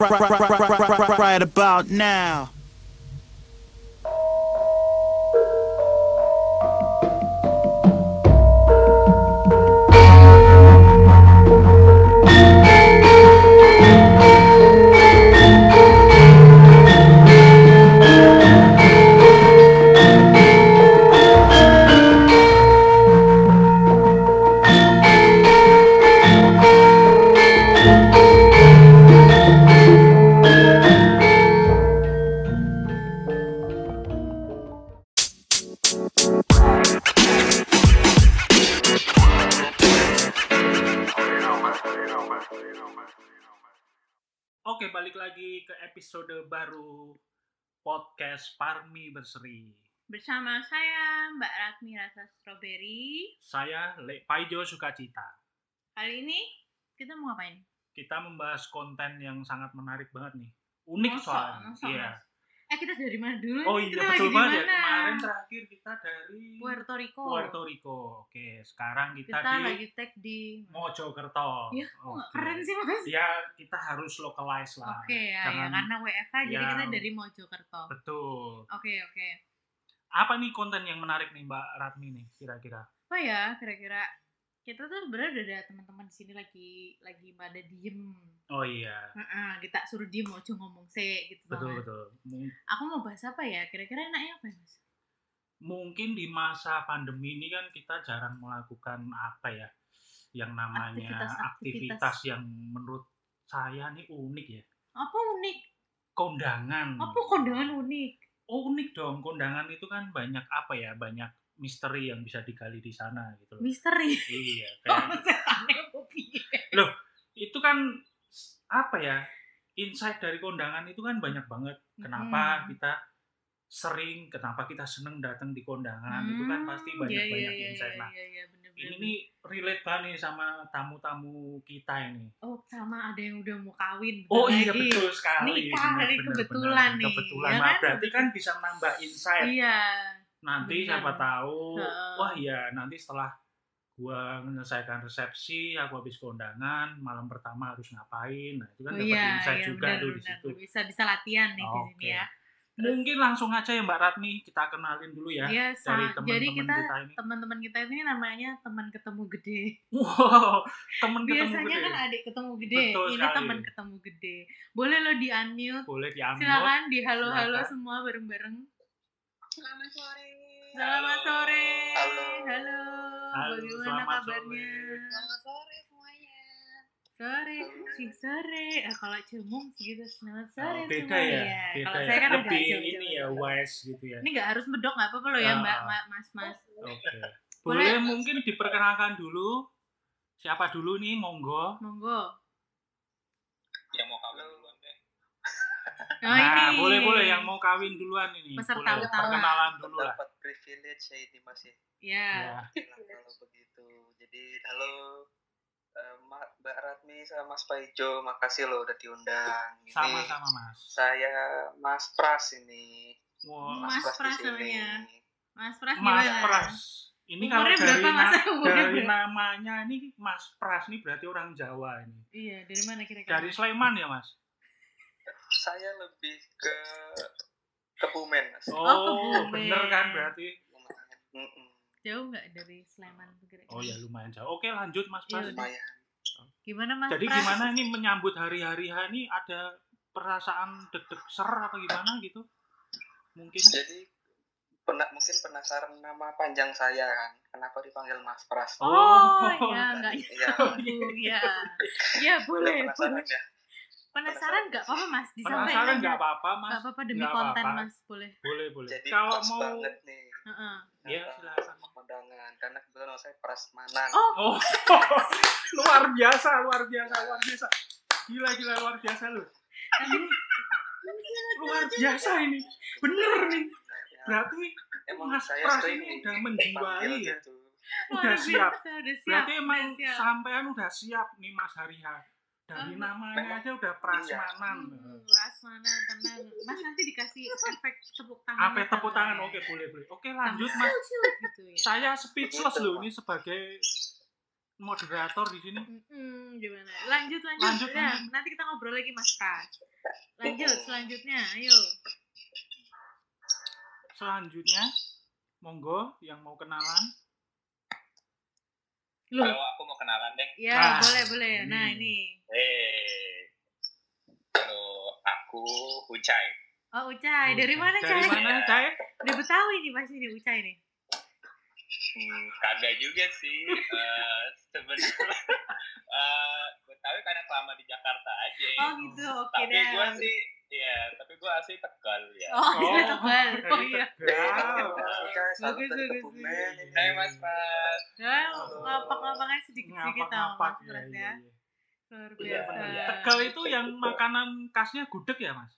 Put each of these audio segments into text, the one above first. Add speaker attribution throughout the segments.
Speaker 1: Right, right, right, right, right, right, right, right about now.
Speaker 2: Oke, balik lagi ke episode baru podcast Parmi Berseri.
Speaker 3: Bersama saya Mbak Ratmi Rasa Strawberry.
Speaker 2: Saya Le Paijo Sukacita.
Speaker 3: Kali ini kita mau ngapain?
Speaker 2: Kita membahas konten yang sangat menarik banget nih. Unik
Speaker 3: Mosok,
Speaker 2: soalnya.
Speaker 3: mosok,
Speaker 2: Iya.
Speaker 3: Mas. Eh kita dari mana dulu?
Speaker 2: Oh
Speaker 3: Kita
Speaker 2: iya
Speaker 3: lagi
Speaker 2: betul
Speaker 3: di
Speaker 2: banget ya.
Speaker 3: mana?
Speaker 2: Kemarin terakhir kita dari
Speaker 3: Puerto Rico.
Speaker 2: Puerto Rico. Oke, sekarang kita,
Speaker 3: Kita,
Speaker 2: di
Speaker 3: lagi tag di
Speaker 2: Mojokerto.
Speaker 3: Ya, kok nggak
Speaker 2: Oke.
Speaker 3: keren sih Mas?
Speaker 2: Ya, kita harus localize lah.
Speaker 3: Oke ya, ya,
Speaker 2: Jangan-
Speaker 3: karena WFH jadi
Speaker 2: Ya.
Speaker 3: kita dari Mojokerto. Oke,
Speaker 2: Betul.
Speaker 3: oke.
Speaker 2: Apa nih konten yang menarik nih Mbak Ratmi nih kira-kira?
Speaker 3: Apa ya kira-kira kita tuh sebenarnya udah ada teman-teman di sini lagi lagi pada diem.
Speaker 2: Oh iya.
Speaker 3: Heeh, kita suruh diem ojo ngomong se gitu
Speaker 2: Betul
Speaker 3: banget.
Speaker 2: betul.
Speaker 3: Aku mau bahas apa ya? Kira-kira enaknya apa ya, Mas?
Speaker 2: mungkin di masa pandemi ini kan kita jarang melakukan apa ya yang namanya
Speaker 3: Aktivitas-aktivitas.
Speaker 2: aktivitas yang menurut saya nih unik ya
Speaker 3: Apa unik?
Speaker 2: kondangan Oh,
Speaker 3: Apa kondangan unik?
Speaker 2: unik dong kondangan itu kan banyak apa ya banyak misteri yang bisa digali di sana gitu loh
Speaker 3: Misteri.
Speaker 2: iya kayak
Speaker 3: Oke,
Speaker 2: itu kan s- apa ya insight dari kondangan itu kan banyak banget kenapa gitu
Speaker 3: Mm-mm.
Speaker 2: kita sering kenapa kita seneng datang di kondangan itu kan pasti banyak banyak insight nah
Speaker 3: Hmm, Iya, iya, bener,
Speaker 2: ini
Speaker 3: bener.
Speaker 2: nih relate banget nih sama tamu-tamu kita ini.
Speaker 3: Oh, sama ada yang udah mau kawin. bentar
Speaker 2: Oh iya
Speaker 3: lagi.
Speaker 2: betul sekali.
Speaker 3: Nikah,
Speaker 2: Benar,
Speaker 3: ini
Speaker 2: benar,
Speaker 3: kebetulan
Speaker 2: benar.
Speaker 3: nih,
Speaker 2: Kebetulan.
Speaker 3: ya
Speaker 2: Nah,
Speaker 3: kan?
Speaker 2: berarti kan bisa nambah insight.
Speaker 3: Iya.
Speaker 2: Nanti
Speaker 3: benar.
Speaker 2: siapa tahu,
Speaker 3: Heeh.
Speaker 2: wah ya nanti setelah gua menyelesaikan resepsi, aku habis kondangan, malam pertama harus ngapain. Nah, itu kan
Speaker 3: Oh,
Speaker 2: dapat
Speaker 3: iya,
Speaker 2: insight
Speaker 3: iya,
Speaker 2: juga
Speaker 3: benar,
Speaker 2: tuh di
Speaker 3: benar.
Speaker 2: situ.
Speaker 3: Bisa bisa latihan nih di sini
Speaker 2: Oke.
Speaker 3: ya.
Speaker 2: Mungkin langsung aja ya Mbak Ratmi kita kenalin dulu ya
Speaker 3: Iya,
Speaker 2: dari
Speaker 3: sama-
Speaker 2: teman-teman
Speaker 3: jadi
Speaker 2: kita,
Speaker 3: kita
Speaker 2: ini.
Speaker 3: teman-teman kita ini namanya teman ketemu gede.
Speaker 2: Wow, temen ketemu
Speaker 3: Biasanya
Speaker 2: gede.
Speaker 3: kan adik ketemu gede.
Speaker 2: Betul
Speaker 3: ini
Speaker 2: sekali.
Speaker 3: teman ketemu gede. Boleh lo di unmute.
Speaker 2: Boleh diambil.
Speaker 3: Silakan di halo-halo
Speaker 2: Silakan.
Speaker 3: semua bareng-bareng.
Speaker 4: Selamat sore.
Speaker 3: Selamat sore.
Speaker 4: Halo.
Speaker 3: Halo.
Speaker 2: Halo,
Speaker 3: Bagaimana
Speaker 2: selamat
Speaker 3: kabarnya?
Speaker 2: sore.
Speaker 4: Selamat sore semuanya.
Speaker 3: Sore, sing sore. Eh, kalau cemung gitu selamat
Speaker 2: Oh,
Speaker 3: sore
Speaker 2: beda
Speaker 3: semua
Speaker 2: ya,
Speaker 3: ya.
Speaker 2: beda
Speaker 3: Kalau
Speaker 2: ya.
Speaker 3: saya kan agak
Speaker 2: lebih
Speaker 3: jauh-jauh.
Speaker 2: ini ya wise gitu ya.
Speaker 3: Ini nggak harus medok nggak apa-apa loh ya
Speaker 2: Ah.
Speaker 3: Mbak, Ma- Mas Mas.
Speaker 2: Oke.
Speaker 3: Boleh.
Speaker 2: Iya. Boleh mungkin diperkenalkan dulu siapa dulu nih monggo.
Speaker 3: Monggo.
Speaker 5: yang mau kawin duluan deh.
Speaker 3: Nah, ini.
Speaker 2: Ah, boleh boleh yang mau kawin duluan ini.
Speaker 3: Peserta
Speaker 2: boleh
Speaker 3: utama.
Speaker 2: perkenalan dulu lah.
Speaker 4: Dapat privilege saya ini masih
Speaker 3: Ya.
Speaker 2: Ya.
Speaker 4: bilang kalau begitu. Jadi halo eh, Ma- Mbak Ratmi sama Mas Paijo, makasih loh udah diundang. Ini
Speaker 2: Sama-sama Mas.
Speaker 4: Saya Mas Pras ini.
Speaker 2: Wow.
Speaker 3: Oh, Mas
Speaker 4: Pras di
Speaker 3: Pras
Speaker 4: sini.
Speaker 3: namanya. Mas Pras
Speaker 2: Iya. Mas
Speaker 3: gimana?
Speaker 2: Pras. Ini kalau
Speaker 3: Umurnya
Speaker 2: dari,
Speaker 3: berapa Mas?
Speaker 2: na-
Speaker 3: Umurnya
Speaker 2: dari
Speaker 3: berapa?
Speaker 2: namanya ini Mas Pras ini berarti orang Jawa ini.
Speaker 3: Iya, dari mana kira-kira?
Speaker 2: Dari Sleman ya Mas?
Speaker 4: Saya lebih ke Kebumen, Mas.
Speaker 2: Oh,
Speaker 3: Kebumen.
Speaker 2: bener kan berarti.
Speaker 4: Mm-mm.
Speaker 3: Jauh nggak dari Sleman tuh kira-kira?
Speaker 2: Oh ya lumayan jauh. Oke lanjut Mas Pras.
Speaker 3: Iya, udah.
Speaker 4: Lumayan.
Speaker 3: Gimana Mas
Speaker 2: Jadi
Speaker 3: Pras?
Speaker 2: gimana ini menyambut hari-hari H ini ada perasaan deg-deg ser apa gimana gitu? Mungkin
Speaker 4: Jadi pena- mungkin penasaran nama panjang saya kan. Kenapa dipanggil Mas Pras?
Speaker 3: Oh,
Speaker 2: Oh.
Speaker 3: ya nggak
Speaker 4: Iya.
Speaker 3: nyambung ya. Ya
Speaker 4: Udah
Speaker 3: boleh.
Speaker 4: penasaran
Speaker 3: boleh.
Speaker 4: ya?
Speaker 3: Penasaran nggak apa-apa Mas? Disampaikan.
Speaker 2: penasaran
Speaker 3: aja.
Speaker 2: nggak apa-apa Mas?
Speaker 3: Gak apa-apa demi
Speaker 2: Nggak
Speaker 3: konten
Speaker 2: apa-apa.
Speaker 3: mas boleh.
Speaker 2: Boleh boleh.
Speaker 4: Jadi
Speaker 2: Kalau
Speaker 4: pas
Speaker 2: mau
Speaker 4: banget nih.
Speaker 3: Heeh.
Speaker 2: Iya,
Speaker 4: eh,
Speaker 2: silakan.
Speaker 4: sama Kondangan karena kebetulan saya prasmanan.
Speaker 2: Oh,
Speaker 3: Oh.
Speaker 2: luar biasa, luar biasa, luar biasa. Gila gila luar biasa lu. Ini luar biasa ini. Bener nih.
Speaker 4: Ya,
Speaker 2: Berarti
Speaker 4: emang
Speaker 2: Mas
Speaker 4: saya
Speaker 2: Pras
Speaker 4: sering
Speaker 2: ini
Speaker 4: di-
Speaker 2: udah menjiwai
Speaker 4: dipanggil
Speaker 2: ya.
Speaker 4: gitu.
Speaker 2: Udah
Speaker 3: Luar
Speaker 2: siap.
Speaker 3: biasa, Udah siap.
Speaker 2: Berarti emang
Speaker 3: siap.
Speaker 2: sampean udah siap nih Mas Hariha. Dari
Speaker 3: Oh.
Speaker 2: namanya aja udah prasmanan.
Speaker 3: Hmm, Rasmana tenang. Mas nanti dikasih efek tepuk tangan.
Speaker 2: Apa tepuk tangan? Oke, boleh, boleh. Oke, lanjut Mas.
Speaker 3: Gitu ya.
Speaker 2: Saya speechless
Speaker 4: Begitu,
Speaker 2: loh
Speaker 4: Mas.
Speaker 2: ini sebagai moderator di sini.
Speaker 3: Mm-mm, gimana? Lanjut, lanjut.
Speaker 2: Lanjut,
Speaker 3: Udah,
Speaker 2: lanjut.
Speaker 3: nanti kita ngobrol lagi, Mas Ka. Lanjut, selanjutnya. Ayo.
Speaker 2: Selanjutnya, monggo yang mau kenalan.
Speaker 3: Loh,
Speaker 5: Halo, aku mau kenalan deh.
Speaker 2: Ah.
Speaker 3: ya boleh, boleh. Nah,
Speaker 2: Hmm.
Speaker 3: ini.
Speaker 5: Eh, halo, aku Ucai.
Speaker 3: Oh, Ucai. Dari mana,
Speaker 2: Dari
Speaker 3: Cai?
Speaker 2: mana, Cai?
Speaker 3: Dari Betawi nih pasti nih Ucai nih.
Speaker 5: Hmm, kagak juga sih. Eh, Sebenarnya, eh, gue tahu karena lama di Jakarta aja.
Speaker 3: Oh, gitu. Oke
Speaker 5: tapi
Speaker 3: deh.
Speaker 5: gue sih, ya, tapi gue asli tegal ya.
Speaker 3: Oh, dari Tegal.
Speaker 2: dari
Speaker 3: Oh, iya.
Speaker 2: Tegal.
Speaker 4: Guys, salam
Speaker 3: Bagus,
Speaker 4: dari
Speaker 3: bagus,
Speaker 4: Kebumen.
Speaker 2: bagus.
Speaker 5: Hai Mas Mas.
Speaker 3: Nah, lapak-lapakannya sedikit-sedikit tau,
Speaker 2: Ngapak-ngapak.
Speaker 3: Mas
Speaker 2: ya, iya,
Speaker 3: Pras ya. Iya.
Speaker 2: iya.
Speaker 3: Luar
Speaker 5: Iya,
Speaker 3: biasa.
Speaker 5: bener.
Speaker 2: Tegal itu yang makanan khasnya gudeg ya, Mas?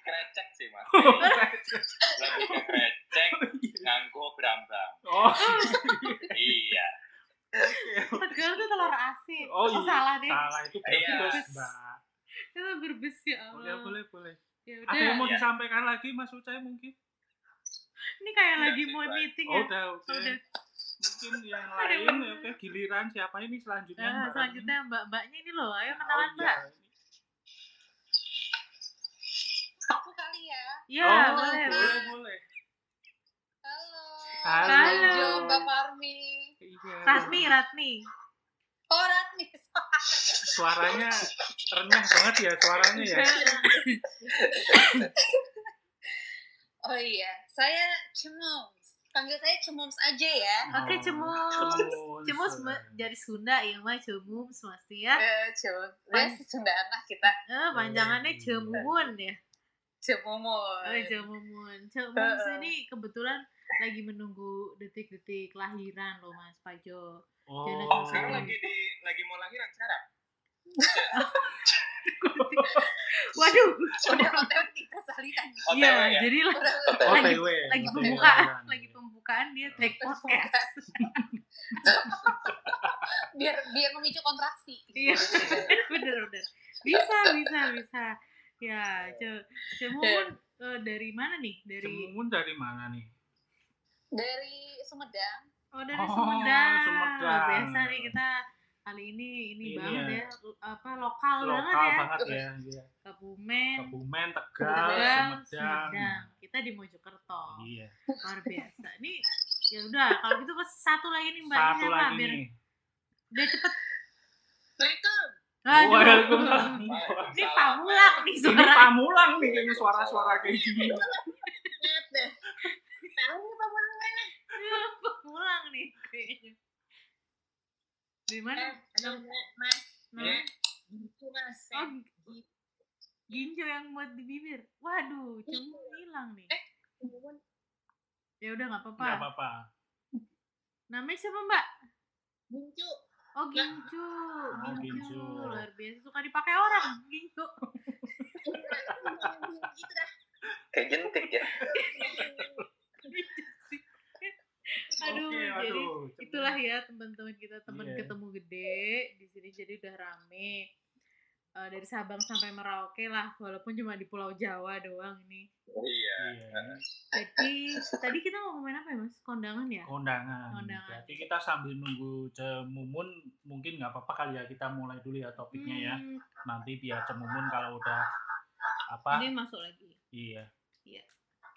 Speaker 5: Krecek sih Mas.
Speaker 3: Iya.
Speaker 5: Lebih ke krecek,
Speaker 3: Oh,
Speaker 5: nganggo berambang.
Speaker 2: oh,
Speaker 5: Iya.
Speaker 3: Tegal tuh telur asin.
Speaker 2: Oh, iya.
Speaker 3: salah deh.
Speaker 2: salah itu
Speaker 5: Iya.
Speaker 2: berbes, Mbak.
Speaker 3: Itu berbes ya
Speaker 2: Boleh,
Speaker 3: Allah.
Speaker 2: boleh, boleh.
Speaker 3: Ya udah.
Speaker 2: Ada yang mau
Speaker 5: Iya.
Speaker 2: disampaikan lagi, Mas Ucai mungkin?
Speaker 3: Ini kayak
Speaker 5: Iya,
Speaker 3: lagi
Speaker 5: sih,
Speaker 3: mau
Speaker 5: Pak.
Speaker 3: meeting
Speaker 2: Oh,
Speaker 3: ya.
Speaker 2: udah, oke.
Speaker 3: Udah.
Speaker 2: Mungkin yang
Speaker 3: Ada yang
Speaker 2: lain,
Speaker 3: mau-
Speaker 2: oke. Giliran siapa ini selanjutnya?
Speaker 3: Nah,
Speaker 2: Mbak?
Speaker 3: selanjutnya mbak-mbaknya ini loh. Ayo kenalan,
Speaker 2: Oh, iya.
Speaker 3: Mbak.
Speaker 6: Aku kali ya.
Speaker 3: Iya,
Speaker 2: oh,
Speaker 3: boleh.
Speaker 2: boleh, boleh.
Speaker 6: Halo.
Speaker 2: Halo.
Speaker 6: Halo, Mbak Parmi.
Speaker 2: Iya,
Speaker 3: Ratni, Ratni.
Speaker 6: Oh, Ratni.
Speaker 2: Suaranya renyah banget ya suaranya ya.
Speaker 6: Oh iya, saya Cemoms. Panggil saya Cemoms aja ya.
Speaker 3: Oke, cemus.
Speaker 2: Cemus.
Speaker 3: Cemus me- dari Sunda ya, Mas. Cemus mesti ya.
Speaker 6: Eh, Cemoms. Dia sesundaan lah kita.
Speaker 3: Eh, panjangannya Cemumun ya.
Speaker 6: Cemomo.
Speaker 3: Oh, Cemumun. Cemus ini kebetulan lagi menunggu detik-detik lahiran loh, Mas Pajo.
Speaker 2: Oh.
Speaker 3: Jalan
Speaker 5: Sekarang
Speaker 3: Hmm.
Speaker 5: lagi di lagi mau lahiran sekarang.
Speaker 3: Waduh.
Speaker 6: Udah hotel tiga salinan.
Speaker 5: OTW
Speaker 3: Iya,
Speaker 5: ya.
Speaker 3: jadi lah-
Speaker 6: Udah
Speaker 3: Lagi-
Speaker 2: OTW.
Speaker 3: lagi
Speaker 2: OTW. kan.
Speaker 3: pembukaan, lagi
Speaker 2: iya.
Speaker 3: pembukaan dia take podcast.
Speaker 6: biar biar memicu kontraksi.
Speaker 3: Iya, bener bener. Bisa bisa bisa. Ya, Ce- Cemumun eh, dari mana nih? Dari
Speaker 2: Cemumun dari mana nih?
Speaker 6: Dari Sumedang.
Speaker 3: oh dari
Speaker 2: Oh,
Speaker 3: Sumedang.
Speaker 2: Sumedang.
Speaker 3: Luar biasa nih kita kali ini ini
Speaker 2: Ini
Speaker 3: banget
Speaker 2: ya.
Speaker 3: ya l- apa lokal, banget
Speaker 2: Lokal
Speaker 3: ya.
Speaker 2: banget ya. Iya.
Speaker 3: Kebumen,
Speaker 2: Kebumen, Tegal,
Speaker 3: Tegal,
Speaker 2: Sumedang.
Speaker 3: Sumedang. Kita di Mojokerto.
Speaker 2: Iya.
Speaker 3: Luar biasa. Nih ya udah kalau gitu ke satu lagi nih Mbak
Speaker 2: Satu
Speaker 3: Ini apa?
Speaker 2: lagi
Speaker 3: biar
Speaker 2: nih.
Speaker 3: biar cepet.
Speaker 6: Assalamualaikum.
Speaker 3: Aduh.
Speaker 2: Waalaikumsalam.
Speaker 3: Ini pamulang nih
Speaker 2: Ini
Speaker 3: suara.
Speaker 2: pamulang nih kayaknya suara-suara kayak gini.
Speaker 6: Ingat deh. Tahu nih Pak Mun?
Speaker 3: Pamulang nih kayaknya. Di mana?
Speaker 6: Eh, Mas.
Speaker 3: Nama?
Speaker 6: Gitu, Mas.
Speaker 3: Oh, gi- ginjal yang buat di bibir. Waduh, cemung hilang nih.
Speaker 6: Cemoms.
Speaker 3: Ya udah nggak
Speaker 2: Enggak
Speaker 3: apa-apa.
Speaker 2: apa-apa.
Speaker 3: Namanya siapa Mbak?
Speaker 6: Buncu.
Speaker 3: Oh Ginju,
Speaker 2: Oh,
Speaker 3: Ginju
Speaker 2: Ginju.
Speaker 3: luar biasa suka dipakai orang Ginju.
Speaker 6: gitu dah.
Speaker 4: Kayak jentik ya.
Speaker 3: Gitu aduh,
Speaker 2: Oke,
Speaker 3: jadi
Speaker 2: aduh.
Speaker 3: itulah ya teman-teman kita teman
Speaker 2: Iya.
Speaker 3: ketemu gede di sini jadi udah rame Eh, dari Sabang sampai Merauke lah walaupun cuma di Pulau Jawa doang ini.
Speaker 5: Iya.
Speaker 2: Iya.
Speaker 3: Jadi tadi kita mau ngomongin apa ya mas? Kondangan ya?
Speaker 2: kondangan.
Speaker 3: Kondangan.
Speaker 2: Berarti kita sambil nunggu cemumun mungkin nggak apa-apa kali ya kita mulai dulu ya topiknya ya.
Speaker 3: Hmm,
Speaker 2: Nanti biar cemumun kalau udah apa?
Speaker 3: Ini masuk lagi.
Speaker 2: Iya.
Speaker 3: Iya.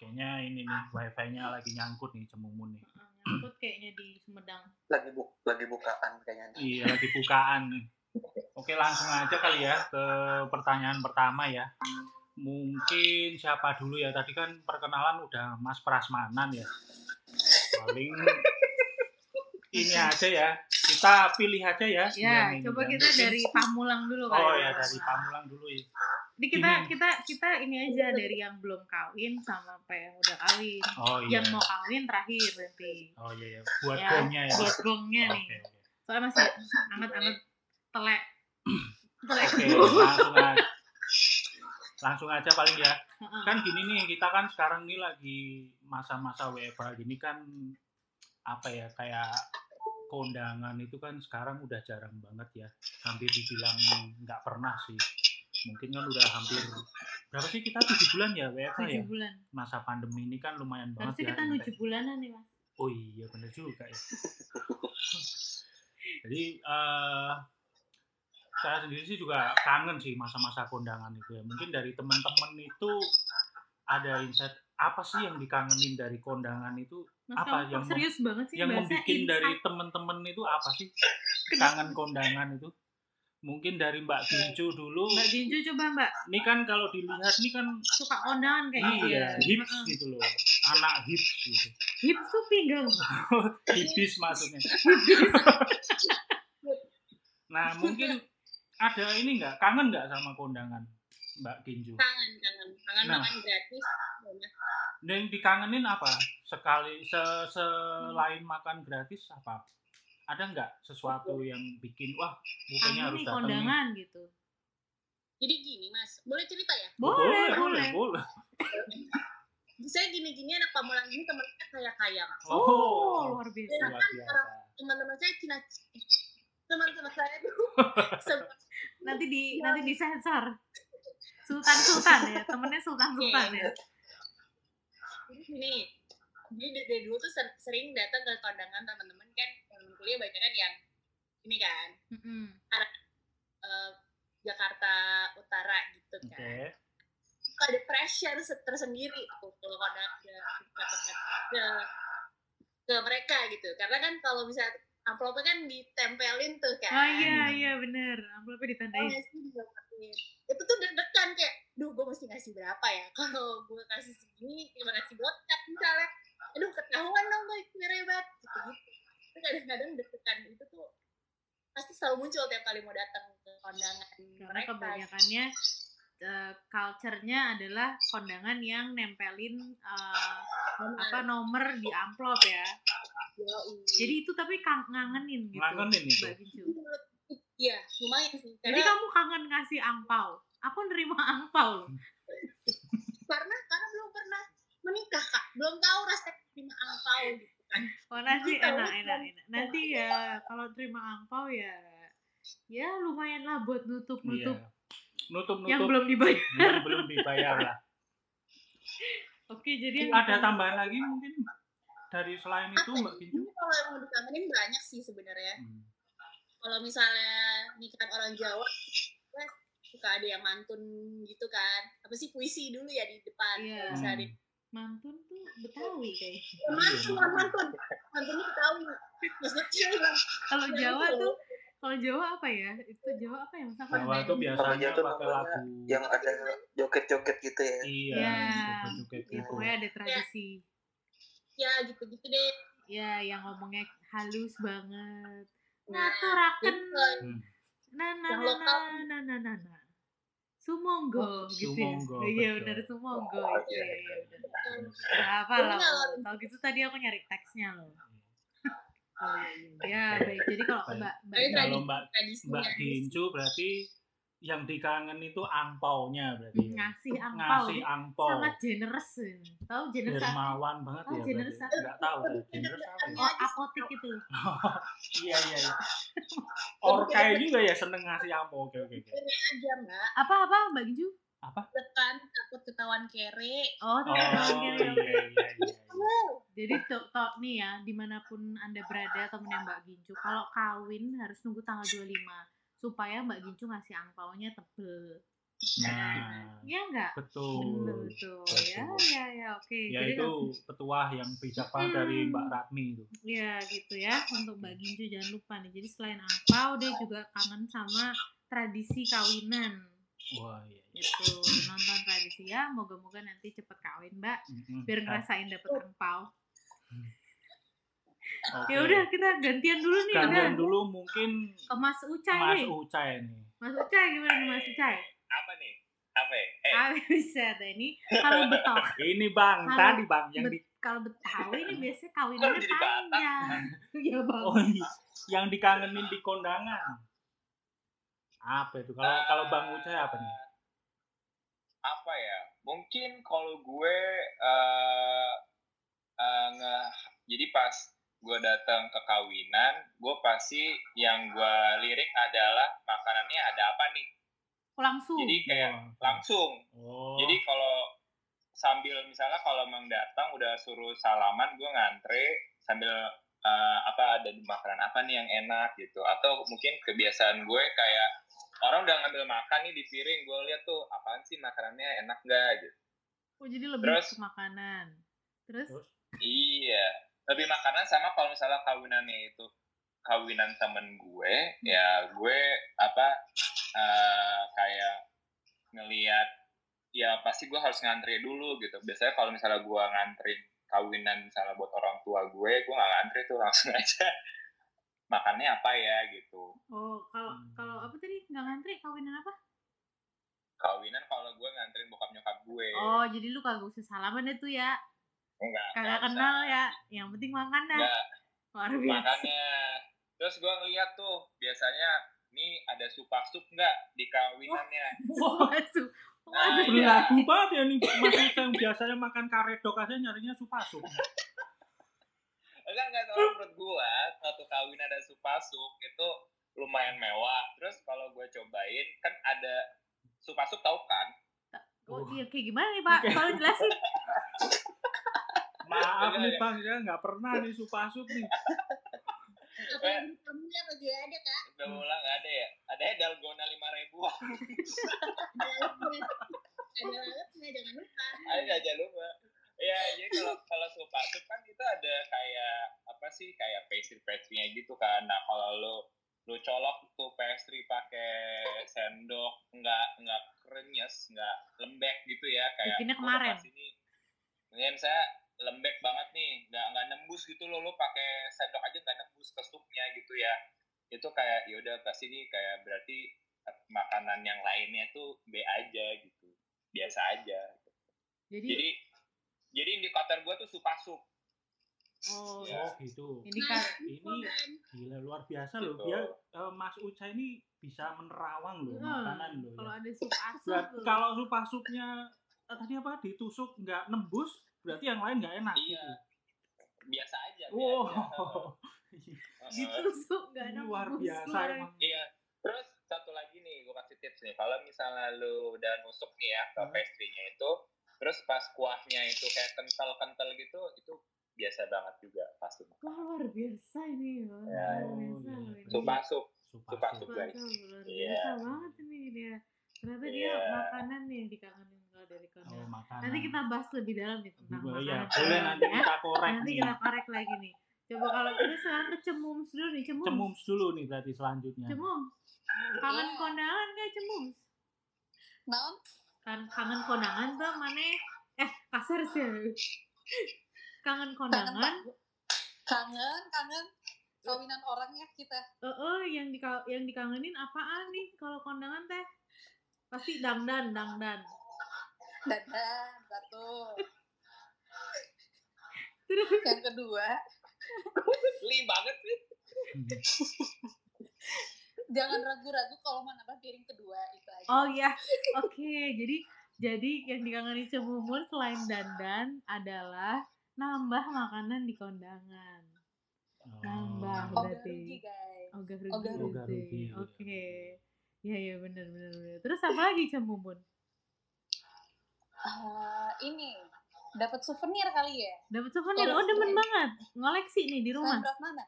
Speaker 2: Kayaknya ini nih wifi-nya lagi nyangkut nih cemumun nih.
Speaker 3: Heeh, Eh, Nyangkut kayaknya di Sumedang.
Speaker 4: Lagi bu lagi bukaan kayaknya.
Speaker 2: Iya lagi bukaan nih. Oke langsung aja kali ya ke pertanyaan pertama ya. Mungkin siapa dulu ya tadi kan perkenalan udah Mas Prasmanan ya. Paling ini aja ya. Kita pilih aja ya.
Speaker 3: Ya,
Speaker 2: yang ini,
Speaker 3: coba
Speaker 2: yang
Speaker 3: kita
Speaker 2: ini.
Speaker 3: dari Pamulang dulu kali.
Speaker 2: Oh ya dari Pamulang dulu ya.
Speaker 3: Jadi kita
Speaker 2: Ini.
Speaker 3: kita kita ini aja dari yang belum kawin sama apa yang udah kawin.
Speaker 2: Oh iya.
Speaker 3: Yang mau kawin terakhir nanti.
Speaker 2: Oh iya, iya. buat
Speaker 3: Ya,
Speaker 2: gongnya ya.
Speaker 3: Buat gongnya
Speaker 2: Oke,
Speaker 3: nih.
Speaker 2: oke.
Speaker 3: Soalnya masih anget-anget telek. telek.
Speaker 2: Oke,
Speaker 3: dulu.
Speaker 2: langsung aja. Langsung aja paling ya.
Speaker 3: Heeh.
Speaker 2: Kan gini nih, kita kan sekarang nih lagi masa-masa WFH gini kan apa ya kayak kondangan itu kan sekarang udah jarang banget ya. Hampir dibilang nggak pernah sih. Mungkin kan udah hampir berapa sih kita tujuh bulan ya WFH ya
Speaker 3: Tujuh bulan.
Speaker 2: masa pandemi ini kan lumayan banget
Speaker 3: Harusnya
Speaker 2: ya.
Speaker 3: kita nuju bulanan nih mas.
Speaker 2: Oh iya bener juga ya. Jadi eh saya sendiri sih juga kangen sih masa-masa kondangan itu ya. Mungkin dari teman-teman itu ada insight apa sih yang dikangenin dari kondangan itu?
Speaker 3: Mas
Speaker 2: Apa
Speaker 3: kamu
Speaker 2: yang
Speaker 3: kok
Speaker 2: mem-
Speaker 3: serius banget sih
Speaker 2: yang
Speaker 3: bahasa
Speaker 2: membuat dari
Speaker 3: insight?
Speaker 2: teman-teman itu apa sih? Kangen kondangan itu? Mungkin dari Mbak Kincu dulu.
Speaker 3: Mbak Ginju coba Mbak
Speaker 2: Ini kan kalau dilihat ini kan
Speaker 3: suka kondangan kayak gitu ya.
Speaker 2: iya, hips
Speaker 3: Heeh.
Speaker 2: gitu loh. Anak hips gitu.
Speaker 3: Hips tuh pinggang.
Speaker 2: Hibis maksudnya. nah mungkin ada ini nggak kangen nggak sama kondangan Mbak Kinju?
Speaker 6: kangen kangen kangen
Speaker 2: Nah.
Speaker 6: makan gratis banyak
Speaker 2: Dan dikangenin apa? Sekali se- selain makan gratis apa? Ada nggak sesuatu yang bikin wah bukannya
Speaker 3: Kangen
Speaker 2: harus
Speaker 3: nih
Speaker 2: datang nih?
Speaker 3: kondangan gitu.
Speaker 6: jadi gini mas boleh cerita ya
Speaker 3: Boleh, boleh.
Speaker 2: Oh, boleh.
Speaker 6: saya gini-gini anak pamulang ini temen saya kaya kaya
Speaker 3: Oh,
Speaker 2: Oh,
Speaker 3: luar biasa.
Speaker 2: luar biasa.
Speaker 6: teman-teman saya cina teman-teman saya tuh semua-
Speaker 3: Nanti di nanti di sensor. Sultan Sultan ya, temennya Sultan Sultan ya.
Speaker 6: Jadi gini dia dari- dari dulu tuh ser- sering datang ke kondangan teman-teman kan teman kuliah banyak kan yang ini kan
Speaker 3: Mm-mm.
Speaker 6: eh, Jakarta Utara gitu
Speaker 2: Oke.
Speaker 6: kan Kok ada pressure se- tersendiri tuh kalau ada ke, ke, ke mereka gitu karena kan kalau bisa amplopnya kan ditempelin tuh kan
Speaker 3: Oh iya iya bener, amplopnya
Speaker 6: Kalau
Speaker 3: ditandain.
Speaker 6: nggak sih dilakuin. itu tuh deg-degan kayak duh gue mesti ngasih berapa ya kalau gue kasih segini terima kasih botak misalnya aduh ketahuan dong gue merebat gitu gitu itu kadang-kadang deg-degan itu tuh pasti selalu muncul tiap kali mau datang ke kondangan
Speaker 3: Karena
Speaker 6: mereka
Speaker 3: kebanyakannya eh, culture-nya adalah kondangan yang nempelin eh, apa nomor di amplop ya. Jadi itu tapi kang- ngangenin gitu.
Speaker 2: Ngangenin itu.
Speaker 3: Mbak Gincu.
Speaker 6: Iya, lumayan sih.
Speaker 3: Jadi
Speaker 6: Karena,
Speaker 3: kamu kangen ngasih angpau. Aku nerima angpau loh.
Speaker 6: karena karena belum pernah menikah kak, belum tahu rasa terima angpau gitu kan.
Speaker 3: Oh, nanti
Speaker 6: Kita
Speaker 3: enak,
Speaker 6: lupa.
Speaker 3: enak, enak. Nanti ya kalau terima angpau ya ya lumayan lah buat
Speaker 2: Iya.
Speaker 3: nutup-nutup
Speaker 2: Nutup Iya. nutup.
Speaker 3: yang belum dibayar.
Speaker 2: belum dibayar lah.
Speaker 3: Oke, jadi yang
Speaker 2: ada
Speaker 3: dikangenin-
Speaker 2: tambahan lagi mungkin dari selain itu
Speaker 6: Apa
Speaker 2: Mbak
Speaker 6: ya?
Speaker 2: Kinju?
Speaker 6: Ini kalau yang mau dikangenin banyak sih sebenarnya.
Speaker 2: Hmm.
Speaker 6: Kalau misalnya nikahan orang Jawa, kan suka ada yang mantun gitu kan. Apa sih puisi dulu ya di depan.
Speaker 3: Iya.
Speaker 6: Kalau misalnya ada-
Speaker 3: mantun tuh Betawi kayaknya.
Speaker 6: Ya,
Speaker 2: Iya,
Speaker 6: mantun, bukan mantun. Mantun itu tahu. Maksudnya kecil lah.
Speaker 3: Kalau Jawa tuh kalau Jawa apa ya? Itu Jawa apa ya? Mas? Aku
Speaker 2: Jawa
Speaker 3: lupa.
Speaker 2: tuh biasanya
Speaker 4: Kalau jatuh
Speaker 2: pakai
Speaker 4: namanya
Speaker 2: lagu
Speaker 4: yang ada joget-joget gitu ya.
Speaker 2: iya
Speaker 3: Ya.
Speaker 2: joget-joget
Speaker 3: Ya,
Speaker 2: gitu.
Speaker 3: pokoknya
Speaker 6: Iya.
Speaker 3: ada tradisi.
Speaker 6: Ya gitu-gitu deh.
Speaker 3: Ya, yang ngomongnya halus banget.
Speaker 6: Nah,
Speaker 3: Ngaturaken.
Speaker 2: Hmm.
Speaker 3: Na na
Speaker 6: Yang
Speaker 3: na
Speaker 6: lokal.
Speaker 3: na na na na. Sumonggo gitu ya.
Speaker 2: Oh, Sumonggo,
Speaker 3: Iya
Speaker 2: betul.
Speaker 3: benar sumonggo.
Speaker 4: Oh,
Speaker 3: Iya
Speaker 4: iya,
Speaker 3: iya benar. Ya, apa
Speaker 6: Jadi
Speaker 3: lah.
Speaker 6: kalau-
Speaker 3: Kalau gitu tadi aku nyari teksnya loh. Ya baik. Jadi kalau
Speaker 2: Hmm. Baik.
Speaker 3: Mbak Mbak
Speaker 6: Baik,
Speaker 3: Ira-
Speaker 2: Kalau Mbak
Speaker 6: Tradisinya.
Speaker 2: Mbak Kincu berarti yang dikangen itu angpaunya berarti. ya?
Speaker 3: ngasih Nah, angpau
Speaker 2: Ngasih
Speaker 3: dia
Speaker 2: angpau.
Speaker 3: sangat generous. ya. Tahu generous apa?
Speaker 2: Dermawan banget
Speaker 3: Oh,
Speaker 2: ya.
Speaker 3: generous
Speaker 2: berarti. Nggak tahu ya, generous apa ya?
Speaker 3: Oh, apotik itu.
Speaker 2: Iya iya iya. Orkai juga ya seneng ngasih angpau. Oke oke oke.
Speaker 6: aja mbak.
Speaker 3: Apa-apa Mbak Giju?
Speaker 6: Tekan takut ketahuan kere.
Speaker 2: Oh
Speaker 3: Oh,
Speaker 2: iya
Speaker 3: teman-teman
Speaker 2: iya
Speaker 3: kira-kira.
Speaker 2: iya. iya.
Speaker 3: Jadi tok tok nih ya, dimanapun anda berada temennya Mbak Gincu, kalau kawin harus nunggu tanggal 25 supaya Mbak Gincu ngasih angpaunya tebel.
Speaker 2: Nah,
Speaker 3: Iya enggak? Bener
Speaker 2: betul.
Speaker 3: betul.
Speaker 2: betul.
Speaker 3: Ya ya ya oke.
Speaker 2: Ya
Speaker 3: Jadi
Speaker 2: itu petuah yang bijak banget dari
Speaker 3: Hmm.
Speaker 2: Mbak Ratmi itu.
Speaker 3: ya gitu ya untuk Mbak Gincu jangan lupa nih. Jadi selain angpau dia juga kangen sama tradisi kawinan
Speaker 2: Wah iya. iya.
Speaker 3: gitu nonton tradisi ya moga-moga nanti cepet kawin mbak
Speaker 2: Mm-mm. Ah,
Speaker 3: biar ngerasain dapet angpau
Speaker 2: oke.
Speaker 3: ya udah kita gantian dulu nih udah
Speaker 2: Kalian Iya. dulu mungkin
Speaker 3: ke Mas Ucai
Speaker 2: Mas
Speaker 3: nih
Speaker 2: Ucai nih.
Speaker 3: Mas Ucai gimana nih Mas Ucai
Speaker 5: Apa nih? Apa ya? Eh,
Speaker 3: Ah, bisa deh ini kalau betok
Speaker 2: Ini bang,
Speaker 3: Halo,
Speaker 2: tadi bang yang di,
Speaker 3: kalau betawi ini biasanya kawinannya
Speaker 5: jadi Batak?
Speaker 3: panjang ya bang
Speaker 2: oh, iya. yang dikangenin di kondangan. Apa itu? Kalau kalau bang Ucai apa nih?
Speaker 5: apa ya? Mungkin kalau gue eh eh, nge- jadi pas gue datang ke kawinan, gue pasti yang gue lirik adalah makanannya ada apa nih.
Speaker 3: langsung
Speaker 5: Jadi kayak langsung
Speaker 2: Oh.
Speaker 5: Iya, Jadi kalau sambil misalnya kalau emang datang udah suruh salaman gue ngantre sambil eh, apa ada di makanan apa nih yang enak gitu atau mungkin kebiasaan gue kayak orang udah ngambil makan nih di piring gue lihat tuh apaan sih makanannya enak gak gitu
Speaker 3: Oh jadi lebih
Speaker 5: Terus?
Speaker 3: ke makanan. Terus
Speaker 2: Terus
Speaker 5: iya lebih makanan sama kalau misalnya kawinannya itu kawinan temen gue
Speaker 3: Hmm.
Speaker 5: ya gue apa eh, kayak ngeliat ya pasti gue harus ngantri dulu gitu biasanya kalau misalnya gue ngantri kawinan misalnya buat orang tua gue gue nggak ngantri tuh langsung aja makannya apa ya gitu
Speaker 3: oh kalau kalau apa tadi nggak ngantri kawinan apa?
Speaker 5: kawinan kalau gue ngantrin bokap nyokap gue
Speaker 3: Oh jadi lu kagak usah salaman deh tuh ya.
Speaker 5: enggak
Speaker 3: Kagak kenal ya. Yang penting makanan. ya.
Speaker 5: enggak
Speaker 3: Luar biasa.
Speaker 5: makanya terus gue ngeliat tuh biasanya nih ada supasup nggak di kawinannya
Speaker 2: wah
Speaker 3: Masuk.
Speaker 5: Nah,
Speaker 3: Waduh.
Speaker 5: iya.
Speaker 2: berlagu banget ya nih Mas Uca yang biasanya makan karedok aja nyarinya supasup.
Speaker 5: enggak enggak kalau menurut gua satu kawin ada supasup itu lumayan mewah terus kalau gua cobain kan ada supasup tau kan
Speaker 3: Oh iya kayak gimana nih Pak? Tolong jelasin.
Speaker 2: Maaf nih Bang ya nggak pernah nih supasup nih.
Speaker 6: Apa yang di kamu lihat aja ada kak?
Speaker 5: udah ulang nggak ada ya ada ya dalgona lima ribu
Speaker 6: Ada lauknya. Ada lauknya jangan lupa.
Speaker 5: ayo aja lupa ya jadi kalau kalau supasup kan itu ada kayak apa sih kayak pastry pastrynya gitu kan nah kalau lu lu colok tuh pastry pakai sendok nggak nggak krenyes nggak lembek gitu ya kayak
Speaker 3: Bikinnya
Speaker 5: lu
Speaker 3: kemarin.
Speaker 5: lepas ini ini misalnya lembek banget nih nggak nggak nembus gitu loh lu pakai sendok aja nggak nembus ke supnya gitu ya itu kayak ya udah pasti ini kayak berarti eh, makanan yang lainnya tuh B aja gitu biasa aja
Speaker 3: Jadi Iya.
Speaker 5: jadi jadi indikator gue tuh supasup.
Speaker 3: oh
Speaker 5: Ya.
Speaker 2: Oh gitu.
Speaker 3: ini kan
Speaker 2: ini-
Speaker 6: Bukan.
Speaker 2: Gila luar biasa loh.
Speaker 5: Gitu.
Speaker 2: Dia eh, Mas Uca ini bisa menerawang loh makanan
Speaker 3: Hmm,
Speaker 2: loh.
Speaker 3: kalau
Speaker 2: Ya.
Speaker 3: ada sup asap
Speaker 2: Berat- kalau supasupnya eh, tadi apa ditusuk nggak nembus berarti yang lain nggak enak.
Speaker 5: Iya. Biasa aja.
Speaker 2: Gitu. Wow.
Speaker 5: Gitu.
Speaker 3: gitu sup nggak
Speaker 2: Ini
Speaker 3: ada ya.
Speaker 2: luar
Speaker 3: bungkus,
Speaker 2: biasa
Speaker 3: luar-
Speaker 2: emang.
Speaker 5: Iya. Terus satu lagi nih gue kasih tips nih. Kalau misalnya lu udah nusuk nih ya ke
Speaker 2: Hmm.
Speaker 5: pastry-nya itu, terus pas kuahnya itu kayak kental-kental gitu, itu biasa banget juga pasti.
Speaker 3: Wah luar biasa ini. Wah,
Speaker 5: Ya,
Speaker 3: luar
Speaker 2: ya.
Speaker 3: biasa
Speaker 2: Oh,
Speaker 3: loh
Speaker 2: iya.
Speaker 3: ini.
Speaker 5: Supasup.
Speaker 2: Supasup.
Speaker 5: Supasup.
Speaker 3: Waduh,
Speaker 5: guys.
Speaker 3: luar
Speaker 5: Iya.
Speaker 3: biasa banget ini dia. Ternyata dia
Speaker 5: Iya.
Speaker 3: makanan yang dikangenin kalau dari
Speaker 2: Oh,
Speaker 3: Kondangan.
Speaker 2: makanan.
Speaker 3: Nanti kita bahas lebih dalam nih tentang
Speaker 2: Lebih-
Speaker 3: makanan.
Speaker 2: ya, boleh nanti
Speaker 3: Ya,
Speaker 2: kita korek
Speaker 3: nanti
Speaker 2: nih.
Speaker 3: kita korek lagi nih. Coba kalau kita sekarang ke cemums dulu nih, cemums.
Speaker 2: Cemums dulu nih berarti selanjutnya.
Speaker 3: Cemums. Kangen
Speaker 6: Iya.
Speaker 3: kondangan gak cemums?
Speaker 6: Mau?
Speaker 3: Kan- kangen kondangan tuh mana? Eh, kasar sih. Kangen kondangan,
Speaker 6: Kangen, kangen. Kawinan orangnya kita.
Speaker 3: eh eh, yang di yang dikangenin apaan nih kalau kondangan teh? Pasti dangdan, dangdan.
Speaker 6: Dadah, satu.
Speaker 3: Terus
Speaker 6: Yang kedua,
Speaker 5: Li banget sih.
Speaker 2: Hmm.
Speaker 6: jangan ragu-ragu kalau menambah piring kedua itu aja.
Speaker 3: Oh iya, oke. Jadi jadi yang dikangeni cemumun selain dandan adalah nambah makanan di kondangan. Nambah
Speaker 2: Oh.
Speaker 6: Ogah
Speaker 3: berarti.
Speaker 6: rugi, guys.
Speaker 3: Ogah
Speaker 6: Ogah
Speaker 3: rugi.
Speaker 2: rugi.
Speaker 3: berarti. Oke. Iya iya benar benar benar. Terus apa lagi cemumun?
Speaker 6: Ah, ini dapat souvenir kali ya?
Speaker 3: Dapat souvenir. Oh
Speaker 6: Koleksi.
Speaker 3: demen banget. Ngoleksi nih di rumah.
Speaker 6: Selain berat mana?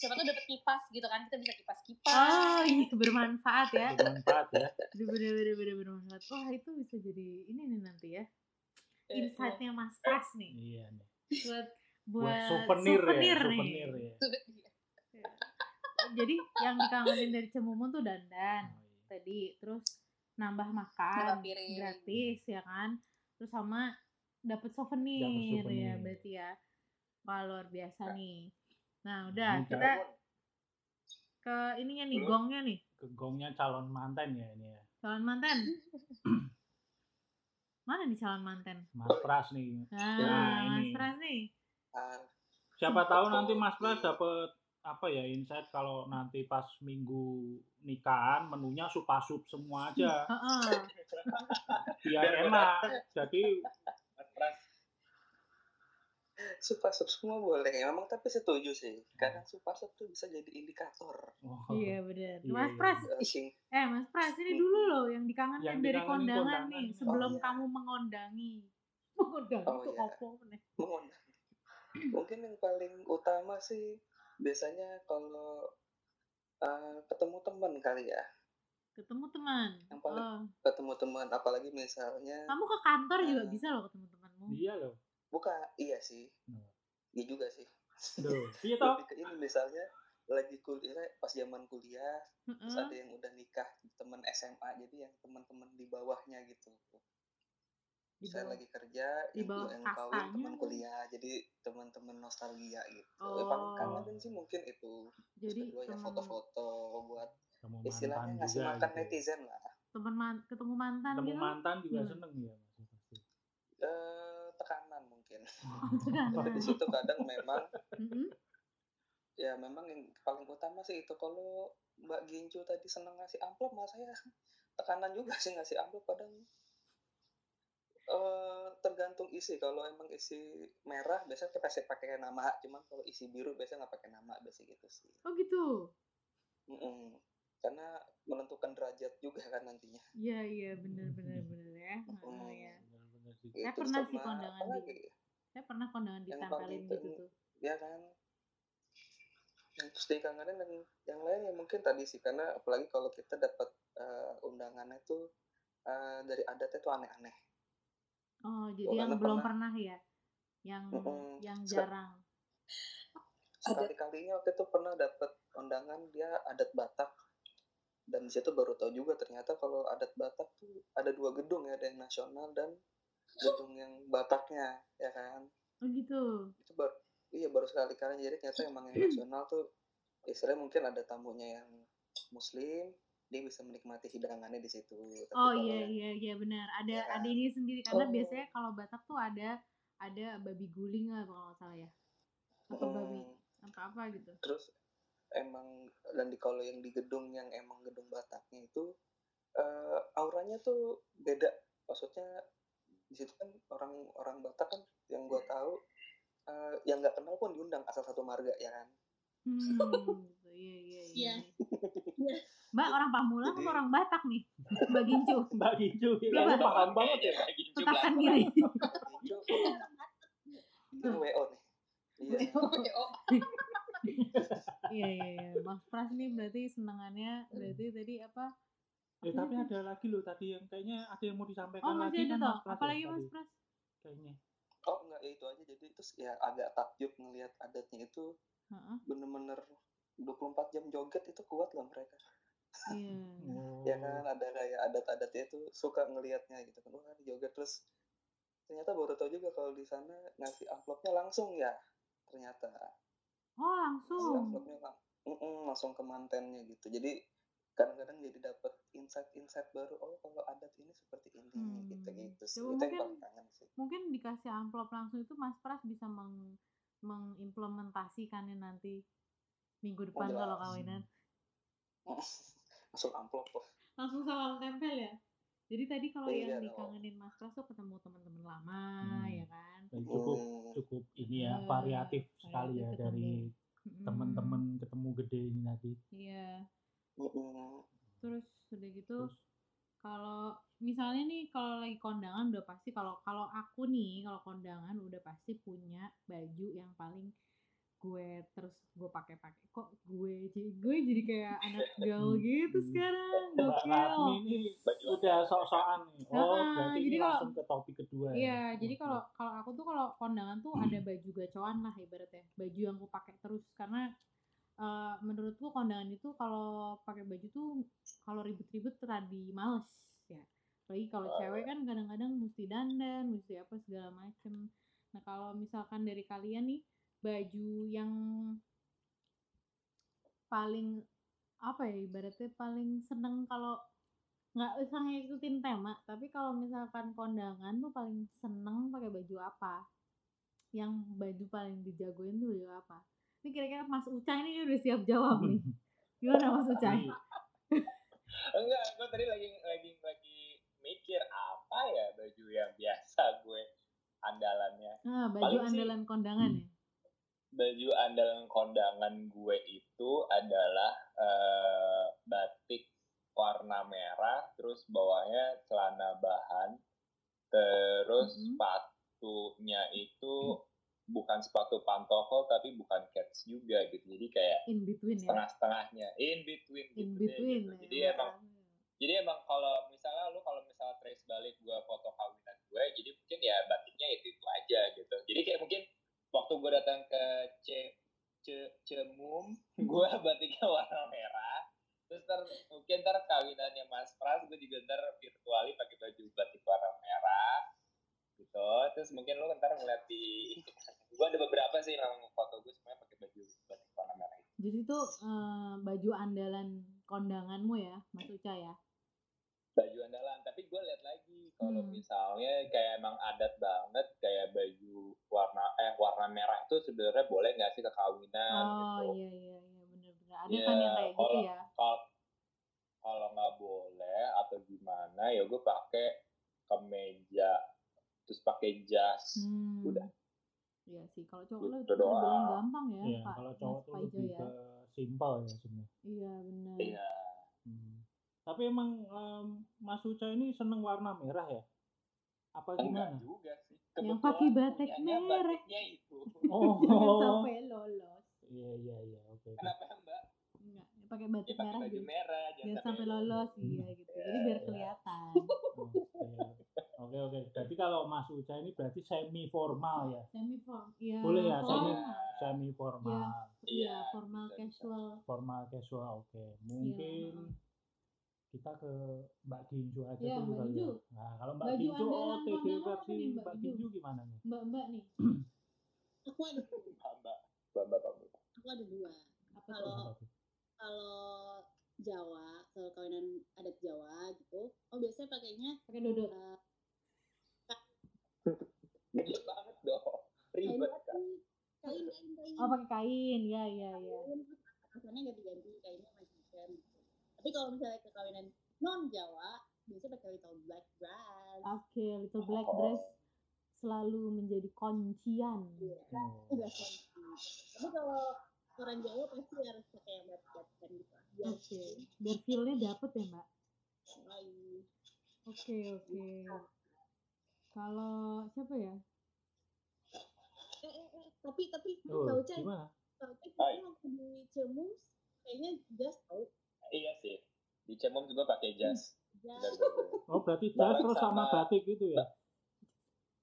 Speaker 6: Siapa tuh dapat kipas gitu kan? Kita bisa kipas-kipas.
Speaker 3: Oh iya bermanfaat ya.
Speaker 2: Bermanfaat ya.
Speaker 3: Bener bener bener bermanfaat. Wah itu bisa jadi ini nih nanti ya.
Speaker 6: Eh,
Speaker 3: Insightnya Mas Pras nih
Speaker 2: Iya nih.
Speaker 3: buat
Speaker 2: Buat
Speaker 3: buat
Speaker 2: souvenir,
Speaker 3: souvenir
Speaker 2: ya.
Speaker 3: nih.
Speaker 2: Souvenir ya.
Speaker 6: Oh, iya.
Speaker 3: jadi yang dikangenin dari Cemumun tuh dandan
Speaker 2: Oh, iya.
Speaker 3: tadi terus nambah
Speaker 6: Nambah
Speaker 3: makan
Speaker 6: piring.
Speaker 3: gratis ya kan terus sama dapat souvenir, ya
Speaker 2: souvenir.
Speaker 3: berarti ya wah luar biasa nih
Speaker 2: Nah,
Speaker 3: nah udah
Speaker 2: ini
Speaker 3: kita ke ininya nih
Speaker 5: Belum.
Speaker 3: gongnya nih
Speaker 2: Kegongnya calon mantan ya ini ya.
Speaker 3: calon manten mana nih calon manten
Speaker 2: Mas Pras nih. Nah,
Speaker 3: nah, mas
Speaker 2: ini.
Speaker 3: Pras nih
Speaker 4: Ah,
Speaker 2: Siapa tahu nanti Mas Pras dapat apa ya insight kalau nanti pas minggu nikahan menunya supasup semua aja
Speaker 3: Heeh.
Speaker 2: biar
Speaker 5: Biar
Speaker 2: enak jadi
Speaker 5: Mas Pras.
Speaker 4: supasup semua boleh memang tapi setuju sih kadang supasup tuh bisa jadi indikator
Speaker 2: oh,
Speaker 3: iya benar
Speaker 2: Iya,
Speaker 3: mas
Speaker 2: iya.
Speaker 3: Pras
Speaker 4: asing
Speaker 3: Eh Mas Pras ini dulu loh yang dikangenin
Speaker 2: Yang
Speaker 3: dari
Speaker 2: dikangenin
Speaker 3: kondangan,
Speaker 2: kondangan.
Speaker 3: nih sebelum
Speaker 4: Oh, iya.
Speaker 3: kamu mengondangi. Mengondangi
Speaker 4: Oh,
Speaker 3: itu
Speaker 4: iya.
Speaker 3: apa meneh?
Speaker 4: mohon
Speaker 5: mungkin yang paling utama sih biasanya kalau eh, ketemu teman kali ya
Speaker 3: ketemu teman
Speaker 5: Yang paling-
Speaker 3: oh.
Speaker 5: ketemu teman apalagi misalnya
Speaker 3: kamu ke kantor juga
Speaker 5: Eh.
Speaker 3: bisa loh ketemu temanmu
Speaker 2: Iya loh.
Speaker 5: buka iya sih
Speaker 2: Hmm.
Speaker 5: iya juga sih
Speaker 2: Duh, iya
Speaker 3: Gitu.
Speaker 2: toh.
Speaker 5: lebih ke ini misalnya lagi kuliah pas zaman kuliah terus
Speaker 3: Heeh.
Speaker 5: ada yang udah nikah teman SMA jadi yang teman-teman di bawahnya gitu
Speaker 3: Di
Speaker 5: saya
Speaker 3: bawah.
Speaker 5: lagi kerja
Speaker 3: di
Speaker 5: yang gue
Speaker 3: bawah
Speaker 5: yang kawin
Speaker 3: kastanya
Speaker 5: teman
Speaker 3: kan?
Speaker 5: kuliah jadi teman-teman nostalgia gitu Eh, paling
Speaker 3: Oh.
Speaker 5: kangen sih mungkin itu Terus
Speaker 3: jadi
Speaker 5: kedua ya
Speaker 3: teman
Speaker 5: foto-foto buat
Speaker 2: Ketemu
Speaker 5: istilahnya
Speaker 2: mantan
Speaker 5: ngasih
Speaker 2: juga
Speaker 5: makan
Speaker 2: gitu.
Speaker 5: netizen lah
Speaker 3: teman man- ketemu mantan
Speaker 2: Ketemu
Speaker 3: gitu
Speaker 2: mantan juga
Speaker 3: Gimana?
Speaker 2: seneng ya Mas, pasti.
Speaker 5: eh tekanan mungkin
Speaker 3: Oh, tekanan.
Speaker 5: tapi di situ kadang memang
Speaker 3: Mm-mm.
Speaker 5: ya memang yang paling utama sih itu kalau Mbak Gincu tadi seneng ngasih amplop malah saya tekanan juga sih ngasih amplop kadang eh, tergantung isi kalau emang isi merah biasanya kita kasih pakai nama cuman kalau isi biru biasanya nggak pakai nama biasanya gitu sih
Speaker 3: oh gitu
Speaker 5: Mm-mm. karena menentukan derajat juga kan nantinya
Speaker 3: iya iya bener bener bener ya oh,
Speaker 5: Mm.
Speaker 3: ya
Speaker 2: Bener-bener sih.
Speaker 3: Saya
Speaker 5: Itu
Speaker 3: pernah sih
Speaker 5: sama
Speaker 3: kondangan
Speaker 5: apa
Speaker 3: di-
Speaker 5: lagi?
Speaker 3: saya pernah kondangan
Speaker 5: Yang
Speaker 3: ditempelin
Speaker 5: paling
Speaker 3: gitu
Speaker 5: penting-
Speaker 3: tuh
Speaker 5: ya kan yang terus dikangenin dan yang lain ya mungkin tadi sih karena apalagi kalau kita dapat eh, undangannya tuh eh, dari adatnya tuh aneh-aneh
Speaker 3: oh jadi
Speaker 5: Oh,
Speaker 3: yang
Speaker 5: karena
Speaker 3: belum
Speaker 5: pernah-
Speaker 3: pernah ya yang
Speaker 5: Mm-mm.
Speaker 3: yang
Speaker 5: Se-
Speaker 3: jarang
Speaker 5: sekali-kalinya waktu itu pernah dapat undangan dia adat Batak dan di situ baru tahu juga ternyata kalau adat Batak tuh ada dua gedung ya ada yang nasional dan gedung yang Bataknya ya kan
Speaker 3: oh gitu
Speaker 5: itu baru iya baru sekali kalinya jadi ternyata emang
Speaker 3: Hmm.
Speaker 5: yang nasional tuh istilahnya mungkin ada tamunya yang muslim dia bisa menikmati hidangannya di situ Tapi
Speaker 3: oh
Speaker 5: kalau
Speaker 3: iya
Speaker 5: yang-
Speaker 3: iya iya benar ada
Speaker 5: Iya
Speaker 3: ada
Speaker 5: kan?
Speaker 3: ini sendiri karena
Speaker 5: Oh.
Speaker 3: biasanya kalau Batak tuh ada ada babi guling lah kalau nggak salah ya atau babi
Speaker 5: Mm,
Speaker 3: apa apa gitu
Speaker 5: terus emang dan di kalau yang di gedung yang emang gedung bataknya itu eh, auranya tuh beda maksudnya di situ kan orang orang batak kan yang gua tahu eh, yang nggak kenal pun diundang asal satu marga ya kan
Speaker 3: hmm gitu. iya iya iya
Speaker 6: Iya.
Speaker 3: Iya. mbak orang Pamulang
Speaker 5: Jadi-
Speaker 3: sama orang Batak nih mbak Gincu
Speaker 2: Mbak Gincu, ya,
Speaker 3: Coba.
Speaker 2: lu paham banget ya.
Speaker 7: Lagi jumlah
Speaker 3: tetapkan diri
Speaker 5: Itu itu wo nih iya
Speaker 3: iya iya iya Mas Pras nih berarti senangannya berarti tadi apa
Speaker 2: Eh, tapi ada lagi loh tadi yang kayaknya ada yang mau disampaikan
Speaker 3: oh
Speaker 2: lagi
Speaker 3: masih ada
Speaker 2: kan
Speaker 3: toh
Speaker 2: Mas Pras ya
Speaker 3: apalagi
Speaker 2: tadi,
Speaker 3: Mas Pras
Speaker 2: Kayaknya.
Speaker 5: oh enggak ya itu aja jadi terus ya agak takjub ngelihat adatnya itu
Speaker 3: Heeh,
Speaker 5: bener-bener 24 jam joget itu kuat loh mereka
Speaker 3: iya
Speaker 2: Oh.
Speaker 5: ya kan ada kayak adat-adatnya itu suka ngelihatnya gitu kan wah ini joget terus ternyata baru tahu juga kalau di sana ngasih amplopnya langsung ya ternyata
Speaker 3: oh
Speaker 5: ngasih
Speaker 3: langsung
Speaker 5: amplopnya lang- Iya, Mm-mm, langsung ke mantennya gitu jadi kadang-kadang jadi dapat insight-insight baru oh kalau adat ini seperti ini
Speaker 3: Hmm.
Speaker 5: gitu gitu sih
Speaker 3: Coba
Speaker 5: itu yang
Speaker 3: mungkin-
Speaker 5: paling kangen sih
Speaker 3: mungkin dikasih amplop langsung itu Mas Pras bisa meng mengimplementasikannya nanti minggu depan
Speaker 5: Oh, jelas.
Speaker 3: kalau kawinan
Speaker 5: langsung amplop oh. loh
Speaker 3: langsung salam tempel ya jadi tadi kalau
Speaker 5: Iya
Speaker 3: yang
Speaker 5: dong.
Speaker 3: dikangenin Mas Pras tuh ketemu teman-teman lama
Speaker 2: Hmm.
Speaker 3: ya kan
Speaker 2: Dan cukup
Speaker 5: Hmm.
Speaker 2: cukup ini ya
Speaker 3: Eh,
Speaker 2: variatif sekali ya
Speaker 3: variatif ketemu.
Speaker 2: dari
Speaker 3: Mm-mm.
Speaker 2: teman-teman
Speaker 3: Hmm.
Speaker 2: ketemu gede ini tadi.
Speaker 3: iya
Speaker 5: Mm-mm.
Speaker 3: terus udah gitu
Speaker 2: Terus
Speaker 3: kalau misalnya nih kalau lagi kondangan udah pasti kalau kalau aku nih kalau kondangan udah pasti punya baju yang paling gue terus gue pakai-pakai kok gue jadi gue jadi kayak anak gaul gitu sekarang
Speaker 2: Mbak Ratni
Speaker 3: gokil
Speaker 2: ini udah sok-sokan nih. Oh,
Speaker 3: Ah,
Speaker 2: berarti
Speaker 3: jadi
Speaker 2: ini
Speaker 3: kalau-
Speaker 2: langsung ke topik kedua.
Speaker 3: Iya,
Speaker 2: ya.
Speaker 3: jadi
Speaker 2: Oke.
Speaker 3: kalau kalau aku tuh kalau kondangan tuh ada baju gacoan lah ibaratnya, baju yang aku pakai terus karena eh, menurutku kondangan itu kalau pakai baju tuh kalau ribet-ribet tadi males ya. Apalagi kalau cewek kan kadang-kadang mesti dandan, mesti apa segala macem. Nah kalau misalkan dari kalian nih baju yang paling apa ya ibaratnya paling seneng kalau nggak usah ngikutin tema tapi kalau misalkan kondangan tuh paling seneng pakai baju apa yang baju paling dijagoin tuh baju apa ini kira-kira Mas Uca ini udah siap jawab nih gimana Mas Uca
Speaker 2: Jadi,
Speaker 7: Enggak, gue tadi lagi lagi lagi mikir apa ya baju yang biasa gue andalannya.
Speaker 3: ah, baju
Speaker 7: Paling sih-
Speaker 3: andalan kondangan ya
Speaker 7: Baju andalan kondangan gue itu adalah eh, batik warna merah, terus bawahnya celana bahan, terus
Speaker 3: Mhm.
Speaker 7: sepatunya itu
Speaker 5: bukan sepatu pantofel tapi bukan cats juga gitu jadi kayak
Speaker 3: in between ya
Speaker 5: setengah-setengahnya in between gitu
Speaker 3: in
Speaker 5: deh,
Speaker 3: between
Speaker 5: gitu.
Speaker 3: ya.
Speaker 5: jadi emang jadi emang kalau misalnya lu kalau misalnya trace balik gue foto kawinan gue jadi mungkin ya batiknya itu itu aja gitu jadi kayak mungkin waktu gue datang ke C Ce- Cemum
Speaker 3: Hmm.
Speaker 5: gue batiknya warna merah terus ntar mungkin ntar kawinannya Mas Pras gue juga ntar virtuali pakai baju batik warna merah gitu terus mungkin lu ntar ngeliat di gue ada beberapa sih yang foto gue semuanya pakai baju batik warna merah
Speaker 3: jadi itu eh, baju andalan kondanganmu ya Mas Uca ya
Speaker 5: baju andalan tapi gue lihat lagi kalau
Speaker 3: Hmm.
Speaker 5: misalnya kayak emang adat banget kayak baju warna eh warna merah itu sebenarnya boleh nggak sih ke kawinan
Speaker 3: oh
Speaker 5: gitu
Speaker 3: iya iya iya bener-bener ada kan yang
Speaker 5: Iya,
Speaker 3: kayak gitu
Speaker 5: kalau-
Speaker 3: ya
Speaker 5: Kal- kalau nggak boleh atau gimana ya gue pakai kemeja terus pakai jas
Speaker 3: hmm.
Speaker 5: Udah.
Speaker 3: Iya sih, kalau cowok lo
Speaker 5: Gitu doang.
Speaker 3: terbilang gampang ya,
Speaker 2: Iya,
Speaker 3: Pak.
Speaker 2: kalau cowok
Speaker 3: Mas
Speaker 2: tuh
Speaker 3: Pak Ijo
Speaker 2: lebih
Speaker 3: ya.
Speaker 2: ke simpel ya semua.
Speaker 3: Iya, benar.
Speaker 5: iya
Speaker 2: Hmm. Tapi emang em, Mas Uca ini seneng warna merah ya? Apa
Speaker 5: enggak
Speaker 2: gimana?
Speaker 5: juga sih
Speaker 3: Yang
Speaker 5: Kebetulan
Speaker 3: pakai batik
Speaker 5: punyanya
Speaker 3: merah.
Speaker 5: batiknya itu
Speaker 2: Oh,
Speaker 3: Jangan sampai lolos.
Speaker 2: iya iya iya oke.
Speaker 5: kenapa mbak
Speaker 3: Enggak, pakai
Speaker 5: ya
Speaker 3: batik
Speaker 5: pakai
Speaker 3: merah
Speaker 5: baju
Speaker 3: gitu.
Speaker 5: merah ya,
Speaker 3: Jangan sampai lolos,
Speaker 2: Hmm.
Speaker 3: iya gitu. Jadi biar
Speaker 2: Iya.
Speaker 3: kelihatan.
Speaker 2: Oke iya. oke oke. Berarti kalau Mas Uca ini berarti semi formal ya,
Speaker 3: Semi form, iya.
Speaker 2: Boleh ya,
Speaker 3: formal.
Speaker 2: semi formal,
Speaker 3: Iya,
Speaker 5: Iya,
Speaker 3: formal
Speaker 5: bisa, bisa.
Speaker 3: casual.
Speaker 2: formal casual. Oke,
Speaker 3: Iya.
Speaker 2: mungkin kita ke Mbak Ginju aja
Speaker 3: Iya,
Speaker 2: dulu
Speaker 3: Mbak
Speaker 2: kali
Speaker 3: Ginju.
Speaker 2: ya. Nah, kalau Mbak
Speaker 3: Baju
Speaker 2: Ginju
Speaker 3: andalan
Speaker 2: OTD
Speaker 3: kondangan apa
Speaker 2: versi
Speaker 3: nih, Mbak
Speaker 2: Mbak
Speaker 3: Ginju?
Speaker 2: Ginju gimana nih?
Speaker 3: Mbak-mbak nih,
Speaker 6: aku ada
Speaker 5: mbak mbak mbak mbak
Speaker 6: aku ada dua
Speaker 3: apa tuh?
Speaker 6: kalau kalau Jawa kalau kawinan adat Jawa gitu oh biasanya pakainya
Speaker 3: Pakai dodot.
Speaker 6: eh,
Speaker 5: gede banget dong
Speaker 6: kain
Speaker 5: ribet kan
Speaker 6: batik, kain kain kain
Speaker 3: Oh, pakai kain. Iya, iya, iya.
Speaker 6: kain terus atasannya ganti-ganti kainnya macam-macam tapi kalau misalnya ke kawinan non Jawa biasanya pakai little black dress
Speaker 3: Oke, little black
Speaker 5: Oh.
Speaker 3: dress selalu menjadi kuncian.
Speaker 6: Iya.
Speaker 2: Oh.
Speaker 6: udah cantik. gitu. tapi kalau orang Jawa pasti harus pakai yang batik-batikan gitu biar
Speaker 3: Oke, biar feel-nya dapet ya, Mbak.
Speaker 6: lain
Speaker 3: Oke, oke. Kalau siapa ya?
Speaker 6: eh, eh, eh. tapi tapi
Speaker 2: Oh,
Speaker 6: tahu cah
Speaker 2: gimana?
Speaker 6: tahu
Speaker 5: Hai.
Speaker 6: cah kayaknya waktu di Cemus kayaknya just tahu
Speaker 5: Iya sih. Di Cemom juga pakai jas. Benar,
Speaker 6: just
Speaker 5: benar, benar.
Speaker 2: Oh, berarti jas
Speaker 5: Barang
Speaker 2: terus sama
Speaker 5: sama-
Speaker 2: batik gitu ya?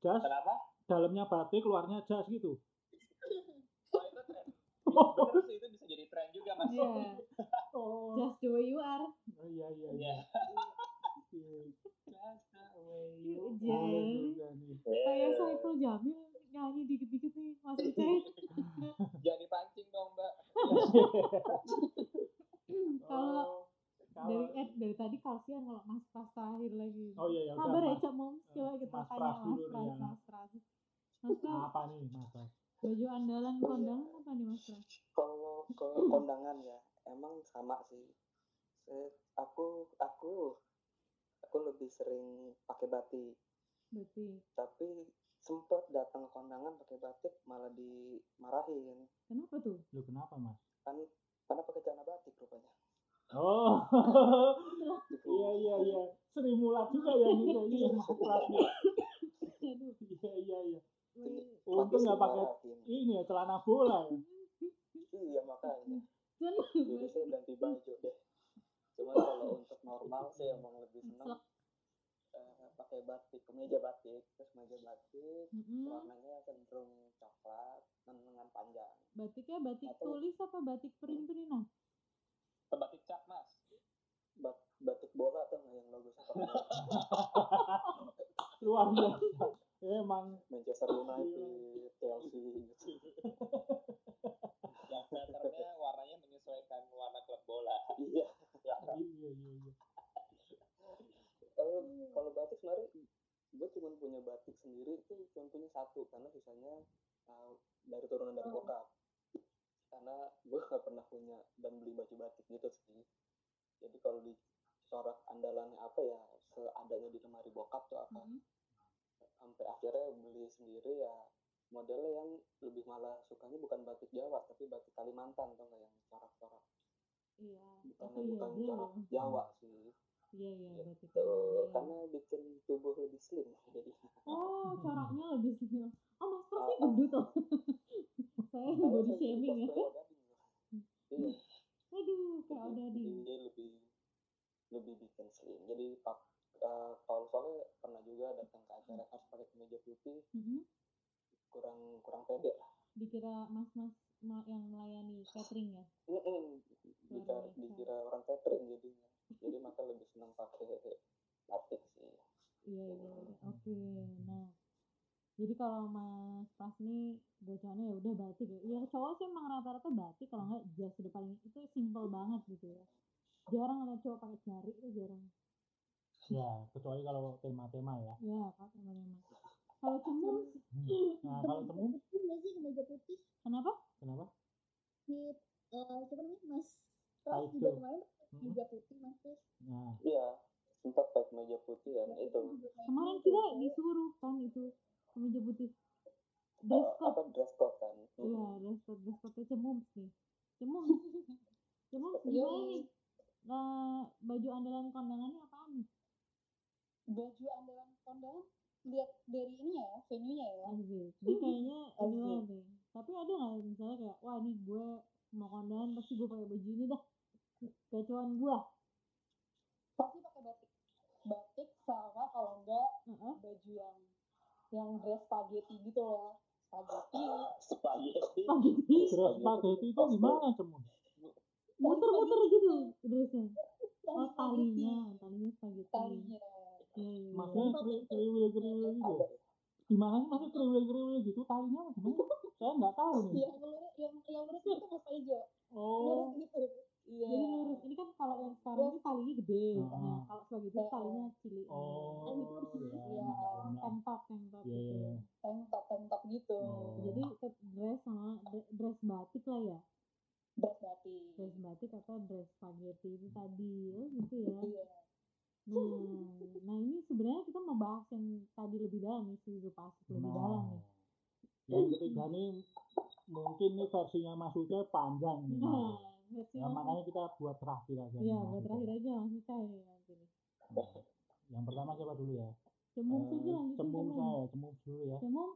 Speaker 2: Jas
Speaker 5: Kenapa?
Speaker 2: dalamnya batik, luarnya jas gitu.
Speaker 5: Wah, itu tren.
Speaker 4: Oh.
Speaker 5: Benar sih, itu bisa jadi tren juga, Mas.
Speaker 3: Iya,
Speaker 2: Oh,
Speaker 3: just the way you are.
Speaker 2: iya iya iya.
Speaker 5: Iya.
Speaker 6: Iya.
Speaker 3: Iya, Jas.
Speaker 5: Eh,
Speaker 3: Kayak
Speaker 2: Iya.
Speaker 3: Saiful Jamil nyanyi dikit-dikit nih, Mas Ucai.
Speaker 5: Jangan dipancing dong, Mbak.
Speaker 3: Kalau
Speaker 2: Oh,
Speaker 3: dari
Speaker 2: Kalau-
Speaker 3: eh, dari tadi kasihan kalau Mas Pras terakhir lagi.
Speaker 2: Oh iya ya. udah,
Speaker 3: Sabar ya,
Speaker 2: Mas.
Speaker 3: Cak Moms. Coba kita
Speaker 2: Mas
Speaker 3: tanya
Speaker 2: Pras
Speaker 3: Mas
Speaker 2: dulu Ah.
Speaker 3: Pras,
Speaker 2: nih,
Speaker 3: Mas Pras. Mas Pras,
Speaker 2: Nah, Apa nih, Mas? Pras?
Speaker 3: baju andalan kondangan apa nih, Mas Pras?
Speaker 4: kalau ke kondangan ya emang sama sih Se- aku aku aku lebih sering pakai batik
Speaker 3: Berarti,
Speaker 4: tapi sempet datang ke kondangan pakai batik malah dimarahin
Speaker 3: kenapa tuh?
Speaker 2: Lu kenapa, Mas?
Speaker 4: kan karena pakai celana batik rupanya
Speaker 2: Oh. Iya iya iya. Sri Mulat juga ya ini kayaknya yang Mas Pras nih.
Speaker 3: Aduh,
Speaker 2: Iya iya iya.
Speaker 3: woi.
Speaker 2: Untung nggak pakai
Speaker 4: dimarahin
Speaker 2: ini ya celana bola ya.
Speaker 4: iya makanya jadi
Speaker 3: Cuman-
Speaker 4: saya ganti baju deh cuman kalau untuk normal sih emang lebih seneng eh, pakai batik kemeja batik terus kemeja batik
Speaker 3: Mm-mm.
Speaker 4: warnanya cenderung coklat dan lengan panjang
Speaker 3: Batiknya batik
Speaker 4: Atau-
Speaker 3: tulis apa batik print-printan?
Speaker 5: Batik cap, Mas.
Speaker 4: Bat- batik bola tuh nggak yang logo sepak bola
Speaker 2: Luar biasa. Emang
Speaker 4: Manchester United Chelsea gitu.
Speaker 5: Yang filternya warnanya menyesuaikan warna klub bola.
Speaker 4: iya
Speaker 2: iya iya iya.
Speaker 4: kalau kalau batik sebenarnya gue cuma punya batik sendiri itu cuma punya satu karena sisanya uh, dari turunan dari bokap karena gue gak pernah punya dan beli baju batik gitu sih jadi kalau di corak andalannya apa ya seadanya di lemari bokap tuh apa
Speaker 2: Hmm?
Speaker 3: Mhm.
Speaker 4: sampai akhirnya beli sendiri ya modelnya yang lebih malah sukanya bukan batik Jawa tapi batik Kalimantan tuh yang corak-corak
Speaker 3: Iya.
Speaker 4: bukan
Speaker 3: Aku iya
Speaker 4: bukan
Speaker 3: dia
Speaker 4: corak
Speaker 3: loh.
Speaker 4: Jawa sih
Speaker 3: Iya iya berarti
Speaker 2: Gitu.
Speaker 5: Tuh,
Speaker 3: iya.
Speaker 5: karena bikin tubuh lebih slim jadi
Speaker 3: Oh, coraknya lebih senior. Oh, Mas Pras ini
Speaker 5: Ah, ah.
Speaker 3: gendut loh. Saya body shaming ya.
Speaker 5: gitu. iya
Speaker 3: Aduh, kayak
Speaker 5: jadi-
Speaker 3: udah di.
Speaker 5: jadi dia lebih lebih bikin slim jadi pak eh, kalau soalnya pernah juga datang ke acara harus pakai kemeja putih
Speaker 3: Mhm.
Speaker 5: kurang kurang pede lah
Speaker 3: Dikira mas-mas ma- yang melayani catering ya.
Speaker 5: Mm-mm. Iya, dikira,
Speaker 3: Luar biasa.
Speaker 5: dikira orang catering jadinya jadi maka lebih senang pakai batik sih
Speaker 3: Iya iya. iya. Oke. Nah, jadi kalau Mas Pras nih bocorannya ya udah batik ya. Ya cowok sih emang rata-rata batik kalau nggak jas udah paling itu simple banget gitu ya. Jarang ada cowok pakai jari itu jarang.
Speaker 2: Ya, kecuali kalau tema-tema ya.
Speaker 3: Ya, kalau teman-teman. Kalau cemung
Speaker 2: Nah, kalau temu
Speaker 6: Ini Iya nggak sih kemeja putih
Speaker 3: kenapa?
Speaker 2: kenapa?
Speaker 6: di eh siapa namanya Mas
Speaker 2: Ah,
Speaker 6: Pras
Speaker 2: itu.
Speaker 6: juga kemarin pakai
Speaker 2: Mm-mm.
Speaker 6: kemeja putih Mas Pras.
Speaker 2: Nah,
Speaker 5: iya sempat pakai kemeja putih dan
Speaker 3: Iya,
Speaker 6: Mas
Speaker 5: itu
Speaker 6: Pras juga pakai
Speaker 3: Kemarin
Speaker 6: kemeja
Speaker 3: kita
Speaker 6: putih.
Speaker 3: disuruh kan itu kemeja putih.
Speaker 5: eh,
Speaker 3: Dress code.
Speaker 5: apa dress code kan Mm.
Speaker 3: Iya, dress code, dress code cemum sih. Cemum. cemum gimana nih? Eh, baju andalan kondangannya apaan nih?
Speaker 6: baju andalan kondangan lihat dari ini ya venue-nya ya.
Speaker 3: Anjir, dia kayaknya
Speaker 6: Asik.
Speaker 3: ini banget nih. Tapi ada nggak ya, misalnya kayak, wah ini gue mau kondangan pasti gue pakai baju ini dah. Gacuan gue.
Speaker 6: Pasti pakai batik. Batik sama kalau enggak
Speaker 3: Heeh.
Speaker 6: baju yang yang dress spaghetti gitu loh. Spaghetti.
Speaker 5: Oh, spaghetti
Speaker 3: Spaghetti.
Speaker 2: terus spaghetti itu gimana temu?
Speaker 3: Muter-muter gitu dressnya.
Speaker 6: Dari
Speaker 3: Oh talinya, talinya spaghetti.
Speaker 6: Talinya.
Speaker 3: Iya, iya, iya.
Speaker 2: Maksudnya kri- kriwil-kriwil gitu.
Speaker 5: ada
Speaker 2: Gimana sih maksudnya kriwil-kriwil gitu? Talinya apa gimana? Saya nggak tahu nih.
Speaker 6: Iya, Yang lurus yang yang lurus itu mas hijau. Lurus
Speaker 2: Oh,
Speaker 6: gitu. Iya.
Speaker 3: Jadi lurus. Ini kan kalau yang sekarang ini talinya gede.
Speaker 2: Ah.
Speaker 3: Nah, kalau spaghetti
Speaker 6: Ah.
Speaker 3: talinya Nah, cilik.
Speaker 2: oh, ya,
Speaker 6: Iya.
Speaker 2: benar-benar.
Speaker 3: Tank top, tank top
Speaker 2: Iya,
Speaker 3: gitu.
Speaker 2: iya.
Speaker 6: Tank top tank top gitu.
Speaker 2: Oh.
Speaker 3: Jadi tet- dress sama dre- dress batik lah ya.
Speaker 6: Dress batik.
Speaker 3: Dress batik atau dress spaghetti itu tadi. Oh, gitu ya.
Speaker 6: Iya.
Speaker 3: Nah, nah ini sebenarnya kita mau bahas yang tadi lebih dalam nih, si Zupasik
Speaker 2: Nah,
Speaker 3: lebih dalam nih.
Speaker 2: Yang ketiga nih mungkin nih versinya Mas Uca panjang nih.
Speaker 3: Nah, versi
Speaker 2: Ya,
Speaker 3: Mas-
Speaker 2: makanya gitu. kita buat terakhir aja. nih,
Speaker 3: Iya,
Speaker 2: Mas
Speaker 3: buat
Speaker 2: Uca.
Speaker 3: terakhir aja langsung saya ya, nanti nih.
Speaker 2: Yang pertama siapa dulu ya?
Speaker 3: Cemung
Speaker 2: Eh,
Speaker 3: saja lanjutin
Speaker 2: cemung
Speaker 3: cemung.
Speaker 2: saya, cemung dulu ya.
Speaker 3: Cemung,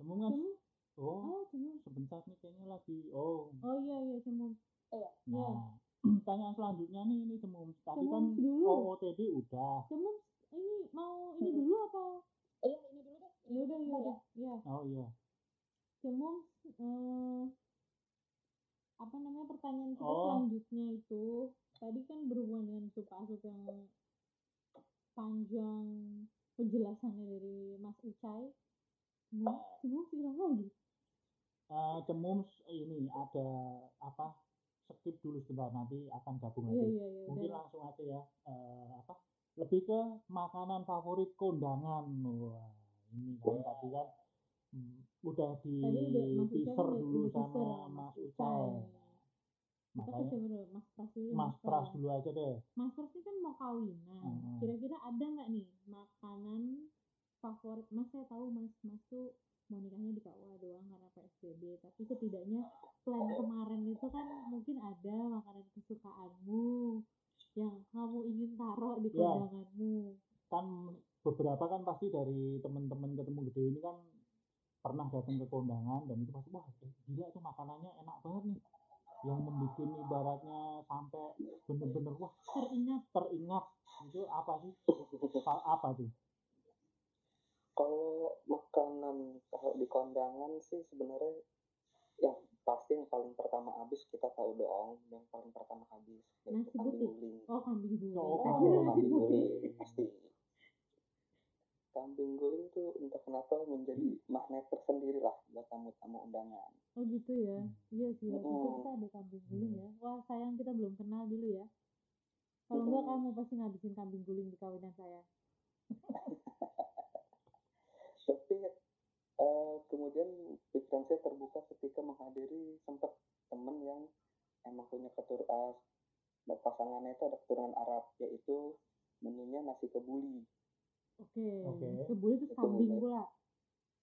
Speaker 2: Cemung kan?
Speaker 3: cemung,
Speaker 2: Oh,
Speaker 3: oh cemung.
Speaker 2: sebentar nih kayaknya lagi. Oh,
Speaker 3: Oh iya iya cemung. iya.
Speaker 2: nah. Tanyaan selanjutnya nih, ini cemung. Tadi kan
Speaker 3: Cemung dulu.
Speaker 2: OOTD udah.
Speaker 3: Cemung ini mau ini
Speaker 6: Hmm.
Speaker 3: dulu apa?
Speaker 6: Eh, yang ini dulu deh.
Speaker 3: Ya udah ya udah. Iya.
Speaker 2: Oh iya.
Speaker 3: Cemung eh, apa namanya pertanyaan kita
Speaker 2: Oh.
Speaker 3: selanjutnya itu tadi kan berhubungan dengan sup asup yang panjang penjelasannya dari Mas Ucai.
Speaker 2: Ah.
Speaker 3: Nah, cemung bilang lagi.
Speaker 2: Eh, cemung ini ada apa? Skip dulu sebentar nanti akan gabung
Speaker 3: Iya
Speaker 2: lagi.
Speaker 3: iya iya.
Speaker 2: mungkin
Speaker 3: udah.
Speaker 2: langsung aja ya eh, apa lebih ke makanan favorit kondangan wah ini kan tadi kan mm, udah di
Speaker 3: Tadi udah Mas Ucai
Speaker 2: teaser
Speaker 3: udah-
Speaker 2: dulu
Speaker 3: udah
Speaker 2: sama
Speaker 3: teaser
Speaker 2: Mas Ucai
Speaker 3: Kita ke
Speaker 2: makanya
Speaker 3: siapa dulu? Mas Pras dulu. ya,
Speaker 2: Mas Pras
Speaker 3: ya.
Speaker 2: dulu aja deh
Speaker 3: Mas Pras ini kan mau kawinan.
Speaker 2: Mm-mm.
Speaker 3: Kira-kira ada nggak nih makanan favorit Mas? Saya tahu Mas Mas tuh mau nikahnya di KUA doang karena PSBB. Tapi setidaknya plan kemarin itu kan mungkin ada makanan kesukaanmu yang kamu ingin taruh di
Speaker 2: Ya.
Speaker 3: kondanganmu.
Speaker 2: kan beberapa kan pasti dari teman-teman ketemu gede ini kan pernah datang ke kondangan dan itu pasti wah eh, gila itu makanannya enak banget nih yang membuat ibaratnya sampai bener-bener wah teringat teringat itu apa sih Apa- apa tuh
Speaker 5: Kalau makanan kalau di kondangan sih sebenarnya yang pasti yang paling pertama habis kita tahu doang yang paling pertama habis yaitu
Speaker 3: Nasi
Speaker 5: kambing
Speaker 3: putih.
Speaker 5: guling.
Speaker 3: Oh kambing goreng.
Speaker 2: Oh,
Speaker 3: Saya kira
Speaker 2: kambing
Speaker 3: nasi
Speaker 5: kambing
Speaker 3: putih.
Speaker 5: guling pasti. Kambing guling tuh entah kenapa menjadi magnet tersendiri lah buat tamu-tamu undangan.
Speaker 3: Oh gitu ya.
Speaker 2: Hmm.
Speaker 3: Iya sih. Waktu itu
Speaker 5: Mm-mm.
Speaker 3: kita ada kambing
Speaker 2: Hmm.
Speaker 3: guling ya. Wah sayang kita belum kenal dulu ya. Kalau enggak kamu pasti ngabisin kambing guling di kawinan saya.
Speaker 5: Tapi eh, kemudian pikiran saya terbuka ketika menghadiri sempat temen yang emang punya ketur eh, pasangannya itu ada keturunan Arab yaitu menunya nasi kebuli.
Speaker 3: Oke.
Speaker 2: Oke.
Speaker 3: Kebuli terus
Speaker 5: Itu
Speaker 3: kambing
Speaker 5: boleh.
Speaker 3: pula.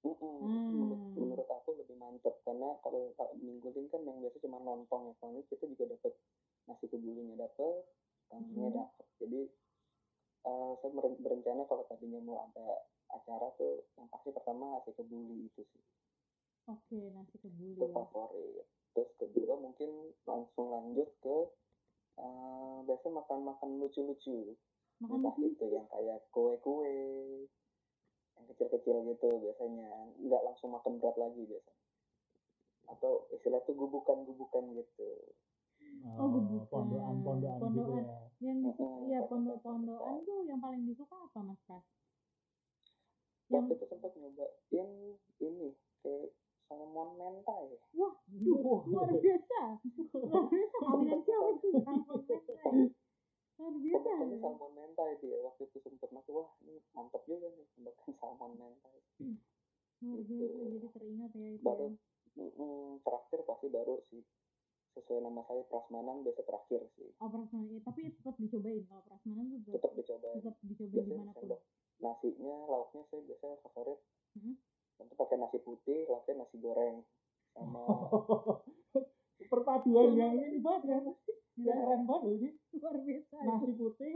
Speaker 5: Mm-mm.
Speaker 3: Hmm.
Speaker 5: Menurut, menurut aku lebih mantep karena kalau tak mingguin kan yang biasa cuma lontong ya, kalau ini kita juga dapat nasi kebulinya dapat, kambingnya
Speaker 3: Mhm.
Speaker 5: dapat. Jadi eh, saya beren- berencana kalau tadinya mau ada acara tuh yang pasti pertama nasi kebuli itu sih
Speaker 3: Oke, nasi kebuli
Speaker 5: itu
Speaker 3: ya.
Speaker 5: favorit terus kedua mungkin langsung lanjut ke eh, biasanya makan-makan lucu-lucu
Speaker 3: Makan
Speaker 5: entah
Speaker 3: lucu
Speaker 5: itu gitu, yang kayak kue-kue yang kecil-kecil gitu biasanya nggak langsung makan berat lagi biasanya atau istilah tuh gubukan-gubukan gitu
Speaker 3: Oh, gebukan.
Speaker 2: Pondokan-pondokan gitu
Speaker 3: Pondokan.
Speaker 2: ya.
Speaker 3: yang disuka,
Speaker 5: Mm-mm,
Speaker 3: ya
Speaker 5: makan
Speaker 3: pondok-pondokan tuh yang paling disuka apa Mas Pras?
Speaker 5: waktu
Speaker 3: Yang
Speaker 5: itu sempat nyobain ini kayak salmon mentai
Speaker 3: wah, duh, luar biasa. Luar biasa kawinan siapa tuh? Salmon mentai. Luar biasa.
Speaker 5: pembekannya salmon mentai dia waktu itu sempat masuk wah ini mantep juga nih pembekan salmon mentai
Speaker 3: Luar biasa jadi teringat ya itu.
Speaker 5: Baru
Speaker 3: ya.
Speaker 5: Mm-mm, terakhir pasti baru sih sesuai nama saya prasmanan biasa terakhir sih
Speaker 3: Oh, prasmanan ya, tapi tetap dicobain. Kalau prasmanan tuh tetap,
Speaker 5: tetap dicoba
Speaker 3: tetap dicobain
Speaker 5: biasanya
Speaker 3: gimana pun.
Speaker 5: sendok Iya, nasinya lauknya saya biasanya favorit
Speaker 3: Mhm.
Speaker 5: Tentu pakai nasi putih lauknya nasi goreng sama
Speaker 3: Oh,
Speaker 2: Perpaduan
Speaker 5: iya.
Speaker 2: yang
Speaker 3: iya,
Speaker 2: ini banget ya. Gila keren banget loh ini.
Speaker 3: Luar biasa.
Speaker 2: Nasi putih,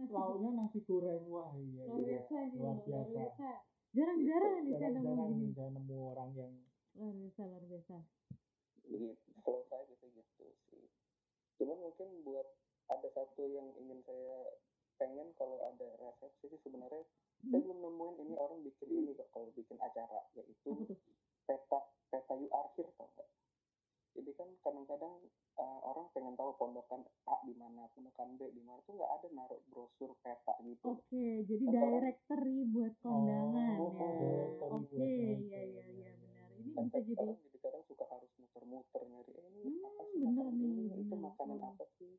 Speaker 3: Nasi
Speaker 2: lauknya nasi goreng. Wah, iya.
Speaker 3: luar
Speaker 2: iya.
Speaker 3: biasa ini
Speaker 2: luar
Speaker 3: luar biasa.
Speaker 2: biasa.
Speaker 3: Jarang-jarang nih saya nemu
Speaker 2: Jarang-jarang
Speaker 3: gini.
Speaker 2: nih saya nemu orang yang
Speaker 3: Luar biasa, luar biasa.
Speaker 5: gitu kalau saya gitu gitu sih cuman mungkin buat ada satu yang ingin saya pengen kalau ada resepsi sih sebenarnya
Speaker 3: Mhm.
Speaker 5: saya belum nemuin ini orang bikin ini kok kalau bikin acara
Speaker 3: Apa
Speaker 5: yaitu
Speaker 3: tuh?
Speaker 5: peta peta yu akhir tau nggak jadi kan kadang-kadang eh, orang pengen tahu pondokan A di mana pondokan B di mana tuh nggak ada naruh brosur peta gitu
Speaker 3: Oke, jadi
Speaker 5: Apa?
Speaker 3: directory buat kondangan
Speaker 2: Oh,
Speaker 3: ya.
Speaker 2: directory buat
Speaker 3: Oke, iya
Speaker 2: kondangan.
Speaker 3: iya iya benar. Ini
Speaker 5: Kan
Speaker 3: bisa jadi
Speaker 5: orang jadi kadang suka harus muter-muter nyari eh, ini apa sih
Speaker 3: Hmm, bener
Speaker 5: makanan
Speaker 3: nih,
Speaker 5: ini itu
Speaker 3: bener, Hmm.
Speaker 5: makanan
Speaker 3: bener.
Speaker 5: apa sih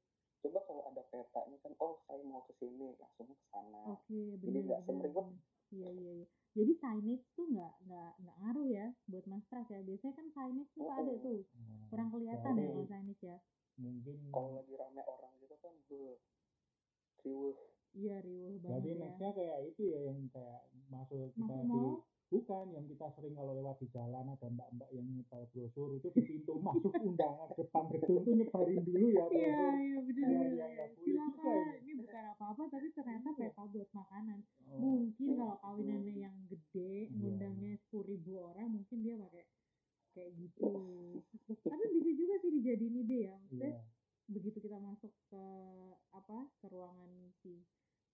Speaker 5: coba kalau ada petanya kan oh saya mau ke sini langsung ke sana
Speaker 3: oke
Speaker 5: Jadi
Speaker 3: benar
Speaker 5: nggak
Speaker 3: benar.
Speaker 5: semeriwet.
Speaker 3: benar. Iya iya iya. Jadi signage tuh nggak nggak nggak ngaruh ya buat Mas Pras ya. Biasanya kan signage tuh
Speaker 5: Mm-mm.
Speaker 3: ada tuh
Speaker 2: Nah,
Speaker 3: kurang ya. kelihatan ya
Speaker 2: berarti
Speaker 3: kalau signage ya.
Speaker 2: Mungkin
Speaker 5: kalau lagi rame orang gitu kan beuh, riuh
Speaker 3: Iya riuh
Speaker 2: berarti
Speaker 3: banget ya.
Speaker 2: nextnya kayak itu ya yang kayak masuk kita
Speaker 3: Masuk
Speaker 2: di
Speaker 3: mall
Speaker 2: bukan yang kita sering kalau lewat di jalan ada mbak-mbak yang nyebar brosur itu di pintu masuk undangan depan gedung tuh nyebarin dulu ya
Speaker 3: Iya,
Speaker 2: brosur.
Speaker 3: iya
Speaker 2: Iya,
Speaker 3: benar benar.
Speaker 2: iya,
Speaker 3: iya.
Speaker 2: nggak boleh juga
Speaker 3: Silakan.
Speaker 2: ini.
Speaker 3: Ini bukan apa-apa tapi ternyata
Speaker 2: Iya.
Speaker 3: peta buat makanan.
Speaker 2: Oh,
Speaker 3: Mungkin kalau kawinannya yang gede,
Speaker 2: Iya.
Speaker 3: ngundangnya 10.000 orang, mungkin dia pakai kayak gitu. Tapi bisa juga sih dijadiin ide ya. Maksudnya
Speaker 2: iya.
Speaker 3: begitu kita masuk ke apa ke ruangan si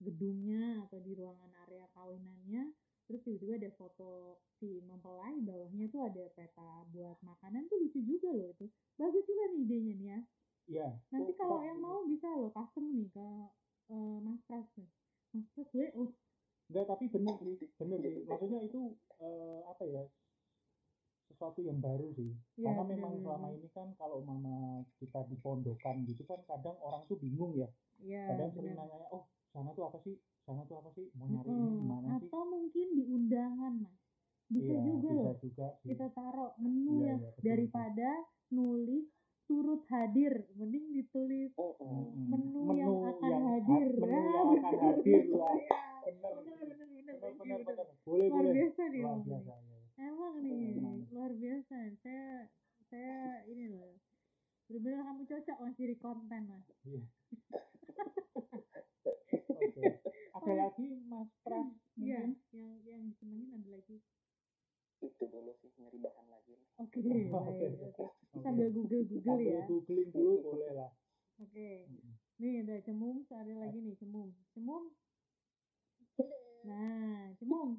Speaker 3: gedungnya atau di ruangan area kawinannya terus tiba-tiba ada foto si mempelai bawahnya tuh ada peta buat makanan tuh lucu juga loh itu bagus juga nih idenya nih ya
Speaker 2: Iya,
Speaker 3: nanti
Speaker 2: Oh,
Speaker 3: kalau
Speaker 2: bagus
Speaker 3: yang
Speaker 2: itu.
Speaker 3: mau bisa loh custom nih ke eh, Mas Pras nih Mas Pras gue oh,
Speaker 2: Enggak, tapi bener sih, bener sih. Maksudnya itu eh, apa ya? Sesuatu yang baru sih.
Speaker 3: ya,
Speaker 2: Karena
Speaker 3: bener,
Speaker 2: memang
Speaker 3: bener,
Speaker 2: selama
Speaker 3: bener.
Speaker 2: ini kan kalau mama kita di pondokan gitu kan kadang orang tuh bingung ya.
Speaker 3: ya
Speaker 2: Kadang
Speaker 3: bener.
Speaker 2: sering nanya, "Oh, sana tuh apa sih? Sana tuh apa sih? Mau nyari ini
Speaker 3: Mm-mm.
Speaker 2: di mana sih?"
Speaker 3: atau mungkin di undangan Mas bisa
Speaker 2: Iya,
Speaker 3: juga
Speaker 2: bisa
Speaker 3: loh
Speaker 2: juga sih.
Speaker 3: kita taruh menu
Speaker 2: Iya,
Speaker 3: yang
Speaker 2: iya, betul,
Speaker 3: daripada nulis turut hadir mending ditulis
Speaker 5: Mm-mm.
Speaker 2: Mm-mm.
Speaker 3: menu, yang akan hadir
Speaker 2: menu
Speaker 3: Ah,
Speaker 2: yang akan
Speaker 3: bener.
Speaker 2: hadir lah.
Speaker 3: Iya,
Speaker 2: Bener.
Speaker 3: bener, bener, bener,
Speaker 2: Bener,
Speaker 3: thank you,
Speaker 2: bener,
Speaker 3: bener.
Speaker 2: bener. Boleh,
Speaker 3: luar
Speaker 2: boleh.
Speaker 3: biasa nih
Speaker 2: Luar
Speaker 3: emang nih.
Speaker 2: biasa ya.
Speaker 3: emang nih
Speaker 2: Emang.
Speaker 3: luar biasa saya saya ini loh bener-bener kamu cocok mas jadi konten mas
Speaker 2: Oke. Ada lagi Mas Pras
Speaker 3: iya
Speaker 2: mungkin?
Speaker 3: yang yang disenengin ada lagi
Speaker 5: itu dulu sih nyari bahan lagi
Speaker 3: oke baik
Speaker 2: Oke.
Speaker 3: oke
Speaker 2: Oke.
Speaker 3: sambil google google
Speaker 2: Sambil
Speaker 3: ya
Speaker 2: googling dulu boleh lah.
Speaker 3: oke Nih ada cemum, terus ada lagi nih cemum. Cemum. Nah, cemum.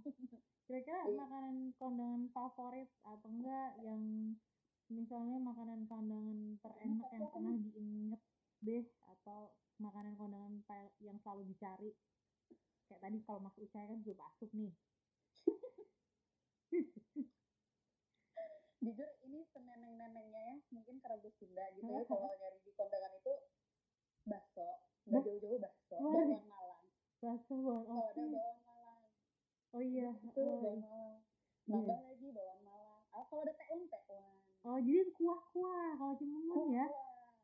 Speaker 3: Kira-kira makanan kondangan favorit atau enggak yang misalnya makanan kondangan terenak yang pernah diinget deh atau makanan kondangan pa- yang selalu dicari. Kayak tadi kalau Mas Ucai kan sup asup nih.
Speaker 6: jujur ini seneneng-nenengnya ya mungkin karena gue Sunda gitu
Speaker 3: Hah,
Speaker 6: ya kalau nyari di kondangan itu bakso
Speaker 3: Bah-
Speaker 6: nggak jauh-jauh bakso
Speaker 3: Wah.
Speaker 6: bakwan Malang
Speaker 3: Bakso bawang
Speaker 6: kalau
Speaker 3: Oh.
Speaker 6: Oh, ada
Speaker 3: oke.
Speaker 6: bakwan Malang
Speaker 3: Oh iya.
Speaker 6: itu
Speaker 3: Oh,
Speaker 6: bakwan Malang
Speaker 3: iya.
Speaker 6: nambah lagi bakwan Malang ah kalau ada teun tekwan
Speaker 3: Oh, jadi kuah-kuah kalau cemumun ya.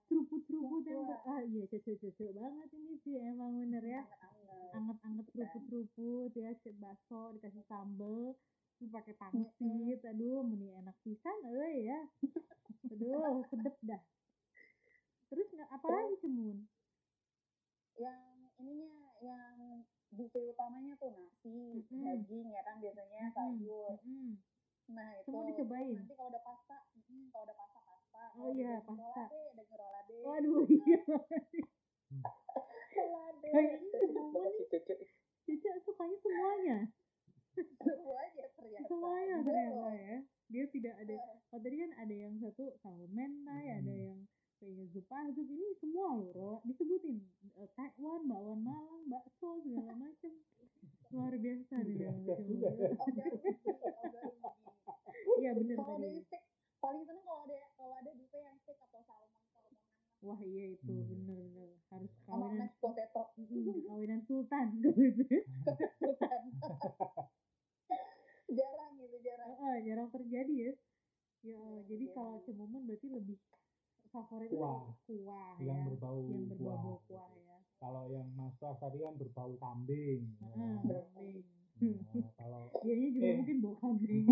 Speaker 3: Seruput-seruput yang ber- ah iya cocok-cocok banget ini sih emang bener
Speaker 6: Iya,
Speaker 3: ya.
Speaker 6: anget-anget
Speaker 3: anget-anget keruput-keruput ya cek bakso dikasih sambel terus pakai pangsit aduh meni enak pisan euy ya aduh sedep dah terus nggak apalagi cemun
Speaker 6: yang ininya yang buffet utamanya tuh nasi,
Speaker 3: Mm-mm.
Speaker 6: daging ya kan biasanya sayur.
Speaker 3: Hmm, Mm-mm.
Speaker 6: Nah itu
Speaker 3: Semua dicobain.
Speaker 6: nanti kalau udah pasta, mm, kalau udah pasta pasta.
Speaker 3: Oh iya, pasta.
Speaker 6: Ada rolade,
Speaker 3: Waduh, iya.
Speaker 6: rolade,
Speaker 3: Kayak
Speaker 8: Terima
Speaker 3: semua nih,
Speaker 8: kasih Cece.
Speaker 3: Cica sukanya semuanya.
Speaker 6: semua aja ya.
Speaker 3: Iya,
Speaker 6: ternyata.
Speaker 2: Gitu.
Speaker 3: Semuanya
Speaker 6: Bener
Speaker 3: ternyata
Speaker 6: loh.
Speaker 3: ya. Dia tidak ada, kalau tadi kan ada yang satu salmon mentai, ada
Speaker 2: Hmm.
Speaker 3: yang kayak zup azup, ini semua loh, Rola. disebutin. Eh, Taiwan, bakwan Malang, bakso, segala macam. Luar biasa nih.
Speaker 2: Luar
Speaker 3: Bang.
Speaker 2: biasa juga ya.
Speaker 6: Organ ubi, organ ubi.
Speaker 3: Iya bener
Speaker 6: Kalau ada
Speaker 3: tadi.
Speaker 6: steak, paling seneng kalau ada kalau ada buffet yang steak atau salmon salmon.
Speaker 3: Wah iya itu
Speaker 2: Hmm.
Speaker 3: bener-bener harus
Speaker 6: Sama
Speaker 3: kawinan
Speaker 6: mashed potato.
Speaker 3: Mm, kawinan sultan gitu. kalau itu.
Speaker 6: Bukan. jarang gitu jarang
Speaker 3: Heeh, jarang terjadi ya. Ya,
Speaker 2: Iya,
Speaker 6: Jarang
Speaker 3: jadi
Speaker 6: terjadi.
Speaker 3: kalau cemumun berarti lebih favorit
Speaker 2: Kuah.
Speaker 3: kuah
Speaker 2: yang
Speaker 3: ya.
Speaker 2: berbau
Speaker 3: yang berbau
Speaker 2: buah.
Speaker 3: kuah ya.
Speaker 2: Kalau yang masak tadi kan berbau kambing. ya.
Speaker 3: Heeh, Hmm. kambing.
Speaker 2: Nah, kalau
Speaker 3: Dianya juga
Speaker 2: Eh.
Speaker 3: mungkin gitu. bau kambing.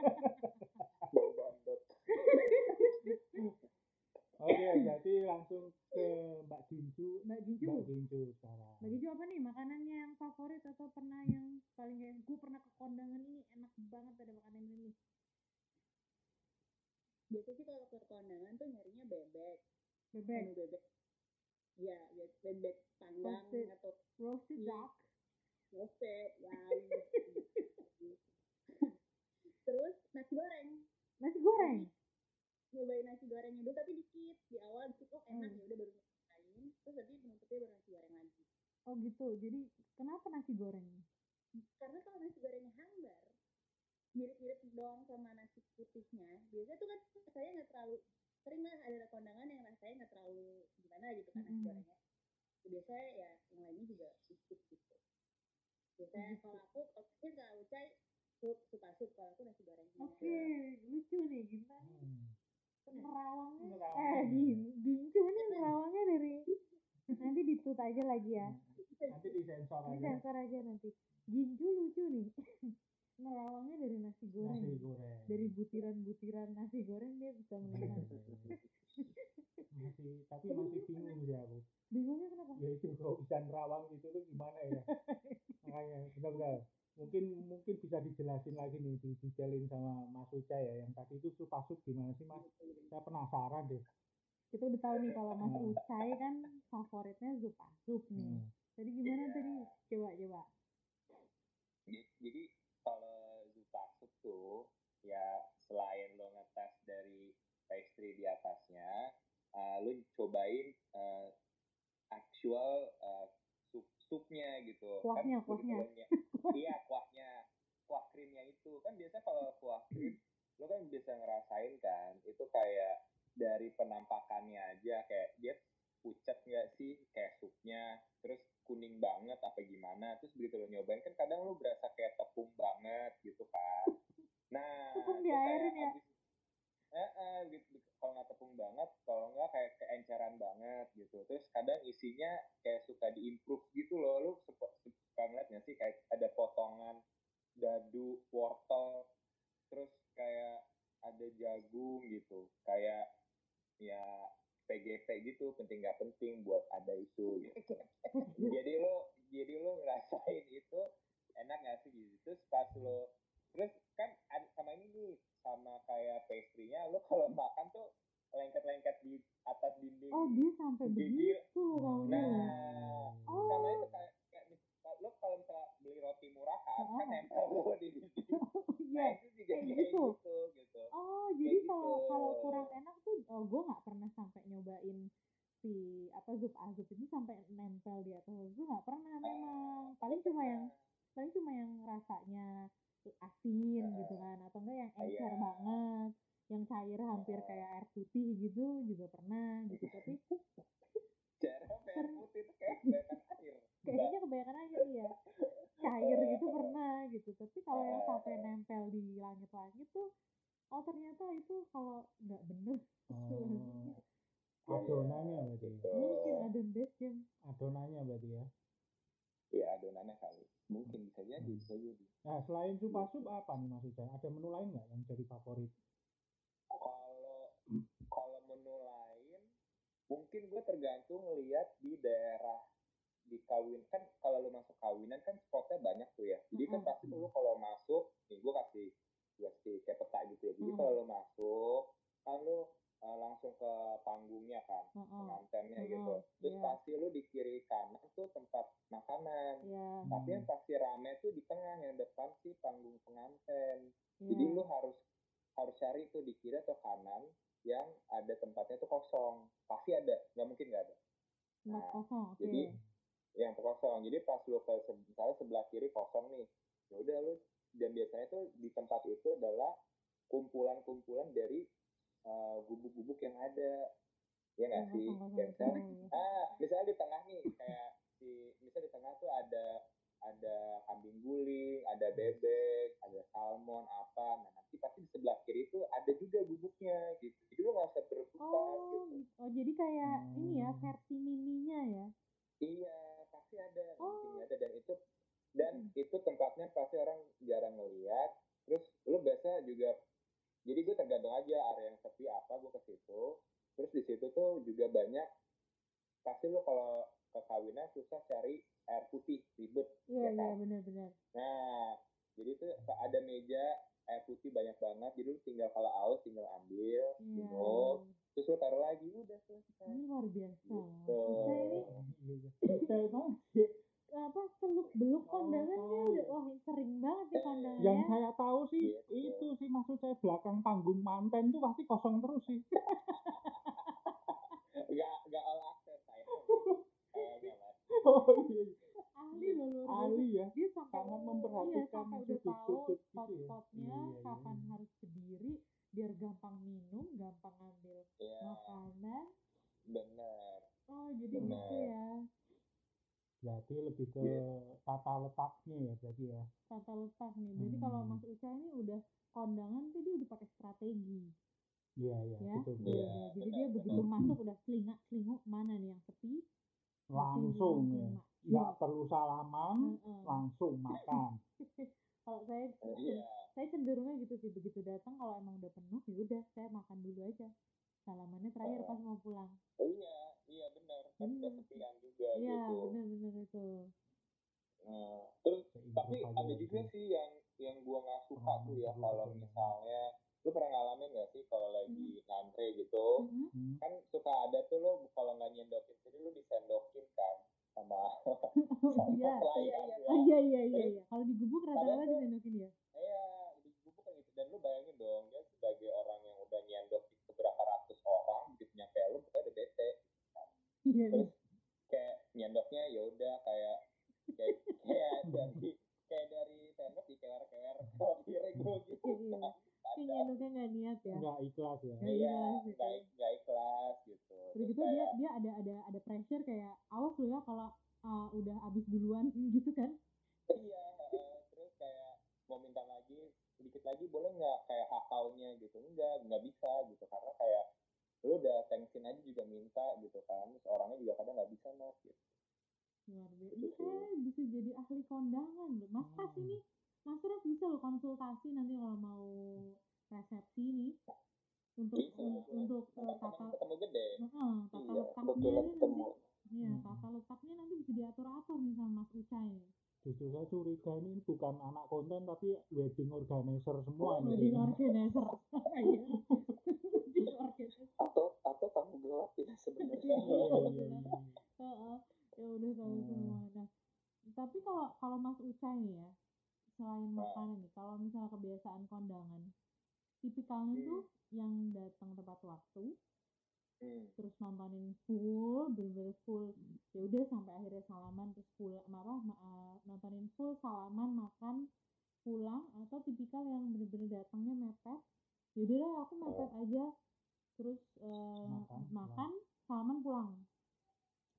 Speaker 8: Bau bandot.
Speaker 2: oke berarti langsung ke Mbak Gincu. Mbak
Speaker 3: Mbak Gincu,
Speaker 2: Gincu sekarang.
Speaker 3: Mbak Gincu apa nih makanannya yang favorit atau pernah yang paling kayak gue pernah ke kondangan ini enak banget ada makanan ini.
Speaker 6: biasanya sih kalau ke kondangan tuh nyarinya bebek
Speaker 3: Bebek,
Speaker 6: menu bebek ya be- bebek panggang
Speaker 3: Roasted.
Speaker 6: atau
Speaker 3: roasted
Speaker 6: Iya.
Speaker 3: duck.
Speaker 6: roasted ya terus nasi goreng
Speaker 3: Nasi goreng.
Speaker 6: nyobain nasi goreng dulu tapi dikit di awal dikit oh enak
Speaker 3: Hmm.
Speaker 6: ya udah baru main terus nanti penutupnya baru nasi goreng lagi
Speaker 3: Oh gitu. Jadi kenapa nasi goreng?
Speaker 6: karena kalau nasi gorengnya hambar mirip-mirip doang sama nasi putihnya biasanya tuh kan rasanya nggak terlalu sering lah ada kondangan yang rasanya nggak terlalu gimana gitu kan nasi
Speaker 3: Mm-mm.
Speaker 6: gorengnya biasanya ya yang lainnya juga sedikit gitu
Speaker 3: Oh,
Speaker 6: biasanya
Speaker 3: gitu.
Speaker 6: kalau aku kalau mungkin kalau ucai sup sup sup kalau aku nasi goreng
Speaker 3: Oke, lucu nih Ginta nih.
Speaker 2: Hmm.
Speaker 3: nerawangnya
Speaker 2: Nerawang.
Speaker 3: eh gin gincu nih nerawangnya dari nanti ditut aja lagi ya
Speaker 2: Nanti disensor aja.
Speaker 3: ini sensor aja nanti gincu lucu nih nerawangnya dari nasi goreng
Speaker 2: Nasi goreng.
Speaker 3: dari butiran-butiran nasi goreng dia bisa melihat
Speaker 2: masih tapi masih bingung sih aku
Speaker 3: bingungnya kenapa
Speaker 2: ya itu kalau bisa nerawang gitu tuh gimana ya makanya benar-benar mungkin mungkin bisa dijelasin lagi nih di detailin sama Mas Uca ya yang tadi itu supasuk gimana sih Mas saya penasaran deh
Speaker 3: kita udah tahu nih kalau mas
Speaker 2: Hmm.
Speaker 3: Ucai kan favoritnya zup asup nih
Speaker 2: Hmm.
Speaker 3: tadi gimana tadi coba coba
Speaker 5: Jadi, jadi kalau Zupasuk tuh ya selain lo ngetes dari pastry di atasnya, eh, lo cobain eh, actual eh, sup supnya gitu.
Speaker 3: Kuahnya,
Speaker 5: kan,
Speaker 3: kuahnya.
Speaker 5: kuahnya. iya kuahnya, kuah krimnya itu kan biasanya kalau kuah krim lo kan bisa ngerasain kan itu kayak dari penampakannya aja kayak dia pucat nggak sih kayak supnya terus kuning banget apa gimana terus begitu lo nyobain kan kadang lo berasa kayak tepung banget gitu kan nah
Speaker 3: Tepung
Speaker 5: itu kayak
Speaker 3: diairin ya?
Speaker 5: abis- eh, eh, gitu. kalau nggak tepung banget kalau nggak kayak keenceran banget gitu terus kadang isinya kayak suka diimprove gitu loh lo suka, suka ngeliat nggak sih kayak ada potongan dadu wortel terus kayak ada jagung gitu kayak ya PGP gitu penting nggak penting buat ada itu gitu. jadi lo jadi lo ngerasain itu enak nggak sih gitu terus pas lo terus kan ad- sama ini nih sama kayak pastry-nya lo kalau makan tuh lengket-lengket di atas dinding
Speaker 3: oh dia sampai
Speaker 5: Jadi-
Speaker 3: begitu loh taunya
Speaker 5: nah
Speaker 3: ya Oh.
Speaker 5: sama itu kayak, kayak mis- lo kalau misalnya beli roti murahan kan
Speaker 3: Ah.
Speaker 5: nempel lo di dinding
Speaker 3: iya
Speaker 5: nah itu juga
Speaker 3: kayak
Speaker 5: kayak
Speaker 3: gitu.
Speaker 5: gitu gitu
Speaker 3: Oh, jadi
Speaker 5: Kayak
Speaker 3: kalau
Speaker 5: gitu.
Speaker 3: kalau kurang enak tuh, oh, gue nggak pernah sampai nyobain si apa zup azup itu sampai nempel di atas gue nggak pernah memang paling cuma yang paling cuma yang rasanya asin gitu kan atau enggak yang encer
Speaker 5: Nah. Iya.
Speaker 3: banget yang cair hampir kayak air putih gitu juga pernah gitu tapi
Speaker 5: jarang kayak putih itu kayak
Speaker 3: Iya.
Speaker 5: kelihatan air
Speaker 3: kayaknya kebanyakan aja ya cair gitu pernah gitu tapi kalau yang sampai nempel di langit-langit tuh oh ternyata itu kalau nggak bener
Speaker 2: Oh, adonannya berarti ya?
Speaker 3: mungkin
Speaker 5: Tuh.
Speaker 3: ada best yang
Speaker 2: adonannya berarti ya
Speaker 5: ya adonannya kali mungkin bisa jadi bisa jadi
Speaker 2: nah selain supasup apa nih Mas Uca ada menu lain nggak yang jadi favorit
Speaker 5: kalau kalau menu lain mungkin gue tergantung lihat di daerah dikawinkan kalau lu masuk kawinan kan spotnya banyak tuh ya jadi kan
Speaker 3: Mm-mm.
Speaker 5: pasti lu kalau masuk nih gue kasih gue kasih kayak peta gitu ya jadi
Speaker 3: Mm-mm.
Speaker 5: kalau lu masuk kan lu eh, langsung ke panggungnya kan
Speaker 3: Mm.
Speaker 5: pengantennya
Speaker 3: Mm-mm.
Speaker 5: gitu terus
Speaker 3: Iya.
Speaker 5: pasti lu di kiri kanan tuh tempat makanan
Speaker 3: Iya,
Speaker 5: tapi yang pasti rame tuh di tengah yang depan sih panggung penganten jadi
Speaker 3: iya.
Speaker 5: lu harus harus cari tuh di kiri atau kanan yang ada tempatnya tuh kosong pasti ada nggak mungkin nggak ada
Speaker 3: Mak-
Speaker 5: nah,
Speaker 3: oh, oke.
Speaker 5: jadi yang kosong jadi pas lu ke se- misalnya sebelah kiri kosong nih ya udah lu dan biasanya tuh di tempat itu adalah kumpulan-kumpulan dari eh, gubuk-gubuk yang ada ya nggak sih
Speaker 3: Kosong, kosong,
Speaker 5: Ya, misalnya
Speaker 3: kosong, iya.
Speaker 5: ah misalnya di tengah nih kayak di misalnya di tengah tuh ada ada kambing guling ada bebek ada salmon apa nah nanti pasti di sebelah kiri itu ada juga gubuknya gitu jadi lu nggak usah berebutan
Speaker 3: Oh,
Speaker 5: gitu
Speaker 3: gitu. oh, jadi kayak ini ya
Speaker 9: Hmm.
Speaker 3: versi mininya ya.
Speaker 5: iya pasti ada mungkin
Speaker 3: Oh.
Speaker 5: ada dan itu dan itu tempatnya pasti orang jarang ngeliat terus lu biasa juga jadi gue tergantung aja area yang sepi apa gue ke situ terus di situ tuh juga banyak pasti lu kalau ke kawinan susah cari air putih ribet
Speaker 3: Iya,
Speaker 5: Ya
Speaker 3: iya
Speaker 5: kan?
Speaker 3: benar-benar.
Speaker 5: Nah, jadi itu ada meja air putih banyak banget, jadi lu tinggal kalau haus tinggal ambil,
Speaker 3: Iya.
Speaker 5: minum, terus lu taruh lagi, udah selesai.
Speaker 3: Ini luar biasa.
Speaker 5: Gitu.
Speaker 3: Kita ini
Speaker 2: Hmm.
Speaker 9: Detail banget.
Speaker 3: apa seluk beluk kondangan
Speaker 9: Oh.
Speaker 3: nih udah wah sering banget ya kondangan
Speaker 9: Yang
Speaker 3: ya.
Speaker 9: saya tahu sih
Speaker 5: Iya, betul.
Speaker 9: itu sih maksud saya belakang panggung manten tuh pasti kosong terus sih.
Speaker 5: Gak, gak all access saya. Kayaknya Mas.
Speaker 9: Oh iya.
Speaker 3: ahli loh luar biasa.
Speaker 9: Ali ya.
Speaker 3: Dia sampai
Speaker 9: Sangat
Speaker 3: Oh, iya,
Speaker 9: memperhatikan
Speaker 3: sampai udah
Speaker 9: sudut-sudut
Speaker 3: tahu
Speaker 9: gitu ya.
Speaker 3: spot-spotnya
Speaker 9: Iya, iya.
Speaker 3: kapan harus berdiri biar gampang minum, gampang ngambil
Speaker 5: Iya,
Speaker 3: makanan.
Speaker 5: bener.
Speaker 3: Oh, jadi gitu
Speaker 5: Benar.
Speaker 3: ya.
Speaker 9: Berarti lebih ke
Speaker 5: Iya.
Speaker 9: tata letaknya ya berarti ya.
Speaker 3: Tata letak nih. Jadi kalau
Speaker 9: Hmm.
Speaker 3: Mas Uca ini udah kondangan tuh dia udah pakai strategi.
Speaker 9: Iya iya
Speaker 3: Ya.
Speaker 9: betul.
Speaker 3: Iya,
Speaker 9: betul.
Speaker 5: Iya,
Speaker 3: jadi
Speaker 5: benar,
Speaker 3: dia begitu
Speaker 5: benar.
Speaker 3: masuk udah selingat selinguk mana nih yang sepi
Speaker 9: Langsung ya.
Speaker 3: ya.
Speaker 9: Nggak perlu salaman, langsung makan.
Speaker 3: kalau saya
Speaker 5: Iya,
Speaker 3: saya cenderungnya gitu sih begitu datang kalau emang udah penuh ya udah saya makan dulu aja salamannya terakhir
Speaker 5: Heeh.
Speaker 3: pas mau pulang
Speaker 5: iya, iya benar. Kan udah
Speaker 3: Bener.
Speaker 5: sepian juga
Speaker 3: iya
Speaker 5: gitu.
Speaker 3: benar-benar itu
Speaker 5: Nah, terus tapi
Speaker 9: Seimbang
Speaker 5: ada
Speaker 9: aja
Speaker 5: juga
Speaker 9: gitu.
Speaker 5: sih yang yang gua nggak suka
Speaker 9: Pengalaman
Speaker 5: tuh ya
Speaker 9: buruk
Speaker 5: kalau
Speaker 9: atau enggak.
Speaker 5: misalnya lu pernah ngalamin nggak sih kalau lagi
Speaker 3: Hmm.
Speaker 5: ngantre gitu
Speaker 3: Mhm.
Speaker 9: Hmm.
Speaker 5: kan suka ada tuh lo kalau nggak nyendokin jadi lu disendokin kan sama
Speaker 3: oh
Speaker 5: sama
Speaker 3: iya
Speaker 5: pelayan
Speaker 3: oh
Speaker 5: ya
Speaker 3: iya iya iya iya kalau di gubuk rata-rata
Speaker 5: Padahal tuh-
Speaker 3: disendokin ya
Speaker 5: iya di gubuk kan gitu dan lu bayangin dong dia sebagai orang yang udah nyendokin beberapa ratus orang gitu nyampe lu pokoknya udah bete
Speaker 3: iya iya.
Speaker 5: terus kayak nyendoknya ya udah kayak kayak kayak dari kayak dari sendok dikewer-kewer ke piring lu gitu
Speaker 3: Iya, iya. kayak
Speaker 5: ada
Speaker 3: nyendoknya nggak niat ya
Speaker 9: Nggak ikhlas ya.
Speaker 3: Nggak
Speaker 5: iya
Speaker 3: ikhlas gitu.
Speaker 5: nggak nggak ikhlas gitu
Speaker 3: Terus gitu dia dia ada ada ada pressure kayak awas lu ya kalau uh, udah habis duluan gitu kan
Speaker 5: iya heeh. terus kayak mau minta lagi sedikit lagi boleh nggak kayak hakaunya gitu enggak nggak bisa gitu karena kayak lu udah tensin aja juga minta gitu kan terus orangnya juga kadang nggak bisa mas gitu
Speaker 3: luar biasa
Speaker 5: Gitu
Speaker 3: ini
Speaker 5: sih.
Speaker 3: saya bisa jadi ahli kondangan loh mas Ras
Speaker 9: Hmm.
Speaker 3: ini mas Ras bisa loh konsultasi nanti kalau mau resepsi nih untuk
Speaker 5: Bisa,
Speaker 3: un-
Speaker 5: boleh.
Speaker 3: untuk eh,
Speaker 5: Nah,
Speaker 3: tata
Speaker 5: temen ketemu gede
Speaker 3: Heeh, tata
Speaker 5: iya
Speaker 3: letaknya
Speaker 5: kebetulan
Speaker 3: ini nanti
Speaker 5: ketemu
Speaker 3: iya
Speaker 9: Hmm.
Speaker 3: tata letaknya nanti bisa diatur atur nih sama mas Uca ini
Speaker 9: Justru saya curiga ini bukan anak konten tapi wedding organizer semua ini.
Speaker 3: Oh,
Speaker 9: iya,
Speaker 3: wedding organizer Iya. wedding organizer
Speaker 4: atau atau tamu gelap ya
Speaker 9: Iya,
Speaker 4: sebenarnya
Speaker 9: iya, iya, iya.
Speaker 3: Heeh, ya udah tahu
Speaker 9: Hmm.
Speaker 3: semua nah tapi kalau kalau mas Uca nih ya selain
Speaker 5: Nah.
Speaker 3: makanan nih kalau misalnya kebiasaan kondangan tipikalnya
Speaker 5: Hmm.
Speaker 3: tuh yang datang tepat waktu
Speaker 5: Hmm.
Speaker 3: terus nontonin full bener-bener full ya udah sampai akhirnya salaman terus pulang apa ma- eh, nontonin full salaman makan pulang atau tipikal yang bener-bener datangnya mepet yaudah lah aku mepet
Speaker 5: Oh.
Speaker 3: aja terus eh,
Speaker 9: Makan,
Speaker 3: makan, salaman pulang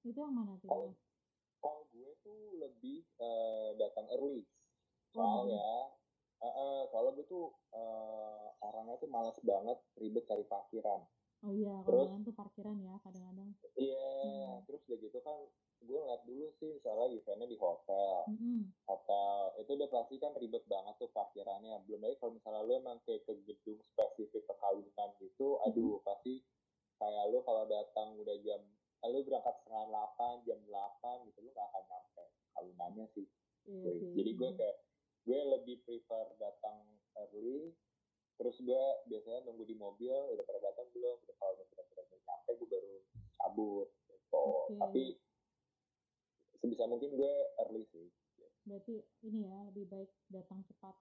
Speaker 3: itu yang mana tuh
Speaker 5: Oh, kalau gue tuh lebih eh, datang early soalnya eh, eh, soalnya gue tuh eh, orangnya tuh malas banget ribet cari parkiran
Speaker 3: oh iya kondangan tuh parkiran ya kadang-kadang
Speaker 5: iya
Speaker 3: Hmm.
Speaker 5: terus udah gitu kan gue ngeliat dulu sih misalnya eventnya di hotel
Speaker 3: Mm-mm.
Speaker 5: hotel itu udah pasti kan ribet banget tuh parkirannya belum lagi kalau misalnya lu emang kayak ke gedung spesifik kekawinan gitu aduh pasti kayak lu kalau datang udah jam eh, lu berangkat setengah delapan jam delapan gitu lu gak akan rasanya sih
Speaker 3: Iya
Speaker 5: Gue.
Speaker 3: sih.
Speaker 5: jadi gue kayak gue lebih prefer datang early terus gue biasanya nunggu di mobil udah pada datang belum udah kalau udah benar-benar nyampe gue baru cabut
Speaker 3: Iya.
Speaker 5: gitu
Speaker 3: Oke.
Speaker 5: tapi sebisa mungkin gue early sih
Speaker 3: berarti ini ya lebih baik datang cepat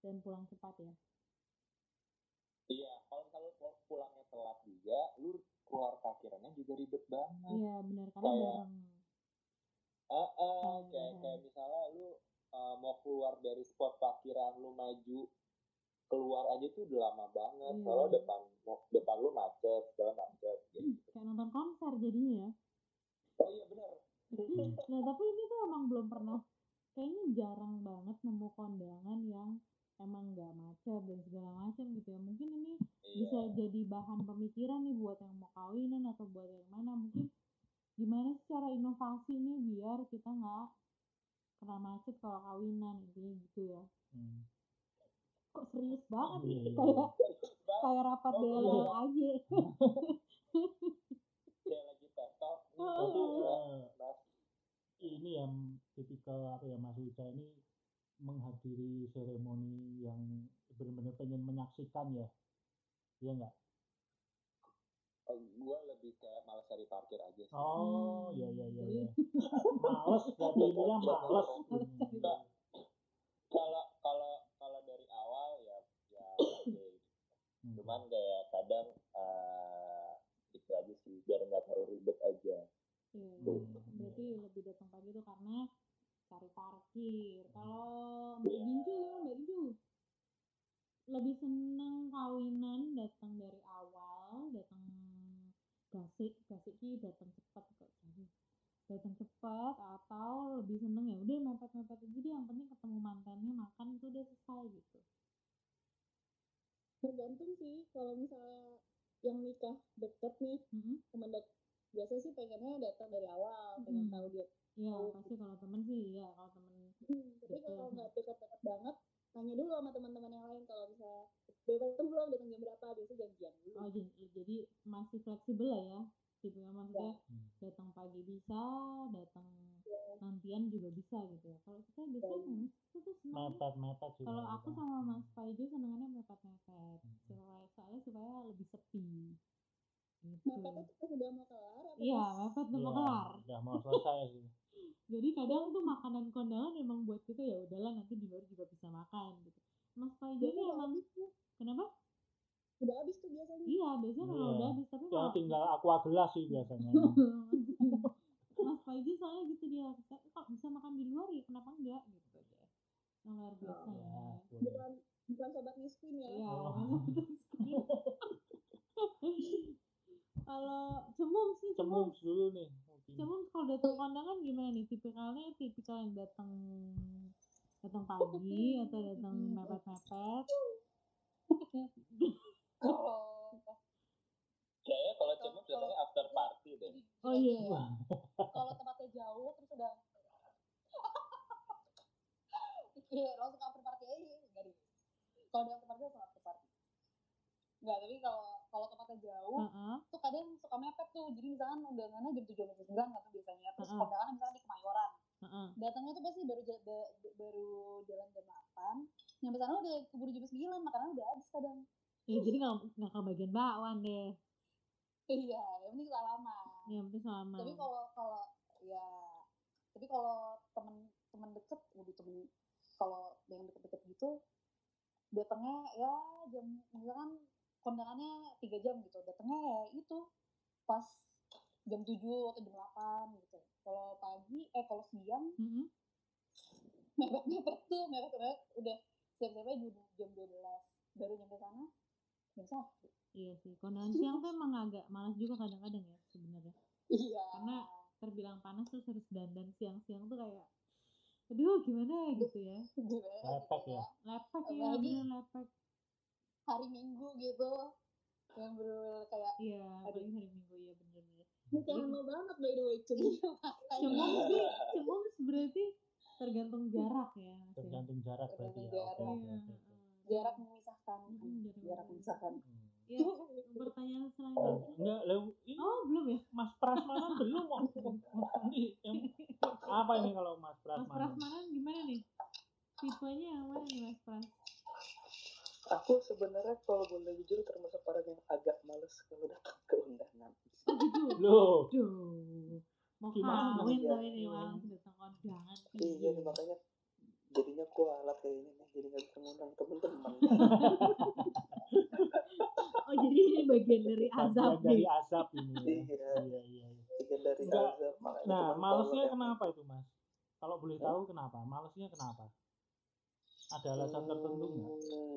Speaker 3: dan pulang cepat ya.
Speaker 5: iya kalau misalnya lu pul- pulangnya telat juga lu keluar parkirannya juga ribet banget
Speaker 3: Iya benar karena
Speaker 5: Kayak-
Speaker 3: bareng.
Speaker 5: Ah, ah,
Speaker 3: Hmm.
Speaker 5: kayak, kayak misalnya lu uh, mau keluar dari spot parkiran lu maju keluar aja tuh udah lama banget
Speaker 3: Iya.
Speaker 5: kalau depan mau- depan lu macet segala macet gitu.
Speaker 3: kayak nonton konser jadinya ya.
Speaker 5: oh iya benar
Speaker 3: Nah tapi ini tuh emang belum pernah kayaknya jarang banget nemu kondangan yang emang nggak macet dan segala macam gitu ya. Mungkin ini
Speaker 5: iya
Speaker 3: bisa jadi bahan pemikiran nih buat yang mau kawinan atau buat yang mana mungkin gimana sih cara inovasi nih biar kita nggak kena macet kalau kawinan intinya gitu ya
Speaker 2: Hmm.
Speaker 3: kok serius banget
Speaker 2: Iya, iya,
Speaker 3: nih kayak
Speaker 5: Bang,
Speaker 3: kayak rapat
Speaker 5: Oh,
Speaker 3: DLL
Speaker 2: iya.
Speaker 3: aja
Speaker 5: kayak lagi tetap nih
Speaker 3: Oh,
Speaker 5: tapi
Speaker 2: Tapi,
Speaker 5: ya,
Speaker 2: eh,
Speaker 5: Mas,
Speaker 2: ini yang tipikal apa ya Mas Uca ini menghadiri seremoni yang benar-benar pengen menyaksikan ya iya nggak
Speaker 5: eh, gua lebih kayak malas cari parkir aja sih
Speaker 2: oh
Speaker 3: Hmm,
Speaker 2: iya iya iya iya.
Speaker 3: jadi-
Speaker 2: males berarti intinya males
Speaker 3: Iya.
Speaker 5: kalau kalau kalau dari awal ya ya oke.
Speaker 2: Hmm.
Speaker 5: cuman kayak kadang eh itu aja sih biar nggak terlalu ribet aja
Speaker 3: Iya,
Speaker 2: Hmm.
Speaker 3: berarti lebih datang pagi tuh karena cari parkir. Kalau Mbak Gincu gimana Mbak Gincu? Lebih seneng kawinan datang dari awal, datang gasik, gasik ki datang cepat kok jadi. Datang cepat atau lebih seneng ya udah mepet-mepet aja deh yang penting ketemu mantannya makan itu udah selesai gitu.
Speaker 6: Tergantung sih kalau misalnya yang nikah deket nih
Speaker 3: Mm-mm.
Speaker 6: teman deket biasa sih pengennya datang dari awal pengen
Speaker 3: Mm-mm.
Speaker 6: tahu dia
Speaker 3: Iya,
Speaker 6: Oh.
Speaker 3: pasti kalau temen sih iya, kalau temen
Speaker 6: tapi
Speaker 3: Gitu.
Speaker 6: kalau nggak dekat-dekat banget tanya dulu sama teman-teman yang lain kalau misalnya udah datang belum datang jam berapa biasanya janjian dulu
Speaker 3: Oh, jadi, jadi masih fleksibel lah ya. Tipenya maksudnya
Speaker 2: Hmm. Ya.
Speaker 3: datang pagi bisa, datang nantian juga bisa gitu ya. Kalau kita biasanya hmm, itu tuh seneng.
Speaker 2: mepet mepet sih Hmm.
Speaker 3: Kalau
Speaker 2: Mas
Speaker 3: aku
Speaker 2: Uca.
Speaker 3: sama Mas Faijo senengannya mepet-mepet.
Speaker 2: Hmm.
Speaker 3: Supaya soalnya supaya lebih sepi. Gitu.
Speaker 6: mepetnya tuh pas udah mau kelar apa
Speaker 3: Iya,
Speaker 6: pas-
Speaker 3: mepet tuh
Speaker 2: Iya,
Speaker 3: mau kelar.
Speaker 2: udah mau selesai sih
Speaker 3: Jadi kadang tuh makanan kondangan emang buat kita ya udahlah nanti di luar juga bisa makan gitu. Mas Faijo ini
Speaker 6: Biasanya
Speaker 2: Iya.
Speaker 6: udah
Speaker 3: emang
Speaker 6: habis tuh
Speaker 3: kenapa?
Speaker 6: udah habis tuh biasanya
Speaker 3: Iya, biasanya kalau
Speaker 2: Iya.
Speaker 3: udah habis tapi
Speaker 2: ya
Speaker 3: kalau
Speaker 2: tinggal aqua gelas sih biasanya
Speaker 3: Mas Panji soalnya gitu dia "Saya kok bisa makan di luar ya kenapa enggak gitu deh Yang luar biasa
Speaker 2: Ya,
Speaker 3: ya
Speaker 2: boleh.
Speaker 6: bukan bukan sobat miskin ya
Speaker 3: iya
Speaker 2: Oh.
Speaker 3: langsung terus gitu. kalau cemum sih cemum
Speaker 2: cemung dulu nih mungkin
Speaker 3: cemum kalau datang kondangan gimana nih tipikalnya tipikal yang datang datang pagi atau datang mepet-mepet
Speaker 6: Oh,
Speaker 10: Kalau
Speaker 5: kayaknya kalau cuma biasanya after party deh
Speaker 3: oh iya
Speaker 2: Wah.
Speaker 6: kalau tempatnya jauh terus udah iya langsung after party aja iya, enggak deh kalau udah after party langsung after party Enggak, tapi kalau kalau tempatnya jauh
Speaker 3: Heeh.
Speaker 6: tuh kadang suka mepet tuh jadi misalkan undangannya jam tujuh jam sembilan kan tuh biasanya terus
Speaker 3: Mm-mm.
Speaker 6: kondangan misalkan di Kemayoran
Speaker 3: Heeh.
Speaker 6: datangnya tuh pasti baru ja- ba- baru jalan jam delapan nyampe sana udah keburu jam sembilan makanan udah habis kadang
Speaker 3: ya jadi nggak nggak kebagian bakwan deh
Speaker 6: iya yang penting salaman
Speaker 3: yang penting selama
Speaker 2: Hmm.
Speaker 6: tapi kalau kalau ya tapi kalau temen temen deket udah temen kalau yang deket-deket gitu datangnya ya jam misalkan kan kondangannya tiga jam gitu datangnya ya itu pas jam tujuh atau jam delapan gitu kalau pagi eh kalau siang
Speaker 3: Mm-mm.
Speaker 6: mepet mepet tuh mepet mepet udah siap siapnya jam jam dua belas baru nyampe sana jam satu
Speaker 3: Iya sih, kondangan siang tuh emang agak malas juga kadang-kadang ya sebenarnya.
Speaker 6: iya
Speaker 3: Karena- Terbilang panas terus harus dandan siang-siang tuh kayak, aduh gimana ya gitu ya.
Speaker 6: gimana
Speaker 2: Mepet ya.
Speaker 3: Lepek ya,
Speaker 6: Apalagi-
Speaker 3: bener lepek.
Speaker 6: hari minggu gitu yang bener kayak
Speaker 3: Iya,
Speaker 6: Aduh.
Speaker 3: paling hari minggu ya bener-bener.
Speaker 6: Bukan lo banget by the way cumi
Speaker 3: Cemum sih, cemum berarti tergantung jarak ya. Mas ya.
Speaker 2: tergantung jarak berarti ya oke oke oke,
Speaker 3: Iya,
Speaker 6: Tergantung jarak.
Speaker 2: oke.
Speaker 3: heeh.
Speaker 6: jarak memisahkan
Speaker 3: Mm-mm, jarak
Speaker 6: jarak
Speaker 3: memisahkan.
Speaker 6: memisahkan
Speaker 2: Hmm.
Speaker 3: Iya, pertanyaan
Speaker 2: Nah,
Speaker 3: selanjutnya.
Speaker 2: enggak lah ini
Speaker 3: Oh, belum ya?
Speaker 2: Mas Prasmanan belum kok. Ini yang apa apa ini kalau Mas
Speaker 3: Mas Pras
Speaker 2: Prasmanan?
Speaker 3: Manan gimana nih? Tipenya yang mana nih Mas Pras?
Speaker 5: Aku sebenarnya kalau boleh jujur termasuk orang yang agak males kalau datang ke undangan.
Speaker 3: Oh gitu.
Speaker 2: Loh,
Speaker 3: Duh. Mau
Speaker 2: Gimana
Speaker 3: kawin
Speaker 5: dong?
Speaker 3: tapi
Speaker 6: Iya.
Speaker 3: nih langsung datang kondangan.
Speaker 5: Iya, nih, makanya jadinya kualat kayaknya nih. Jadi nggak bisa ngundang temen-temen.
Speaker 3: Oh jadi ini bagian dari
Speaker 2: bagian
Speaker 3: azab
Speaker 2: dari
Speaker 3: nih.
Speaker 2: azab ini ya.
Speaker 5: Iya.
Speaker 2: Iya, iya, iya.
Speaker 5: Bagian dari
Speaker 2: Enggak.
Speaker 5: azab. Makanya
Speaker 2: Nah,
Speaker 5: cuman
Speaker 2: malesnya
Speaker 5: kalau yang-
Speaker 2: kenapa itu, Mas? Kalau boleh
Speaker 5: Hah?
Speaker 2: tahu kenapa? Malesnya kenapa? Ada alasan tertentu nggak?
Speaker 5: Hmm,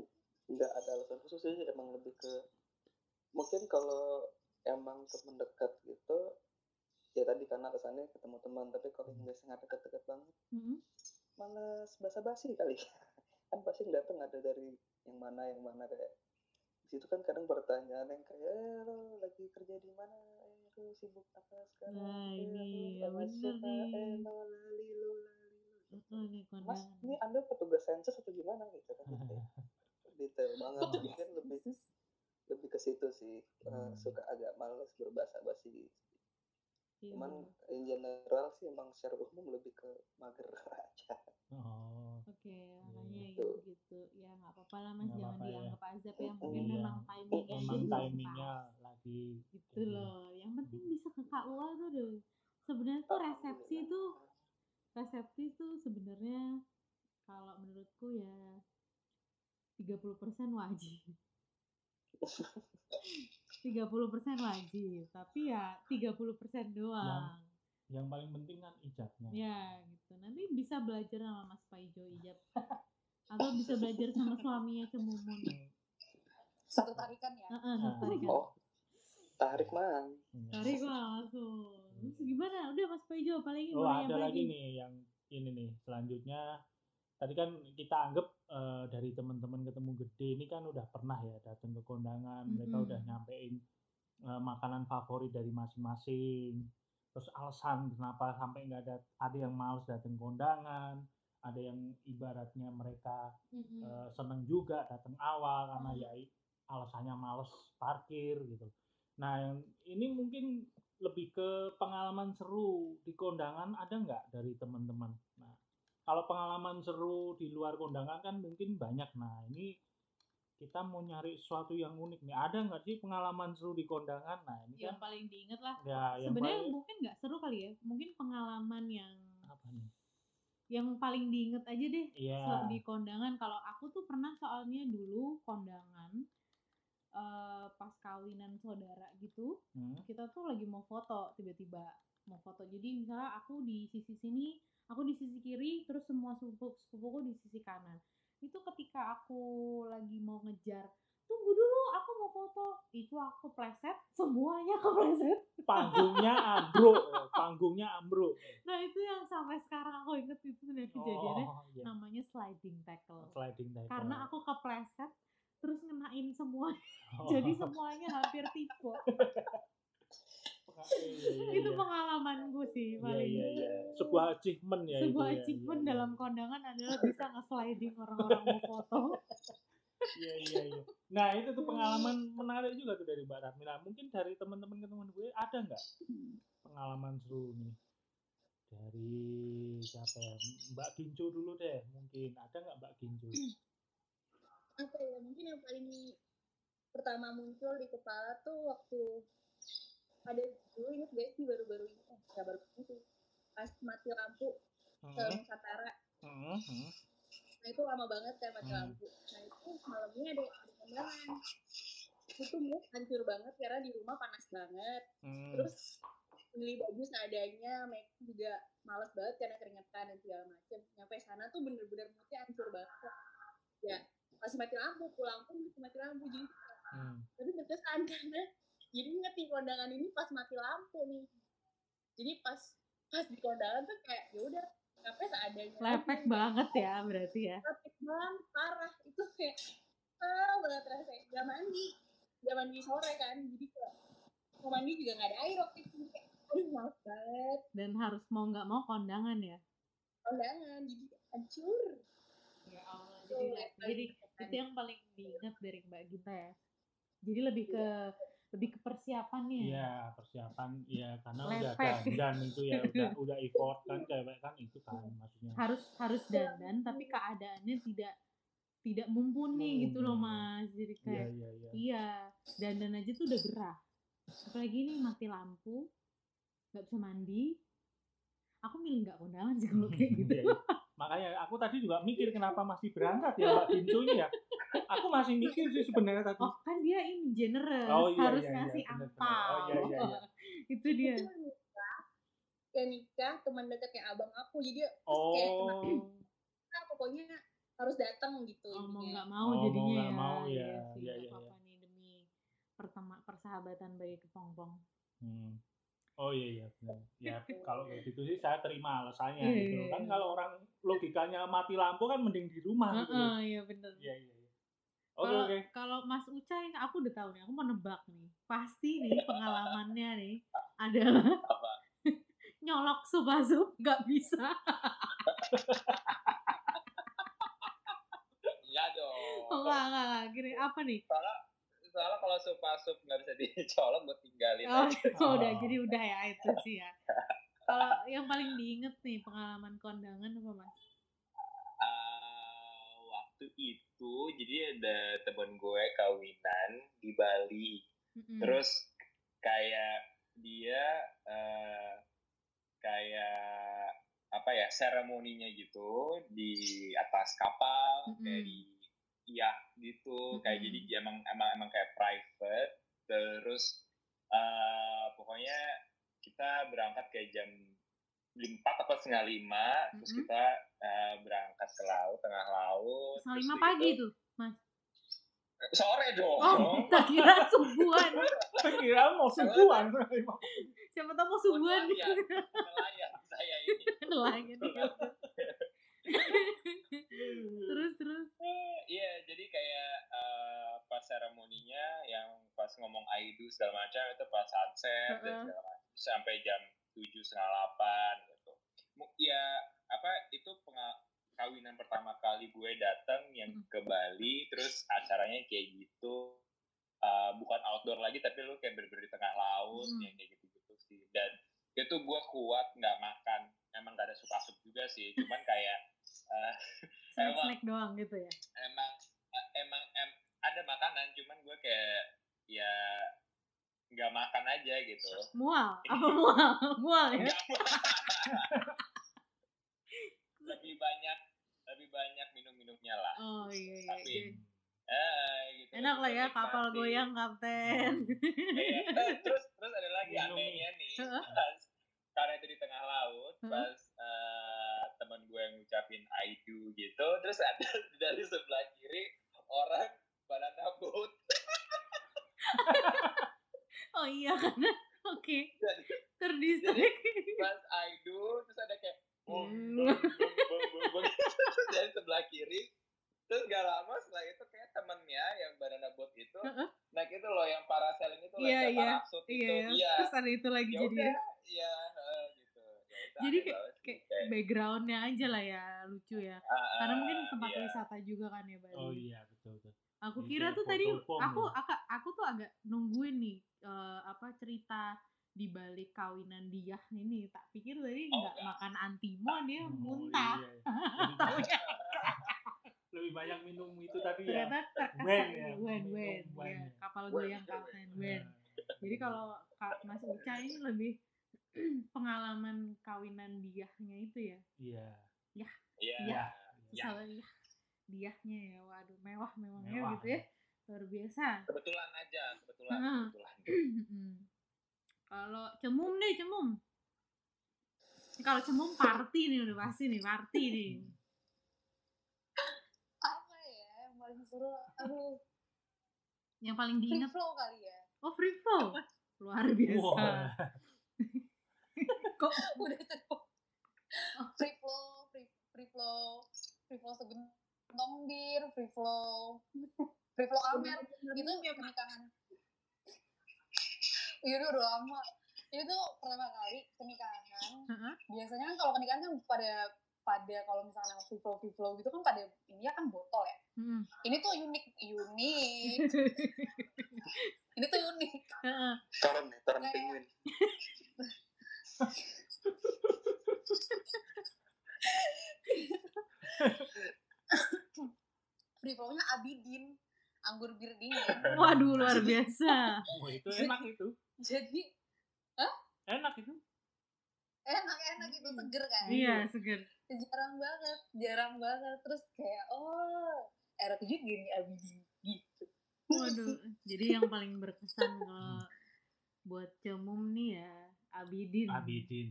Speaker 5: nggak ada alasan khusus sih emang lebih ke mungkin kalau emang temen dekat gitu ya tadi karena kesannya ketemu teman tapi kalau
Speaker 2: Hmm.
Speaker 5: yang biasanya nggak deket-deket banget
Speaker 3: Mm-mm.
Speaker 5: males basa-basi kali kan pasti yang datang ada dari yang mana yang mana kayak di situ kan kadang pertanyaan yang kayak eh, lo lagi kerja di mana eh lo sibuk apa sekarang
Speaker 3: Nah,
Speaker 5: Eh,
Speaker 3: ini
Speaker 5: lo
Speaker 3: ya
Speaker 5: sama
Speaker 3: bener
Speaker 5: siapa? eh
Speaker 3: nih.
Speaker 5: lo lali lo lali lo
Speaker 3: Betul nih
Speaker 5: mas
Speaker 3: kondangan.
Speaker 5: ini anda petugas sensus atau gimana gitu kan Kayak detail banget mungkin lebih lebih ke situ sih Eh,
Speaker 2: Hmm.
Speaker 5: suka agak males berbahasa basi
Speaker 3: Iya,
Speaker 5: cuman
Speaker 3: bener.
Speaker 5: in general sih emang secara umum lebih ke mager
Speaker 3: Iya.
Speaker 5: aja
Speaker 2: Oh,
Speaker 3: Oke,
Speaker 2: Iya.
Speaker 3: makanya gitu. gitu. Ya nggak apa-apa lah mas,
Speaker 2: Nggak
Speaker 3: jangan
Speaker 2: apa-apa ya.
Speaker 3: dianggap azab ya. Mungkin
Speaker 5: Iya.
Speaker 3: memang timingnya aja
Speaker 2: emang
Speaker 3: belum
Speaker 2: timingnya Iya.
Speaker 3: pas.
Speaker 2: lagi
Speaker 3: Gitu loh. Yang penting bisa ke KUA tuh deh. Sebenarnya tuh resepsi
Speaker 2: Iya.
Speaker 5: Alhamdulillah.
Speaker 3: tuh resepsi tuh sebenarnya kalau menurutku ya 30% wajib. 30% wajib, tapi ya 30% doang.
Speaker 2: yang paling penting kan ijabnya.
Speaker 5: Iya.
Speaker 3: Ya gitu. Nanti bisa belajar sama Mas Paijo Ijab atau bisa belajar sama suaminya Cemumun.
Speaker 11: Satu tarikan ya.
Speaker 6: Ah,
Speaker 3: Heeh,
Speaker 2: Ah.
Speaker 3: satu tarik kan.
Speaker 5: oh tarik mang
Speaker 2: Iya.
Speaker 3: Tarik lah langsung. Terus gimana? Udah Mas Paijo paling
Speaker 2: Oh,
Speaker 3: gimana
Speaker 2: ada
Speaker 3: yang
Speaker 2: lagi nih yang ini nih. Selanjutnya tadi kan kita anggap eh, dari teman-teman ketemu gede ini kan udah pernah ya datang ke kondangan, mereka
Speaker 3: Mm-mm.
Speaker 2: udah nyampein eh, makanan favorit dari masing-masing. Terus alasan kenapa sampai nggak ada ada yang males datang kondangan, ada yang ibaratnya mereka
Speaker 3: Mm-mm.
Speaker 2: eh, seneng juga datang awal karena
Speaker 3: Hmm.
Speaker 2: ya i- alasannya males parkir gitu. Nah yang ini mungkin lebih ke pengalaman seru di kondangan ada nggak dari teman-teman? Nah kalau pengalaman seru di luar kondangan kan mungkin banyak. Nah ini kita mau nyari sesuatu yang unik nih. Ada nggak sih pengalaman seru di kondangan? Nah ini
Speaker 3: Iya, Yang
Speaker 2: kan
Speaker 3: paling diingat lah.
Speaker 2: ya yang
Speaker 3: Sebenarnya
Speaker 2: paling-
Speaker 3: mungkin nggak seru kali ya. Mungkin pengalaman yang
Speaker 2: apa nih?
Speaker 3: yang paling diinget aja deh
Speaker 2: Iya.
Speaker 3: so- di kondangan kalau aku tuh pernah soalnya dulu kondangan eh, pas kawinan saudara gitu
Speaker 2: Hmm?
Speaker 3: kita tuh lagi mau foto tiba-tiba mau foto jadi misalnya aku di sisi sini aku di sisi kiri terus semua sepupu sepupuku di sisi kanan itu ketika aku lagi mau ngejar tunggu dulu aku mau foto itu aku pleset semuanya kepleset
Speaker 2: Panggungnya ambruk, eh, panggungnya ambruk.
Speaker 3: nah itu yang sampai sekarang aku inget itu dan kejadiannya
Speaker 2: Oh, iya.
Speaker 3: namanya sliding tackle
Speaker 2: sliding tackle.
Speaker 3: karena aku kepleset terus ngenain semua
Speaker 2: Oh.
Speaker 3: jadi semuanya hampir tipe
Speaker 2: Penga- iya, iya,
Speaker 3: itu
Speaker 2: iya.
Speaker 3: pengalaman gue sih
Speaker 2: Iya,
Speaker 3: paling
Speaker 2: iya, iya. Sebuah achievement ya itu.
Speaker 3: sebuah
Speaker 2: ya, iya,
Speaker 3: achievement
Speaker 2: iya.
Speaker 3: dalam kondangan adalah bisa nge-sliding orang-orang mau foto
Speaker 2: Iya, iya, iya. Nah, itu tuh pengalaman menarik juga tuh dari Mbak Ratmi. Nah, mungkin dari teman-teman teman gue ada nggak pengalaman seru nih? Dari siapa ya? Mbak Ginjo dulu deh mungkin. Ada nggak Mbak Ginjo?
Speaker 6: apa ya mungkin yang paling pertama muncul di kepala tuh waktu ada dulu inget gak sih baru-baru ini eh nggak baru itu pas mati lampu ke
Speaker 2: Heeh,
Speaker 6: Nusantara
Speaker 2: heeh, heeh.
Speaker 6: nah itu lama banget kan mati
Speaker 2: Hmm.
Speaker 6: lampu nah itu malamnya ada ada kondangan itu mood hancur banget karena di rumah panas banget
Speaker 2: Hmm.
Speaker 6: terus beli baju seadanya make juga males banget karena keringetan dan segala macem nyampe sana tuh bener-bener moodnya hancur banget ya masih mati lampu pulang pun masih mati lampu jadi
Speaker 2: Hmm.
Speaker 6: tapi berkesan karena jadi inget nih kondangan ini pas mati lampu nih jadi pas pas di kondangan tuh kayak ya udah ngapain seadanya
Speaker 3: lepek
Speaker 6: aja.
Speaker 3: banget ya berarti ya
Speaker 6: lepek banget parah itu kayak ah banget rasanya gak mandi gak mandi sore kan jadi kayak mau mandi juga gak ada air waktu itu kayak aduh males banget
Speaker 3: dan harus mau nggak mau kondangan ya
Speaker 6: kondangan jadi hancur
Speaker 3: ya Allah
Speaker 6: Itu
Speaker 3: jadi
Speaker 2: gitu kan.
Speaker 3: le- jadi
Speaker 6: yang paling berkesan.
Speaker 3: itu yang paling diingat dari Mbak Gita ya jadi lebih ke lebih ke persiapannya ya.
Speaker 2: Iya, persiapan ya karena udah
Speaker 3: Lepek.
Speaker 2: dandan itu ya udah udah effort kan cewek kan itu kan maksudnya.
Speaker 3: harus harus
Speaker 2: Iya.
Speaker 3: dandan tapi keadaannya tidak tidak mumpuni gitu loh mas jadi
Speaker 2: Iya
Speaker 3: kayak
Speaker 2: iya iya.
Speaker 3: iya dandan aja tuh udah gerah apalagi ini mati lampu nggak bisa mandi aku milih nggak kondangan sih kalau kayak gitu
Speaker 2: Iya, iya. Makanya aku tadi juga mikir kenapa masih berangkat ya Mbak Bincunya ya. Aku masih mikir sih sebenarnya tadi.
Speaker 3: oh kan dia ini generous
Speaker 2: Oh, iya,
Speaker 3: harus
Speaker 2: iya, iya,
Speaker 3: ngasih
Speaker 2: bener, bener.
Speaker 3: angpau
Speaker 2: Oh, iya, iya, iya.
Speaker 3: itu dia
Speaker 6: Itu nikah yang nikah teman dekatnya abang aku
Speaker 12: ya,
Speaker 6: jadi terus kayak teman
Speaker 2: Oh.
Speaker 6: kita pokoknya harus datang gitu
Speaker 3: oh, mau
Speaker 6: intinya.
Speaker 3: nggak mau
Speaker 2: Oh, mau
Speaker 3: jadinya
Speaker 2: nggak
Speaker 3: ya
Speaker 2: mau ya.
Speaker 3: sih,
Speaker 2: Iya,
Speaker 3: nggak
Speaker 2: iya,
Speaker 3: apa-apa nih demi pertama persahabatan bagi kepompong
Speaker 2: Hmm. Oh iya iya benar. Ya kalau kayak gitu sih saya terima alasannya
Speaker 3: Iya,
Speaker 2: gitu.
Speaker 3: iya,
Speaker 2: Kan
Speaker 3: iya.
Speaker 2: kalau orang logikanya mati lampu kan mending di rumah gitu.
Speaker 3: Heeh, iya bener
Speaker 2: Iya iya iya. Oke
Speaker 3: Kalau
Speaker 2: oke.
Speaker 3: kalau Mas Uca yang aku udah tahu nih, aku mau nebak nih. Pasti nih pengalamannya nih adalah
Speaker 5: Apa?
Speaker 3: nyolok subasub nggak bisa.
Speaker 5: Enggak dong.
Speaker 3: Oh, enggak, enggak, enggak. Gini, apa nih?
Speaker 5: Soalnya, soalnya kalau sup sup nggak bisa dicolok gue tinggalin
Speaker 3: Oh,
Speaker 5: aja.
Speaker 3: udah jadi udah ya itu sih ya. Kalau yang paling diinget nih pengalaman kondangan apa Mas?
Speaker 5: Ah, waktu itu jadi ada temen gue kawinan di Bali.
Speaker 3: Mm-mm.
Speaker 5: Terus kayak dia eh, kayak apa ya seremoninya gitu di atas kapal
Speaker 3: Mm-mm.
Speaker 5: kayak di iya gitu kayak
Speaker 3: Mm-mm.
Speaker 5: jadi dia emang emang emang kayak private terus eh, pokoknya kita berangkat kayak jam empat atau setengah lima terus
Speaker 3: Mm-mm.
Speaker 5: kita eh, berangkat ke laut tengah laut
Speaker 3: Setengah
Speaker 5: terus
Speaker 3: lima
Speaker 5: udah
Speaker 3: pagi
Speaker 5: gitu-
Speaker 3: itu.
Speaker 5: sore dong
Speaker 3: Oh, tak kira subuhan.
Speaker 2: Kira mau subuhan.
Speaker 3: Siapa tahu mau subuhan. ya
Speaker 5: Nelayan, nelayan saya ini
Speaker 3: Nelayan. Terus terus.
Speaker 5: Eh, Iya, jadi kayak eh, pas seremoninya yang pas ngomong Aidu segala macam itu pas sunset dan
Speaker 3: Heeh.
Speaker 5: segala macam sampai jam tujuh setengah delapan gitu. Mu- Ya apa itu penga- kawinan pertama kali gue datang yang
Speaker 3: Mm.
Speaker 5: ke Bali, terus acaranya kayak gitu. Eh, bukan outdoor lagi tapi lu kayak berberi tengah laut
Speaker 3: Mm.
Speaker 5: yang kayak gitu-gitu sih. Dan itu gue kuat nggak makan, emang gak ada suka sup juga sih, cuman kayak eh,
Speaker 3: Snack-snack doang gitu ya.
Speaker 5: emang emang em- ada makanan cuman gue kayak ya nggak makan aja gitu
Speaker 3: Mual, apa mual? Mual ya.
Speaker 5: Iya. lebih banyak lebih banyak minum-minumnya lah
Speaker 3: Oh iya iya.
Speaker 5: Tapi,
Speaker 3: iya.
Speaker 5: eh, gitu.
Speaker 3: Enak lah ya
Speaker 5: Nikmati.
Speaker 3: kapal goyang kapten.
Speaker 5: Iya. Eh, terus terus ada lagi
Speaker 2: Minum.
Speaker 5: anehnya nih
Speaker 3: Heeh.
Speaker 5: pas karena itu di tengah laut
Speaker 3: Heeh.
Speaker 5: pas eh, teman gue yang ngucapin I do gitu terus ada dari sebelah kiri orang banana boat
Speaker 3: Oh iya karena oke
Speaker 5: dan
Speaker 3: terdistrik.
Speaker 5: pas I do terus ada kayak bung,
Speaker 3: Hmm.
Speaker 5: bung, bung, bung, bung, bung. dari sebelah kiri terus gak lama setelah itu kayak temennya yang banana boat itu
Speaker 3: Heeh.
Speaker 5: naik itu loh yang parasailing itu loh
Speaker 3: Iya,
Speaker 5: yang kayak
Speaker 3: iya.
Speaker 5: parasut itu
Speaker 3: Iya,
Speaker 5: iya
Speaker 3: terus ada itu lagi
Speaker 5: ya
Speaker 3: jadi
Speaker 5: udah
Speaker 3: ya.
Speaker 5: iya heeh, gitu Ya udah,
Speaker 3: Jadi
Speaker 5: aneh banget sih.
Speaker 3: Kayak backgroundnya aja lah ya lucu ya.
Speaker 5: ah,
Speaker 3: Karena
Speaker 5: ah,
Speaker 3: mungkin tempat
Speaker 5: iya.
Speaker 3: wisata juga kan ya Bali.
Speaker 2: Oh iya betul betul.
Speaker 3: Aku
Speaker 2: Jadi
Speaker 3: kira
Speaker 2: kayak
Speaker 3: tuh tadi
Speaker 2: foto pom
Speaker 3: aku
Speaker 2: ya.
Speaker 3: aka- aku tuh agak nungguin nih eh, apa cerita di balik kawinan dia ini tak pikir tadi
Speaker 5: Oh,
Speaker 3: nggak
Speaker 5: enggak.
Speaker 3: makan antimo dia
Speaker 2: Oh,
Speaker 3: muntah
Speaker 2: iya, iya. Lebih banyak- Lebih banyak minum itu tadi ya.
Speaker 3: ternyata terkesan
Speaker 2: Wen ya,
Speaker 3: wen
Speaker 2: minum
Speaker 3: wen
Speaker 2: wen
Speaker 3: ya
Speaker 2: ya.
Speaker 3: kapal
Speaker 5: Wen,
Speaker 3: goyang
Speaker 5: iya,
Speaker 3: kapten
Speaker 2: Nah,
Speaker 3: wen Jadi kalau Kak Mas Uca ini lebih pengalaman kawinan diahnya itu ya.
Speaker 2: Iya.
Speaker 5: iya
Speaker 3: Iya.
Speaker 5: Iya.
Speaker 3: Misalnya ya. diahnya ya. Waduh, mewah memangnya
Speaker 2: Mewah.
Speaker 3: gitu ya. Luar biasa.
Speaker 5: kebetulan aja kebetulan
Speaker 3: Heeh.
Speaker 5: kebetulan
Speaker 3: kalau cemum deh, cemum. Ini Kalau cemum party nih udah pasti nih, party nih.
Speaker 2: Hmm.
Speaker 12: apa ya yang paling seru aduh
Speaker 3: Yang paling
Speaker 12: free
Speaker 3: diingat
Speaker 12: flow kali ya
Speaker 3: oh free flow. Luar biasa.
Speaker 2: Wah.
Speaker 3: Kok
Speaker 12: udah
Speaker 3: Oh.
Speaker 12: seru free flow free free flow free flow segentong bir free flow free flow amer itu
Speaker 3: Iya,
Speaker 12: pernikahan itu udah lama itu pertama kali pernikahan
Speaker 3: Heeh.
Speaker 12: biasanya kan kalau pernikahan kan pada pada kalau misalnya free flow free flow gitu kan pada ini ya kan botol ya
Speaker 3: Hmm.
Speaker 12: ini tuh unik unik
Speaker 6: ini tuh unik
Speaker 3: Heeh.
Speaker 5: Toren ya, toren
Speaker 6: Kayak-
Speaker 5: penguin.
Speaker 6: free flow-nya Abidin anggur ya. bir dingin
Speaker 3: Waduh luar biasa.
Speaker 2: Wah, itu enak itu.
Speaker 6: jadi
Speaker 2: Enak itu.
Speaker 6: enak-enak itu seger kan
Speaker 3: Iya seger.
Speaker 6: jarang banget jarang banget terus kayak oh era tujuh gini Abidin gitu
Speaker 3: Waduh. Jadi yang paling berkesan kalau buat cemum nih ya Abidin.
Speaker 2: Abidin.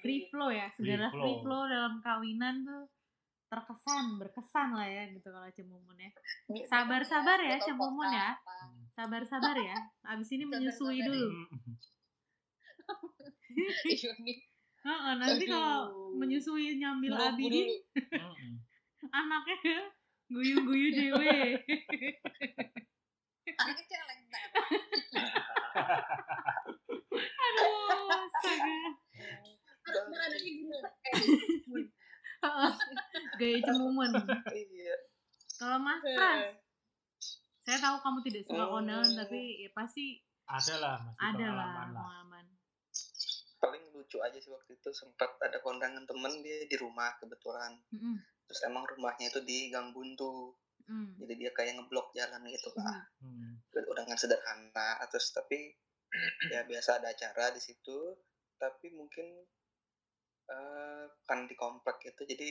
Speaker 3: Free flow ya,
Speaker 2: Free
Speaker 3: segala free,
Speaker 2: flow.
Speaker 3: flow dalam kawinan tuh terkesan berkesan lah ya gitu kalau cemumun ya. Sabar-sabar ya,
Speaker 6: Botol
Speaker 3: Cemumun
Speaker 6: vodka
Speaker 3: ya.
Speaker 6: kan apa.
Speaker 3: Sabar-sabar ya. Abis ini menyusui
Speaker 6: Sabar-sabar ya.
Speaker 3: dulu.
Speaker 6: Iya nih.
Speaker 3: Heeh, nanti kalau
Speaker 6: Aduh.
Speaker 3: menyusui nyambil
Speaker 6: Nunggu
Speaker 3: Abidin
Speaker 6: dulu.
Speaker 2: Mm-mm.
Speaker 3: anaknya guyu-guyu dewe.
Speaker 6: Anaknya celeng nah.
Speaker 3: Aduh, astaga.
Speaker 13: harus berada di gini
Speaker 3: Heeh, Gaya cemumun.
Speaker 5: Iya.
Speaker 3: Kalau Mas Pras, saya tahu kamu tidak suka kondangan
Speaker 5: Hmm.
Speaker 3: tapi ya pasti
Speaker 2: Ada lah masih
Speaker 3: ada lah
Speaker 2: pengalaman lah.
Speaker 3: pengalaman.
Speaker 5: Paling lucu aja sih waktu itu sempat ada kondangan temen dia di rumah kebetulan.
Speaker 3: Mm-mm,
Speaker 5: Terus emang rumahnya itu di Gang Buntu.
Speaker 3: mm.
Speaker 5: Jadi dia kayak ngeblok jalan gitu lah.
Speaker 2: Hmm.
Speaker 5: Udangan sederhana. Terus tapi ya biasa ada acara di situ. Tapi mungkin eh kan di komplek itu jadi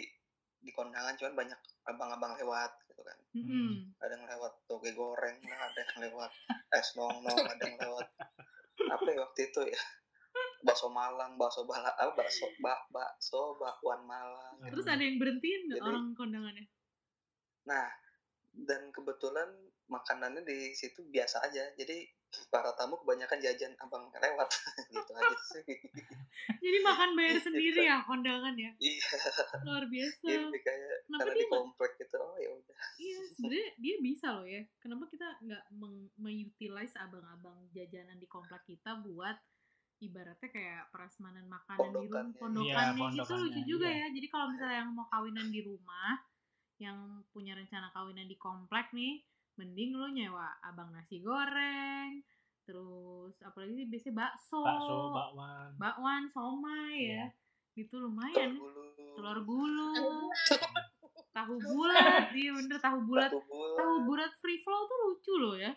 Speaker 5: di kondangan cuman banyak abang-abang lewat gitu kan.
Speaker 3: Mm-mm.
Speaker 5: ada yang lewat toge goreng lah, ada yang lewat es nong nong, ada yang lewat apa ya waktu itu ya bakso Malang, bakso bala, ah, bakso bak bakso bakwan Malang.
Speaker 3: Terus
Speaker 2: Eh,
Speaker 3: ada yang berhentiin nggak
Speaker 5: Jadi-
Speaker 3: orang kondangannya?
Speaker 5: Nah, dan kebetulan makanannya di situ biasa aja, jadi para tamu kebanyakan jajan abang lewat gitu aja sih.
Speaker 3: Jadi makan bayar sendiri ya kondangan ya.
Speaker 5: Iya,
Speaker 3: Luar biasa.
Speaker 5: jadi kayak
Speaker 3: Kenapa Iya.
Speaker 5: karena
Speaker 3: dia
Speaker 5: di
Speaker 3: nggak-
Speaker 5: komplek gitu, oh ya udah.
Speaker 3: Iya, sebenarnya dia bisa loh ya. Kenapa kita nggak meng- mengutilize abang-abang jajanan di komplek kita buat ibaratnya kayak prasmanan makanan di rumah,
Speaker 5: Pondokannya.
Speaker 2: Iya,
Speaker 3: pondokannya itu lucu
Speaker 2: pondokannya,
Speaker 3: juga
Speaker 2: iya.
Speaker 3: ya. Jadi kalau misalnya yang mau kawinan di rumah, yang punya rencana kawinan di komplek nih, mending lo nyewa abang nasi goreng, terus apalagi sih, biasanya bakso,
Speaker 2: Bakso, Iya. bakwan.
Speaker 3: bakwan, somai ya. Itu
Speaker 5: Telur
Speaker 3: lumayan.
Speaker 5: gulung,
Speaker 3: Telur gulung,
Speaker 13: Bulat.
Speaker 3: tahu bulat, iya bener tahu bulat.
Speaker 5: batu bulat.
Speaker 3: Tahu bulat free flow tuh lucu loh ya.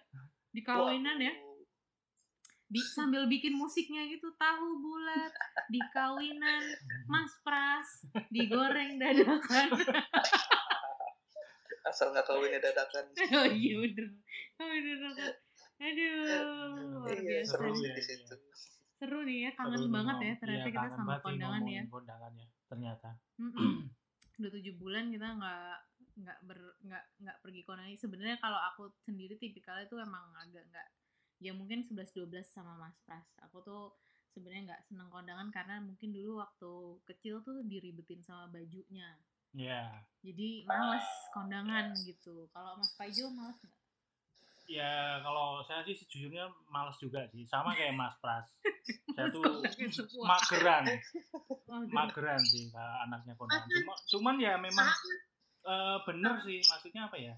Speaker 3: Di kawinan ya,
Speaker 5: Waduh.
Speaker 3: di, sambil bikin musiknya gitu, tahu bulat di kawinan Mas Pras digoreng dadakan.
Speaker 5: Asal nggak kawinnya dadakan.
Speaker 3: oh iya bener. Oh, bener banget. Aduh, luar
Speaker 5: Iya,
Speaker 3: biasa.
Speaker 5: seru
Speaker 2: Seru
Speaker 5: sih
Speaker 2: ya,
Speaker 5: di
Speaker 2: iya.
Speaker 5: situ.
Speaker 3: Seru nih ya, kangen
Speaker 2: Seru nih,
Speaker 3: banget
Speaker 2: Nom.
Speaker 3: ya ternyata
Speaker 2: Iya,
Speaker 3: kita
Speaker 2: kangen
Speaker 3: sama
Speaker 2: banget nih
Speaker 3: kondangan ya.
Speaker 2: ngomongin kondangannya ternyata.
Speaker 3: Mm-mm. udah tujuh bulan kita nggak nggak ber nggak nggak pergi kondangan sebenarnya kalau aku sendiri tipikalnya tuh emang agak nggak ya mungkin 11-12 sama Mas Pras aku tuh sebenarnya nggak seneng kondangan karena mungkin dulu waktu kecil tuh diribetin sama bajunya
Speaker 2: Iya.
Speaker 3: jadi males kondangan gitu kalau Mas Paijo males nggak
Speaker 2: Ya kalau saya sih sejujurnya males juga sih, sama kayak Mas Pras. saya tuh
Speaker 3: Gitu, wah,
Speaker 2: mageran,
Speaker 3: wah, gitu.
Speaker 2: mageran sih kalau anaknya kondangan. Cuma, cuman ya memang eh, bener sih, maksudnya apa ya?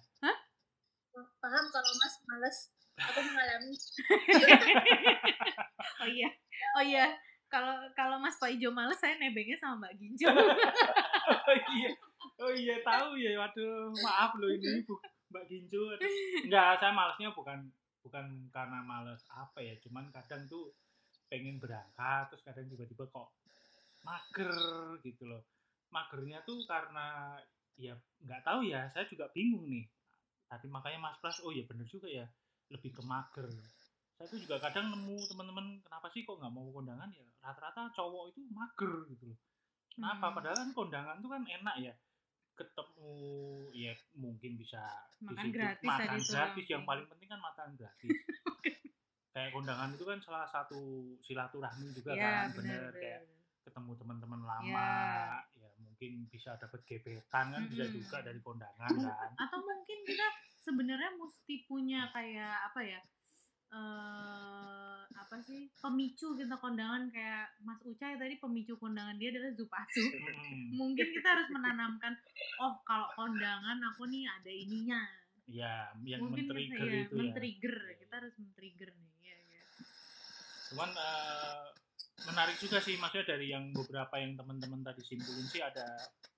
Speaker 13: paham kalau mas males aku mengalami
Speaker 3: oh iya oh iya kalau kalau Mas Paijo males saya nebengnya sama Mbak Ginjo
Speaker 2: oh iya, oh iya tahu ya, waduh, maaf loh ini Bu Mbak Ginjo. Aduh. Enggak, saya malesnya bukan bukan karena males apa ya, cuman kadang tuh pengen berangkat, terus kadang tiba-tiba kok mager gitu loh. Magernya tuh karena ya nggak tahu ya, saya juga bingung nih. Tapi makanya Mas Pras, oh ya bener juga ya, lebih ke mager. Saya tuh juga kadang nemu teman-teman kenapa sih kok nggak mau kondangan ya rata-rata cowok itu mager gitu loh. Kenapa?
Speaker 3: Hmm.
Speaker 2: Padahal kan kondangan tuh kan enak ya. Ketemu ya mungkin bisa di
Speaker 3: Makan
Speaker 2: situ.
Speaker 3: gratis
Speaker 2: makan
Speaker 3: tadi itu
Speaker 2: gratis yang
Speaker 3: langsung.
Speaker 2: paling penting kan makan gratis. kayak kondangan itu kan salah satu silaturahmi juga kan,
Speaker 3: Iya,
Speaker 2: bener, kayak
Speaker 3: bener.
Speaker 2: ketemu teman-teman lama,
Speaker 3: Iya.
Speaker 2: ya mungkin bisa dapat gebetan kan bisa
Speaker 3: Mm-mm.
Speaker 2: juga dari kondangan kan.
Speaker 3: atau mungkin kita sebenarnya mesti punya kayak apa ya eh apa sih pemicu kita kondangan kayak Mas Ucai tadi pemicu kondangan dia adalah Zupacu
Speaker 2: Mm-mm.
Speaker 3: mungkin kita harus menanamkan oh kalau kondangan aku nih ada ininya
Speaker 2: ya yang
Speaker 3: mungkin
Speaker 2: men-trigger
Speaker 3: kita, ya,
Speaker 2: itu ya
Speaker 3: men-trigger kita harus men-trigger nih ya, ya.
Speaker 2: cuman eh, menarik juga sih maksudnya dari yang beberapa yang teman-teman tadi simpulin sih ada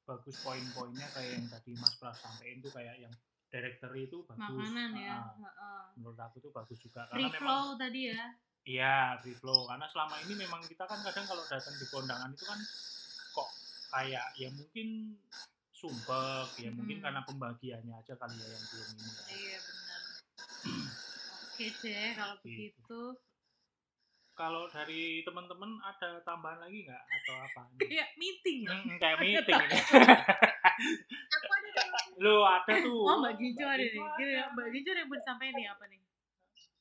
Speaker 2: bagus poin-poinnya kayak yang tadi Mas Pras sampaikan tuh kayak yang directory itu bagus
Speaker 3: makanan ya
Speaker 2: Ah,
Speaker 3: heeh.
Speaker 2: menurut aku tuh bagus juga
Speaker 3: free
Speaker 2: karena memang
Speaker 3: flow tadi ya
Speaker 2: Iya, free flow. Karena selama ini memang kita kan kadang kalau datang di kondangan itu kan kok kayak ya mungkin sumpek, ya mungkin
Speaker 3: Hmm.
Speaker 2: karena pembagiannya aja kali ya yang belum ini. ya.
Speaker 3: iya benar oke deh kalau
Speaker 2: Gitu.
Speaker 3: begitu
Speaker 2: Kalau dari teman-teman ada tambahan lagi nggak atau apa?
Speaker 3: kayak meeting ya
Speaker 2: Hmm, kayak meeting ini.
Speaker 6: Aku ada yang
Speaker 2: Lu ada tuh.
Speaker 3: Oh Mbak Ginjo ada nih,
Speaker 2: Ginjo
Speaker 3: Gini ya,
Speaker 2: ada.
Speaker 3: Mbak Ginjo yang mau disampaikan nih apa nih?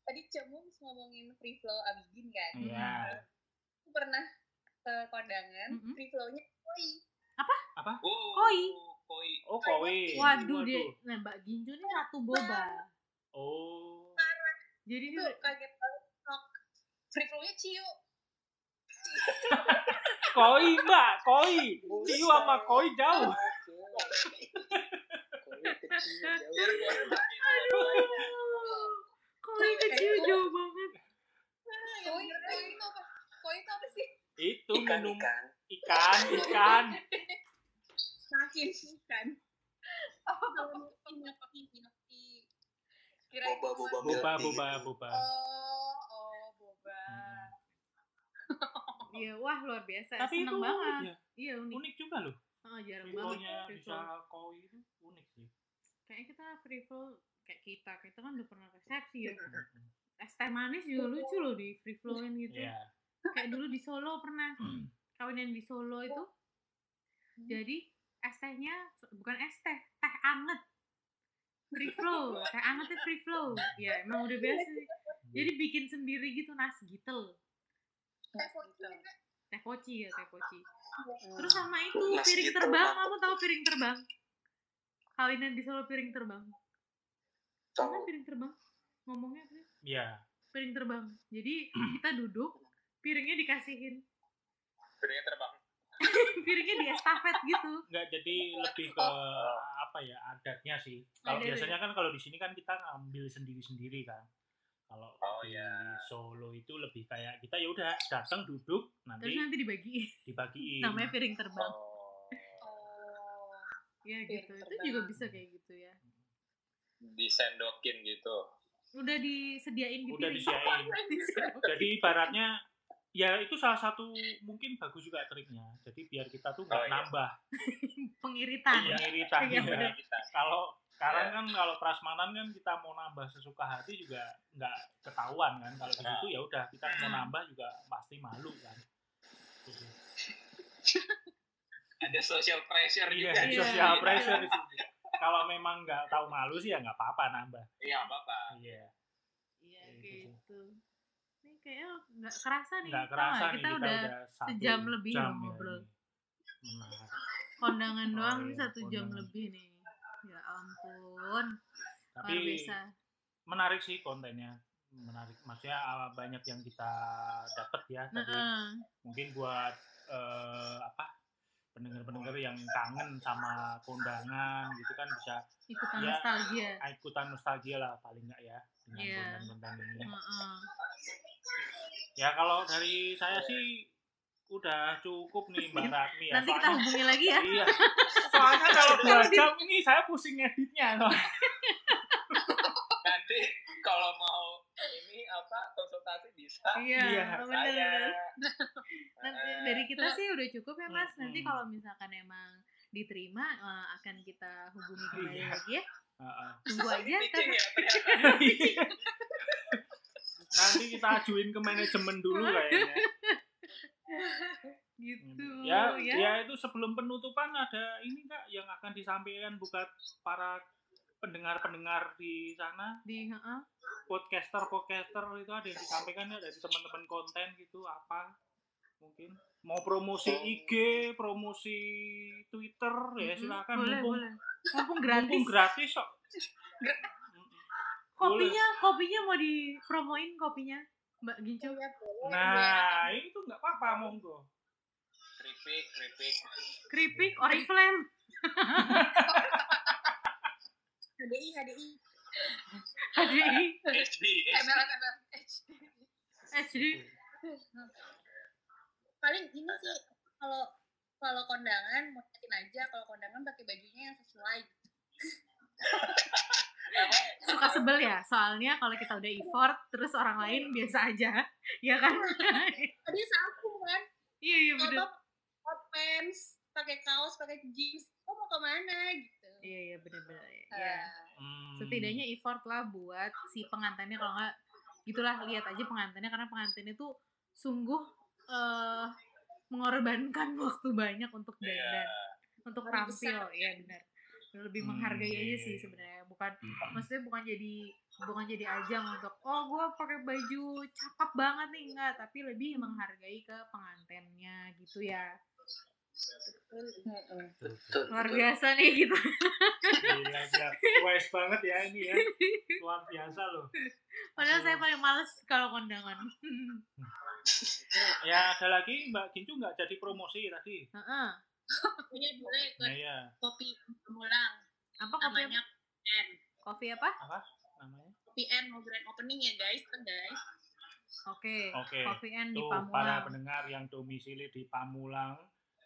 Speaker 6: tadi Cemun ngomongin free flow Abidin kan.
Speaker 2: Iya.
Speaker 6: Aku pernah ke kondangan,
Speaker 3: Mhm.
Speaker 6: free flow-nya koi.
Speaker 5: Oh,
Speaker 3: Koi.
Speaker 5: Koi.
Speaker 2: Oh, kowe.
Speaker 3: Waduh deh, nah Mbak Ginjo ini ratu boba.
Speaker 2: Oh.
Speaker 3: Jadi
Speaker 6: Itu
Speaker 3: dia
Speaker 6: kaget banget. shock. Free flow-nya Ciu.
Speaker 2: Koi, Mbak, koi. Ciu sama koi jauh.
Speaker 3: Oh.
Speaker 5: Biar gue
Speaker 3: aduh, koi kecil jauh banget.
Speaker 6: Koi, koi itu apa? Koi itu apa sih?
Speaker 2: Itu
Speaker 4: ikan
Speaker 2: minum
Speaker 4: ikan
Speaker 2: ikan, ikan.
Speaker 6: Makin bukan. Apa namanya? Inokti, inokti. Kira itu
Speaker 4: Boba, boba.
Speaker 2: Boba, boba, boba.
Speaker 6: Oh, oh, boba.
Speaker 2: Hmm.
Speaker 3: Iya, wah luar biasa.
Speaker 2: Tapi
Speaker 3: Seneng
Speaker 2: itu
Speaker 3: banget.
Speaker 2: unik ya.
Speaker 3: Iya unik.
Speaker 2: Unik juga loh.
Speaker 3: Oh, jarang banget.
Speaker 2: Ribonya
Speaker 3: free
Speaker 2: bisa
Speaker 3: flow.
Speaker 2: koi itu unik sih.
Speaker 3: Kayaknya kita free flow kayak kita, kita kan udah pernah resepsi ya. Es teh manis juga lucu loh di free flowin gitu.
Speaker 2: Iya.
Speaker 3: kayak dulu di Solo pernah kawinan di Solo itu jadi es tehnya bukan es teh teh anget free flow teh angetnya free flow ya emang udah biasa sih jadi bikin sendiri gitu nasi gitel
Speaker 6: Kayak foto gitu. juga.
Speaker 3: teh poci ya teh poci
Speaker 6: Oh.
Speaker 12: Hmm.
Speaker 3: terus sama itu
Speaker 4: Nasi
Speaker 3: piring
Speaker 4: gitel,
Speaker 3: terbang
Speaker 4: mantep.
Speaker 3: kamu tahu piring terbang kawinan di Solo piring terbang Tahu kan
Speaker 4: tahu
Speaker 3: piring terbang ngomongnya apa sih?
Speaker 2: Iya.
Speaker 3: piring terbang jadi kita duduk piringnya dikasihin
Speaker 5: Piringnya terbang.
Speaker 3: piringnya di estafet gitu
Speaker 2: Enggak jadi lebih ke apa ya adatnya sih. Kalau
Speaker 3: Adatnya.
Speaker 2: biasanya kan kalau di sini kan kita ngambil sendiri-sendiri kan. Kalau
Speaker 5: Oh,
Speaker 2: di
Speaker 5: iya.
Speaker 2: Solo itu lebih kayak kita ya udah datang duduk
Speaker 3: terus
Speaker 2: nanti
Speaker 3: nanti dibagiin
Speaker 2: dibagiin.
Speaker 3: namanya piring terbang
Speaker 5: Oh.
Speaker 6: Oh.
Speaker 3: ya
Speaker 2: Iya,
Speaker 6: piring
Speaker 3: gitu itu
Speaker 6: terbang.
Speaker 3: juga bisa kayak gitu ya
Speaker 5: Disendokin gitu.
Speaker 3: udah disediain gitu ya, di
Speaker 2: Udah
Speaker 3: piring
Speaker 2: disiain. Jadi ibaratnya ya itu salah satu mungkin bagus juga triknya. Jadi biar kita tuh nggak
Speaker 5: Oh, iya.
Speaker 2: nambah
Speaker 3: pengiritan
Speaker 2: Iya, iritan.
Speaker 3: Iya,
Speaker 2: Iya.
Speaker 3: bener.
Speaker 5: Kita.
Speaker 2: Kalau sekarang kan kalau prasmanan kan kita mau nambah sesuka hati juga nggak ketahuan kan. Kalau di situ ya udah kita mau
Speaker 3: Hmm.
Speaker 2: nambah juga pasti malu kan. Gitu.
Speaker 5: Ada social pressure
Speaker 2: Iya,
Speaker 5: juga.
Speaker 3: Iya.
Speaker 2: social pressure di situ. Kalau memang nggak tahu malu sih ya nggak apa-apa nambah.
Speaker 5: Iya, nggak apa-apa.
Speaker 2: Iya.
Speaker 3: iya
Speaker 2: Kayak gitu.
Speaker 3: gitu ini kayaknya nggak kerasa nih
Speaker 2: Nggak
Speaker 3: tau
Speaker 2: kerasa
Speaker 3: nggak?
Speaker 2: nih kita,
Speaker 3: Ah, udah
Speaker 2: udah satu
Speaker 3: sejam lebih
Speaker 2: jam
Speaker 3: loh
Speaker 2: ya
Speaker 3: ngobrol.
Speaker 2: ini. Menarik.
Speaker 3: kondangan
Speaker 2: Oh,
Speaker 3: doang ini
Speaker 2: iya,
Speaker 3: satu jam
Speaker 2: kondangan.
Speaker 3: lebih nih ya ampun
Speaker 2: Tapi
Speaker 3: luar biasa
Speaker 2: menarik sih kontennya. Menarik. Maksudnya uh, banyak yang kita dapat ya. Tadi
Speaker 3: Heeh.
Speaker 2: mungkin buat eh, apa pendengar-pendengar yang kangen sama kondangan gitu kan bisa
Speaker 3: ikutan
Speaker 2: Iya.
Speaker 3: nostalgia
Speaker 2: ikutan nostalgia lah paling nggak ya dengan
Speaker 3: Iya.
Speaker 2: konten-konten ini
Speaker 3: Heeh.
Speaker 2: ya kalau dari saya sih udah cukup nih mbak Ratmi ya
Speaker 3: nanti kita
Speaker 2: soalnya
Speaker 3: hubungi lagi ya
Speaker 2: iya soalnya kalau dua jam ini saya pusing editnya soalnya.
Speaker 5: Nanti kalau mau ini apa konsultasi bisa.
Speaker 3: iya
Speaker 2: Iya,
Speaker 3: bener bener Nanti
Speaker 5: Eh,
Speaker 3: dari kita sih udah cukup ya mas. Nanti
Speaker 2: Mm-mm.
Speaker 3: kalau misalkan emang diterima eh, akan kita hubungi kembali
Speaker 2: Iya.
Speaker 3: lagi ya.
Speaker 2: Heeh.
Speaker 3: Tunggu aja.
Speaker 5: pitching
Speaker 3: tapi-
Speaker 5: ya, ternyata.
Speaker 2: nanti kita ajuin ke manajemen dulu kayaknya
Speaker 3: gitu
Speaker 2: ya,
Speaker 3: ya.
Speaker 2: ya itu sebelum penutupan ada ini kak yang akan disampaikan buat para pendengar-pendengar di sana
Speaker 3: Di heeh.
Speaker 2: podcaster podcaster itu ada yang disampaikan ya dari teman-teman konten gitu apa mungkin mau promosi IG promosi Twitter ya
Speaker 3: Oh. Mm-mm.
Speaker 2: silakan
Speaker 3: Hmm, boleh
Speaker 2: mumpung
Speaker 3: boleh. Mumpung gratis.
Speaker 2: mumpung gratis kok
Speaker 3: kopinya kopinya mau dipromoin kopinya Mbak Gincu.
Speaker 6: Iya,
Speaker 3: Oh,
Speaker 6: boleh.
Speaker 2: nah
Speaker 3: iya.
Speaker 2: itu nggak apa-apa monggo
Speaker 5: Keripik, keripik.
Speaker 3: Keripik Oriflame.
Speaker 6: HDI, HDI.
Speaker 3: HDI
Speaker 5: SD, SD.
Speaker 6: MLM MLM
Speaker 3: HD
Speaker 6: paling ini sih kalau kalau kondangan mau yakin aja kalau kondangan pakai bajunya yang sesuai
Speaker 3: suka sebel ya soalnya kalau kita udah effort terus orang lain biasa aja ya kan
Speaker 6: tadi sapu kan
Speaker 3: iya iya
Speaker 6: kalau
Speaker 3: bener
Speaker 6: tau, hot pants pakai kaos pakai jeans lo mau kemana gitu
Speaker 3: iya iya bener bener ya
Speaker 6: Eh,
Speaker 2: Hmm.
Speaker 3: setidaknya effort lah buat si pengantinnya kalau nggak gitulah lihat aja pengantinnya karena pengantinnya tuh sungguh eh mengorbankan waktu banyak untuk
Speaker 5: Iya.
Speaker 3: dandan untuk
Speaker 6: Hari
Speaker 3: tampil
Speaker 6: besar.
Speaker 3: ya benar lebih
Speaker 2: Hmm,
Speaker 3: menghargai
Speaker 2: iya,
Speaker 3: aja
Speaker 2: iya,
Speaker 3: sih
Speaker 2: iya.
Speaker 3: sebenarnya bukan maksudnya bukan jadi bukan jadi ajang untuk oh gue pakai baju cakep banget nih enggak tapi lebih
Speaker 2: Hmm.
Speaker 3: menghargai ke pengantinnya gitu ya
Speaker 4: Betul,
Speaker 3: luar
Speaker 4: betul.
Speaker 3: biasa nih gitu
Speaker 2: Gila, gila. iya, Wise banget ya ini ya. Luar biasa loh.
Speaker 3: padahal
Speaker 2: Aduh.
Speaker 3: saya paling males kalau kondangan
Speaker 2: Ya ada lagi Mbak Gincu nggak jadi promosi tadi.
Speaker 3: Heeh.
Speaker 6: ini boleh ikut
Speaker 2: Nah iya,
Speaker 6: kopi mulang
Speaker 3: apa kopi
Speaker 6: namanya N
Speaker 3: kopi apa
Speaker 2: namanya.
Speaker 6: PN mau grand opening ya guys kan guys
Speaker 3: Oke,
Speaker 2: Oke,
Speaker 3: Coffee and di
Speaker 2: Tuh para
Speaker 3: Pamulang.
Speaker 2: pendengar yang domisili di Pamulang,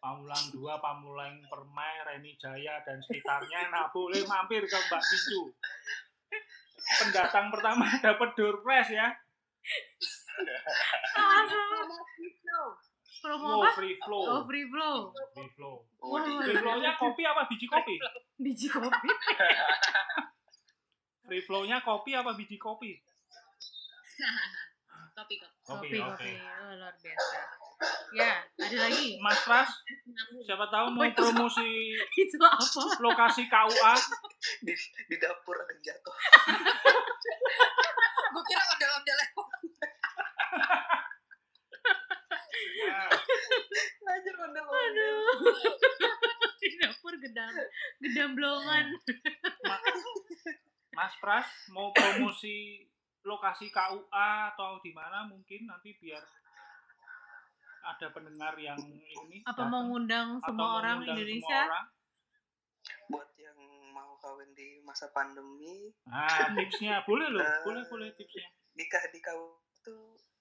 Speaker 2: Pamulang 2, Pamulang Permai, Reni Jaya dan sekitarnya, nah boleh mampir ke Mbak Gincu. Pendatang pertama dapat door prize ya.
Speaker 3: Langsung promo
Speaker 2: Wow,
Speaker 3: apa?
Speaker 2: free flow.
Speaker 3: Oh, free flow.
Speaker 2: Free flow.
Speaker 3: Wah,
Speaker 2: Free flow-nya kopi apa biji kopi?
Speaker 3: biji kopi.
Speaker 2: Free flow-nya kopi apa biji kopi?
Speaker 6: kopi
Speaker 3: Kopi,
Speaker 6: kopi
Speaker 3: kopi. Oh, luar biasa. Ya, ada lagi.
Speaker 2: Mas Pras,
Speaker 6: nyambung
Speaker 2: siapa tahu mau promosi
Speaker 3: Itu apa?
Speaker 2: lokasi KUA.
Speaker 4: Di, di dapur ada yang jatuh.
Speaker 6: gue kira ondel-ondelan
Speaker 2: Ya,
Speaker 4: Anjir, ondel
Speaker 3: Aduh. Di dapur gedam, gedam
Speaker 2: Eh,
Speaker 3: blongan.
Speaker 2: Ma- Nah. Mas Pras mau promosi lokasi KUA atau di mana mungkin nanti biar ada pendengar yang ini
Speaker 3: Apa
Speaker 2: datang.
Speaker 3: mau ngundang
Speaker 2: Atau
Speaker 3: semua
Speaker 2: mau
Speaker 3: orang
Speaker 2: ngundang
Speaker 3: Indonesia?
Speaker 2: semua orang.
Speaker 4: Buat yang mau kawin di masa pandemi,
Speaker 2: Nah, tipsnya boleh loh,
Speaker 4: Eh.
Speaker 2: boleh boleh tipsnya.
Speaker 4: nikah di kau itu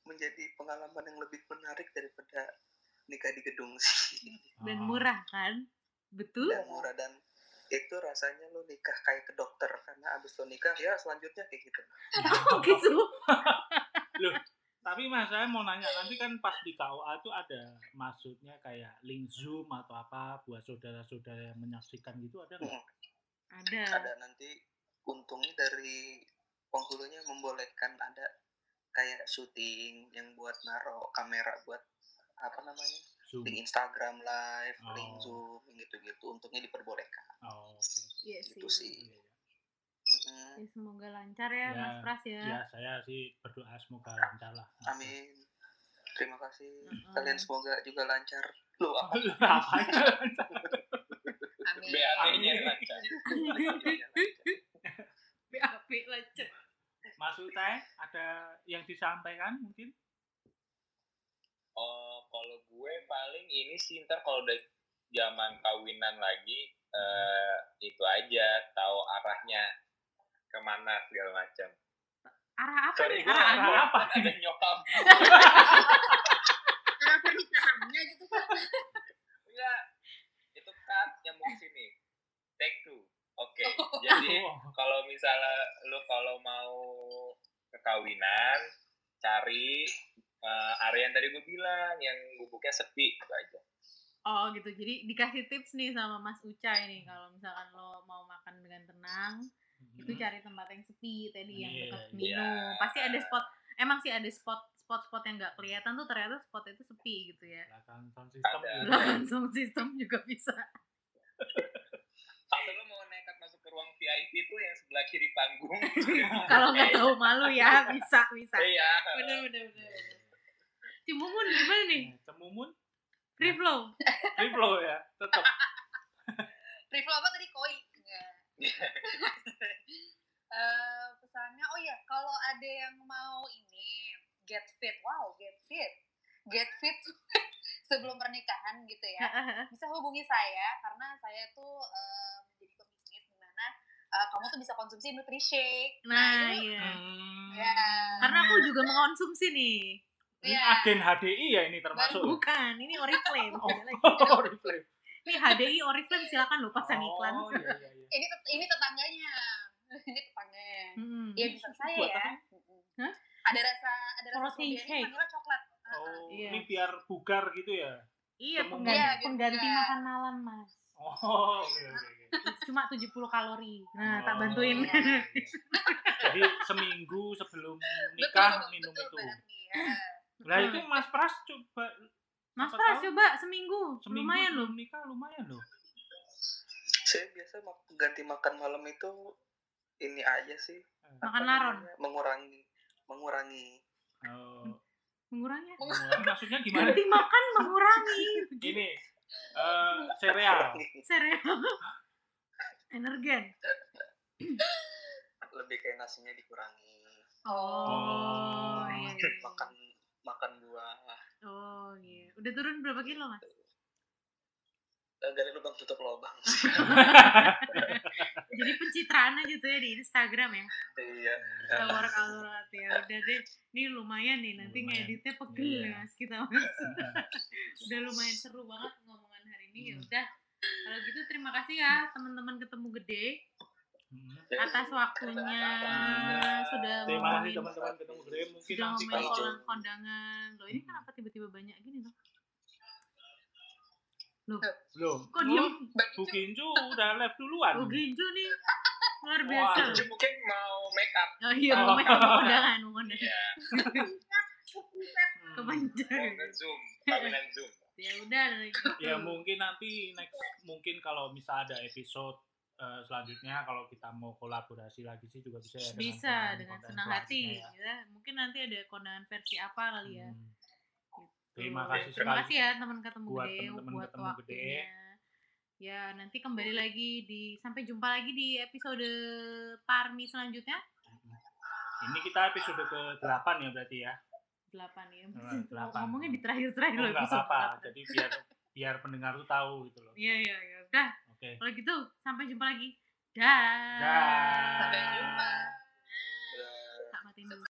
Speaker 4: menjadi pengalaman yang lebih menarik daripada nikah di gedung sih.
Speaker 2: Ah.
Speaker 3: Dan murah kan? Betul?
Speaker 5: Ya,
Speaker 4: Dan murah dan itu rasanya lo nikah kayak ke dokter karena abis lo nikah ya selanjutnya kayak gitu.
Speaker 3: Oh, gitu.
Speaker 2: Nah, Tapi mas saya mau nanya nanti kan pas di KUA itu ada maksudnya kayak link zoom atau apa buat saudara-saudara yang menyaksikan gitu ada nggak?
Speaker 3: Ada.
Speaker 2: Hmm.
Speaker 4: Ada nanti untungnya dari penghulunya membolehkan ada kayak syuting yang buat naro kamera buat apa namanya
Speaker 2: Zoom.
Speaker 4: di Instagram live,
Speaker 2: Hmm. Oh.
Speaker 4: link zoom gitu-gitu untungnya diperbolehkan
Speaker 2: Oh, oke.
Speaker 3: Iya
Speaker 4: gitu
Speaker 3: sih.
Speaker 4: sih.
Speaker 2: Iya.
Speaker 4: Mm,
Speaker 3: Ya, semoga lancar
Speaker 2: Ya,
Speaker 3: ya, Mas Pras ya.
Speaker 2: Ya saya sih berdoa semoga lancar lah.
Speaker 4: Amin. Terima kasih.
Speaker 3: Mm-mm.
Speaker 2: Hmm.
Speaker 4: Kalian semoga juga lancar. Lo apa?
Speaker 2: Apa itu?
Speaker 6: amin
Speaker 5: BAT-nya
Speaker 2: Amin.
Speaker 5: lancar.
Speaker 4: Iya,
Speaker 3: BAP lancar.
Speaker 2: Mas Utai, ada yang disampaikan mungkin?
Speaker 5: Oh, kalau gue paling ini sih ntar kalau udah zaman kawinan lagi eh itu aja tahu arahnya kemana segala macam.
Speaker 3: Arah apa
Speaker 5: Sorry,
Speaker 3: nih?
Speaker 5: gue
Speaker 3: Arah
Speaker 2: arah apa?
Speaker 5: Ada nyokap.
Speaker 6: karena pernikahannya gitu kan
Speaker 5: Enggak. Iya, Itu cut nyambung sini. Take two. Oke.
Speaker 3: Iya.
Speaker 5: Jadi
Speaker 2: Oh,
Speaker 5: kalau misalnya lu kalau mau kekawinan cari eh, area yang tadi gue bilang yang gubuknya sepi itu aja.
Speaker 3: Oh gitu, jadi dikasih tips nih sama Mas Uca ini kalau misalkan lo mau makan dengan tenang, itu cari tempat yang sepi tadi yang
Speaker 2: Iya,
Speaker 3: dekat
Speaker 2: iya.
Speaker 3: minum. Pasti ada spot, emang sih ada spot spot-spot yang nggak kelihatan tuh ternyata spot itu sepi gitu ya.
Speaker 2: Hmm, belakang sound system
Speaker 5: Ada.
Speaker 2: juga.
Speaker 3: Belakang sound system juga bisa.
Speaker 5: Kalau lu mau nekat masuk ke ruang VIP itu yang sebelah kiri panggung.
Speaker 3: Kalau nggak tahu malu ya, bisa bisa.
Speaker 5: Iya.
Speaker 3: Bener bener bener. Cimumun gimana nih?
Speaker 2: Nah, Cemumun,
Speaker 3: Free flow.
Speaker 2: free flow ya, tetap.
Speaker 6: Rifle apa tadi koi
Speaker 3: Iya.
Speaker 6: Enggak.
Speaker 12: Eh, pesannya oh ya kalau ada yang mau ini get fit wow get fit get fit sebelum pernikahan
Speaker 3: Nah,
Speaker 12: gitu ya bisa hubungi saya karena saya tuh eh, menjadi pebisnis di mana eh, kamu tuh bisa konsumsi nutrishake
Speaker 3: Nah,
Speaker 12: itu-
Speaker 3: iya.
Speaker 2: Hmm.
Speaker 12: ya
Speaker 3: Karena aku juga mengkonsumsi nih.
Speaker 2: Ini
Speaker 12: Iya.
Speaker 2: agen HDI ya ini termasuk. ya?
Speaker 3: Bukan, ini Oriflame.
Speaker 2: Oh.
Speaker 3: Beda lagi.
Speaker 2: Oh, reflect.
Speaker 3: Ini HDI Oriflame silakan lo pasang iklan.
Speaker 2: Oh, iya, iya, iya.
Speaker 12: ini tet- ini tetangganya ini tetangganya
Speaker 3: Mm-mm.
Speaker 12: iya bisa saya
Speaker 2: Buat
Speaker 12: ya
Speaker 2: apa?
Speaker 12: Mm-mm.
Speaker 3: Hah?
Speaker 12: ada rasa ada rasa
Speaker 3: Protein
Speaker 12: strawberry
Speaker 3: shake.
Speaker 12: vanilla coklat
Speaker 2: Oh,
Speaker 3: Iya.
Speaker 2: ini biar bugar gitu ya.
Speaker 3: Iya, ya.
Speaker 2: Iya,
Speaker 3: pengganti,
Speaker 12: biar
Speaker 3: pengganti
Speaker 12: enggak.
Speaker 3: makan malam, Mas.
Speaker 2: Oh, oke oke oke.
Speaker 3: Cuma 70 kalori. Nah, tak
Speaker 2: Oh,
Speaker 3: bantuin.
Speaker 2: iya, iya. Jadi seminggu sebelum nikah minum itu.
Speaker 12: banget nih ya.
Speaker 2: Nah, itu
Speaker 3: Hmm.
Speaker 2: Mas Pras coba
Speaker 3: Mas
Speaker 2: Siapa
Speaker 3: Pras
Speaker 2: tahu
Speaker 3: coba seminggu,
Speaker 2: seminggu
Speaker 3: lumayan loh.
Speaker 2: sebelum nikah lumayan loh.
Speaker 4: saya biasa mak- ganti makan malam itu ini aja sih
Speaker 3: Makan
Speaker 4: apa
Speaker 3: laron,
Speaker 4: namanya, mengurangi mengurangi
Speaker 2: Oh,
Speaker 3: mengurangi.
Speaker 2: mengurangi. maksudnya gimana?
Speaker 3: Ganti makan mengurangi.
Speaker 2: Gini. eh sereal.
Speaker 3: Serial. Energen.
Speaker 4: lebih kayak nasinya dikurangi
Speaker 2: Oh.
Speaker 3: iya.
Speaker 4: makan makan buah
Speaker 3: Oh iya. Udah turun berapa kilo, Mas?
Speaker 4: Eh, dari lubang tutup lubang
Speaker 3: Jadi pencitraan aja tuh ya di Instagram ya.
Speaker 4: iya
Speaker 3: Kita workout workout ya. Udah deh. Ini lumayan nih nanti
Speaker 2: Lumayan.
Speaker 3: ngeditnya pegel
Speaker 2: Iya.
Speaker 3: ya, Mas kita. Mas. Udah lumayan seru banget ngomongan hari ini ya
Speaker 2: Hmm.
Speaker 3: udah. Kalau gitu terima kasih ya teman-teman ketemu gede atas waktunya sudah
Speaker 2: Terima kasih
Speaker 3: ngomongin
Speaker 2: teman-teman ketemu Gede. Mungkin
Speaker 3: sudah
Speaker 2: nanti
Speaker 3: ngomongin
Speaker 2: kalau
Speaker 4: Pak Ijo.
Speaker 3: kolang kondangan. Loh ini kenapa tiba-tiba banyak gini loh?
Speaker 2: belum.
Speaker 3: Kok diem?
Speaker 12: Bang
Speaker 2: Bu
Speaker 12: Ijo,
Speaker 2: Kinju udah live duluan.
Speaker 3: Oh Ginjo nih luar biasa.
Speaker 2: Wah,
Speaker 3: loh.
Speaker 5: Ju mungkin mau make up.
Speaker 3: Oh iya,
Speaker 2: Oh. Iya.
Speaker 3: mau make up mau kondangan, mau kondangan.
Speaker 5: Ya,
Speaker 2: Hmm.
Speaker 5: mau
Speaker 3: Kepanjang.
Speaker 5: nge-zoom. Kawinan Zoom.
Speaker 3: Ya udah. gitu.
Speaker 2: Ya mungkin nanti next mungkin kalau misal ada episode eh, selanjutnya kalau kita mau kolaborasi lagi sih juga bisa ya. dengan
Speaker 3: Bisa
Speaker 2: konten-
Speaker 3: dengan
Speaker 2: konten
Speaker 3: senang
Speaker 2: selanjutnya
Speaker 3: hati.
Speaker 2: ya.
Speaker 3: Ya. Mungkin nanti ada kondangan versi apa kali ya.
Speaker 2: Hmm. Terima
Speaker 3: Tuh.
Speaker 2: kasih
Speaker 3: Terima
Speaker 2: sekali.
Speaker 3: kasih ya teman ketemu
Speaker 2: buat
Speaker 3: gede,
Speaker 2: teman-teman
Speaker 3: buat
Speaker 2: Ketemu Gede.
Speaker 3: waktunya. Ya, nanti kembali lagi di sampai jumpa lagi di episode Parmi selanjutnya.
Speaker 2: Ini kita episode ke-8 ya berarti ya.
Speaker 3: 8 ya.
Speaker 2: Hmm, delapan.
Speaker 3: Ngomongnya di terakhir-terakhir
Speaker 2: Oh,
Speaker 3: loh
Speaker 2: enggak
Speaker 3: episode
Speaker 2: apa-apa.
Speaker 3: 8.
Speaker 2: Jadi biar biar pendengar tuh tahu gitu loh.
Speaker 3: Iya, iya, iya. Udah,
Speaker 2: Oke.
Speaker 3: kalau gitu sampai jumpa lagi. Dah.
Speaker 2: Dah.
Speaker 6: Nah,
Speaker 12: Sampai jumpa.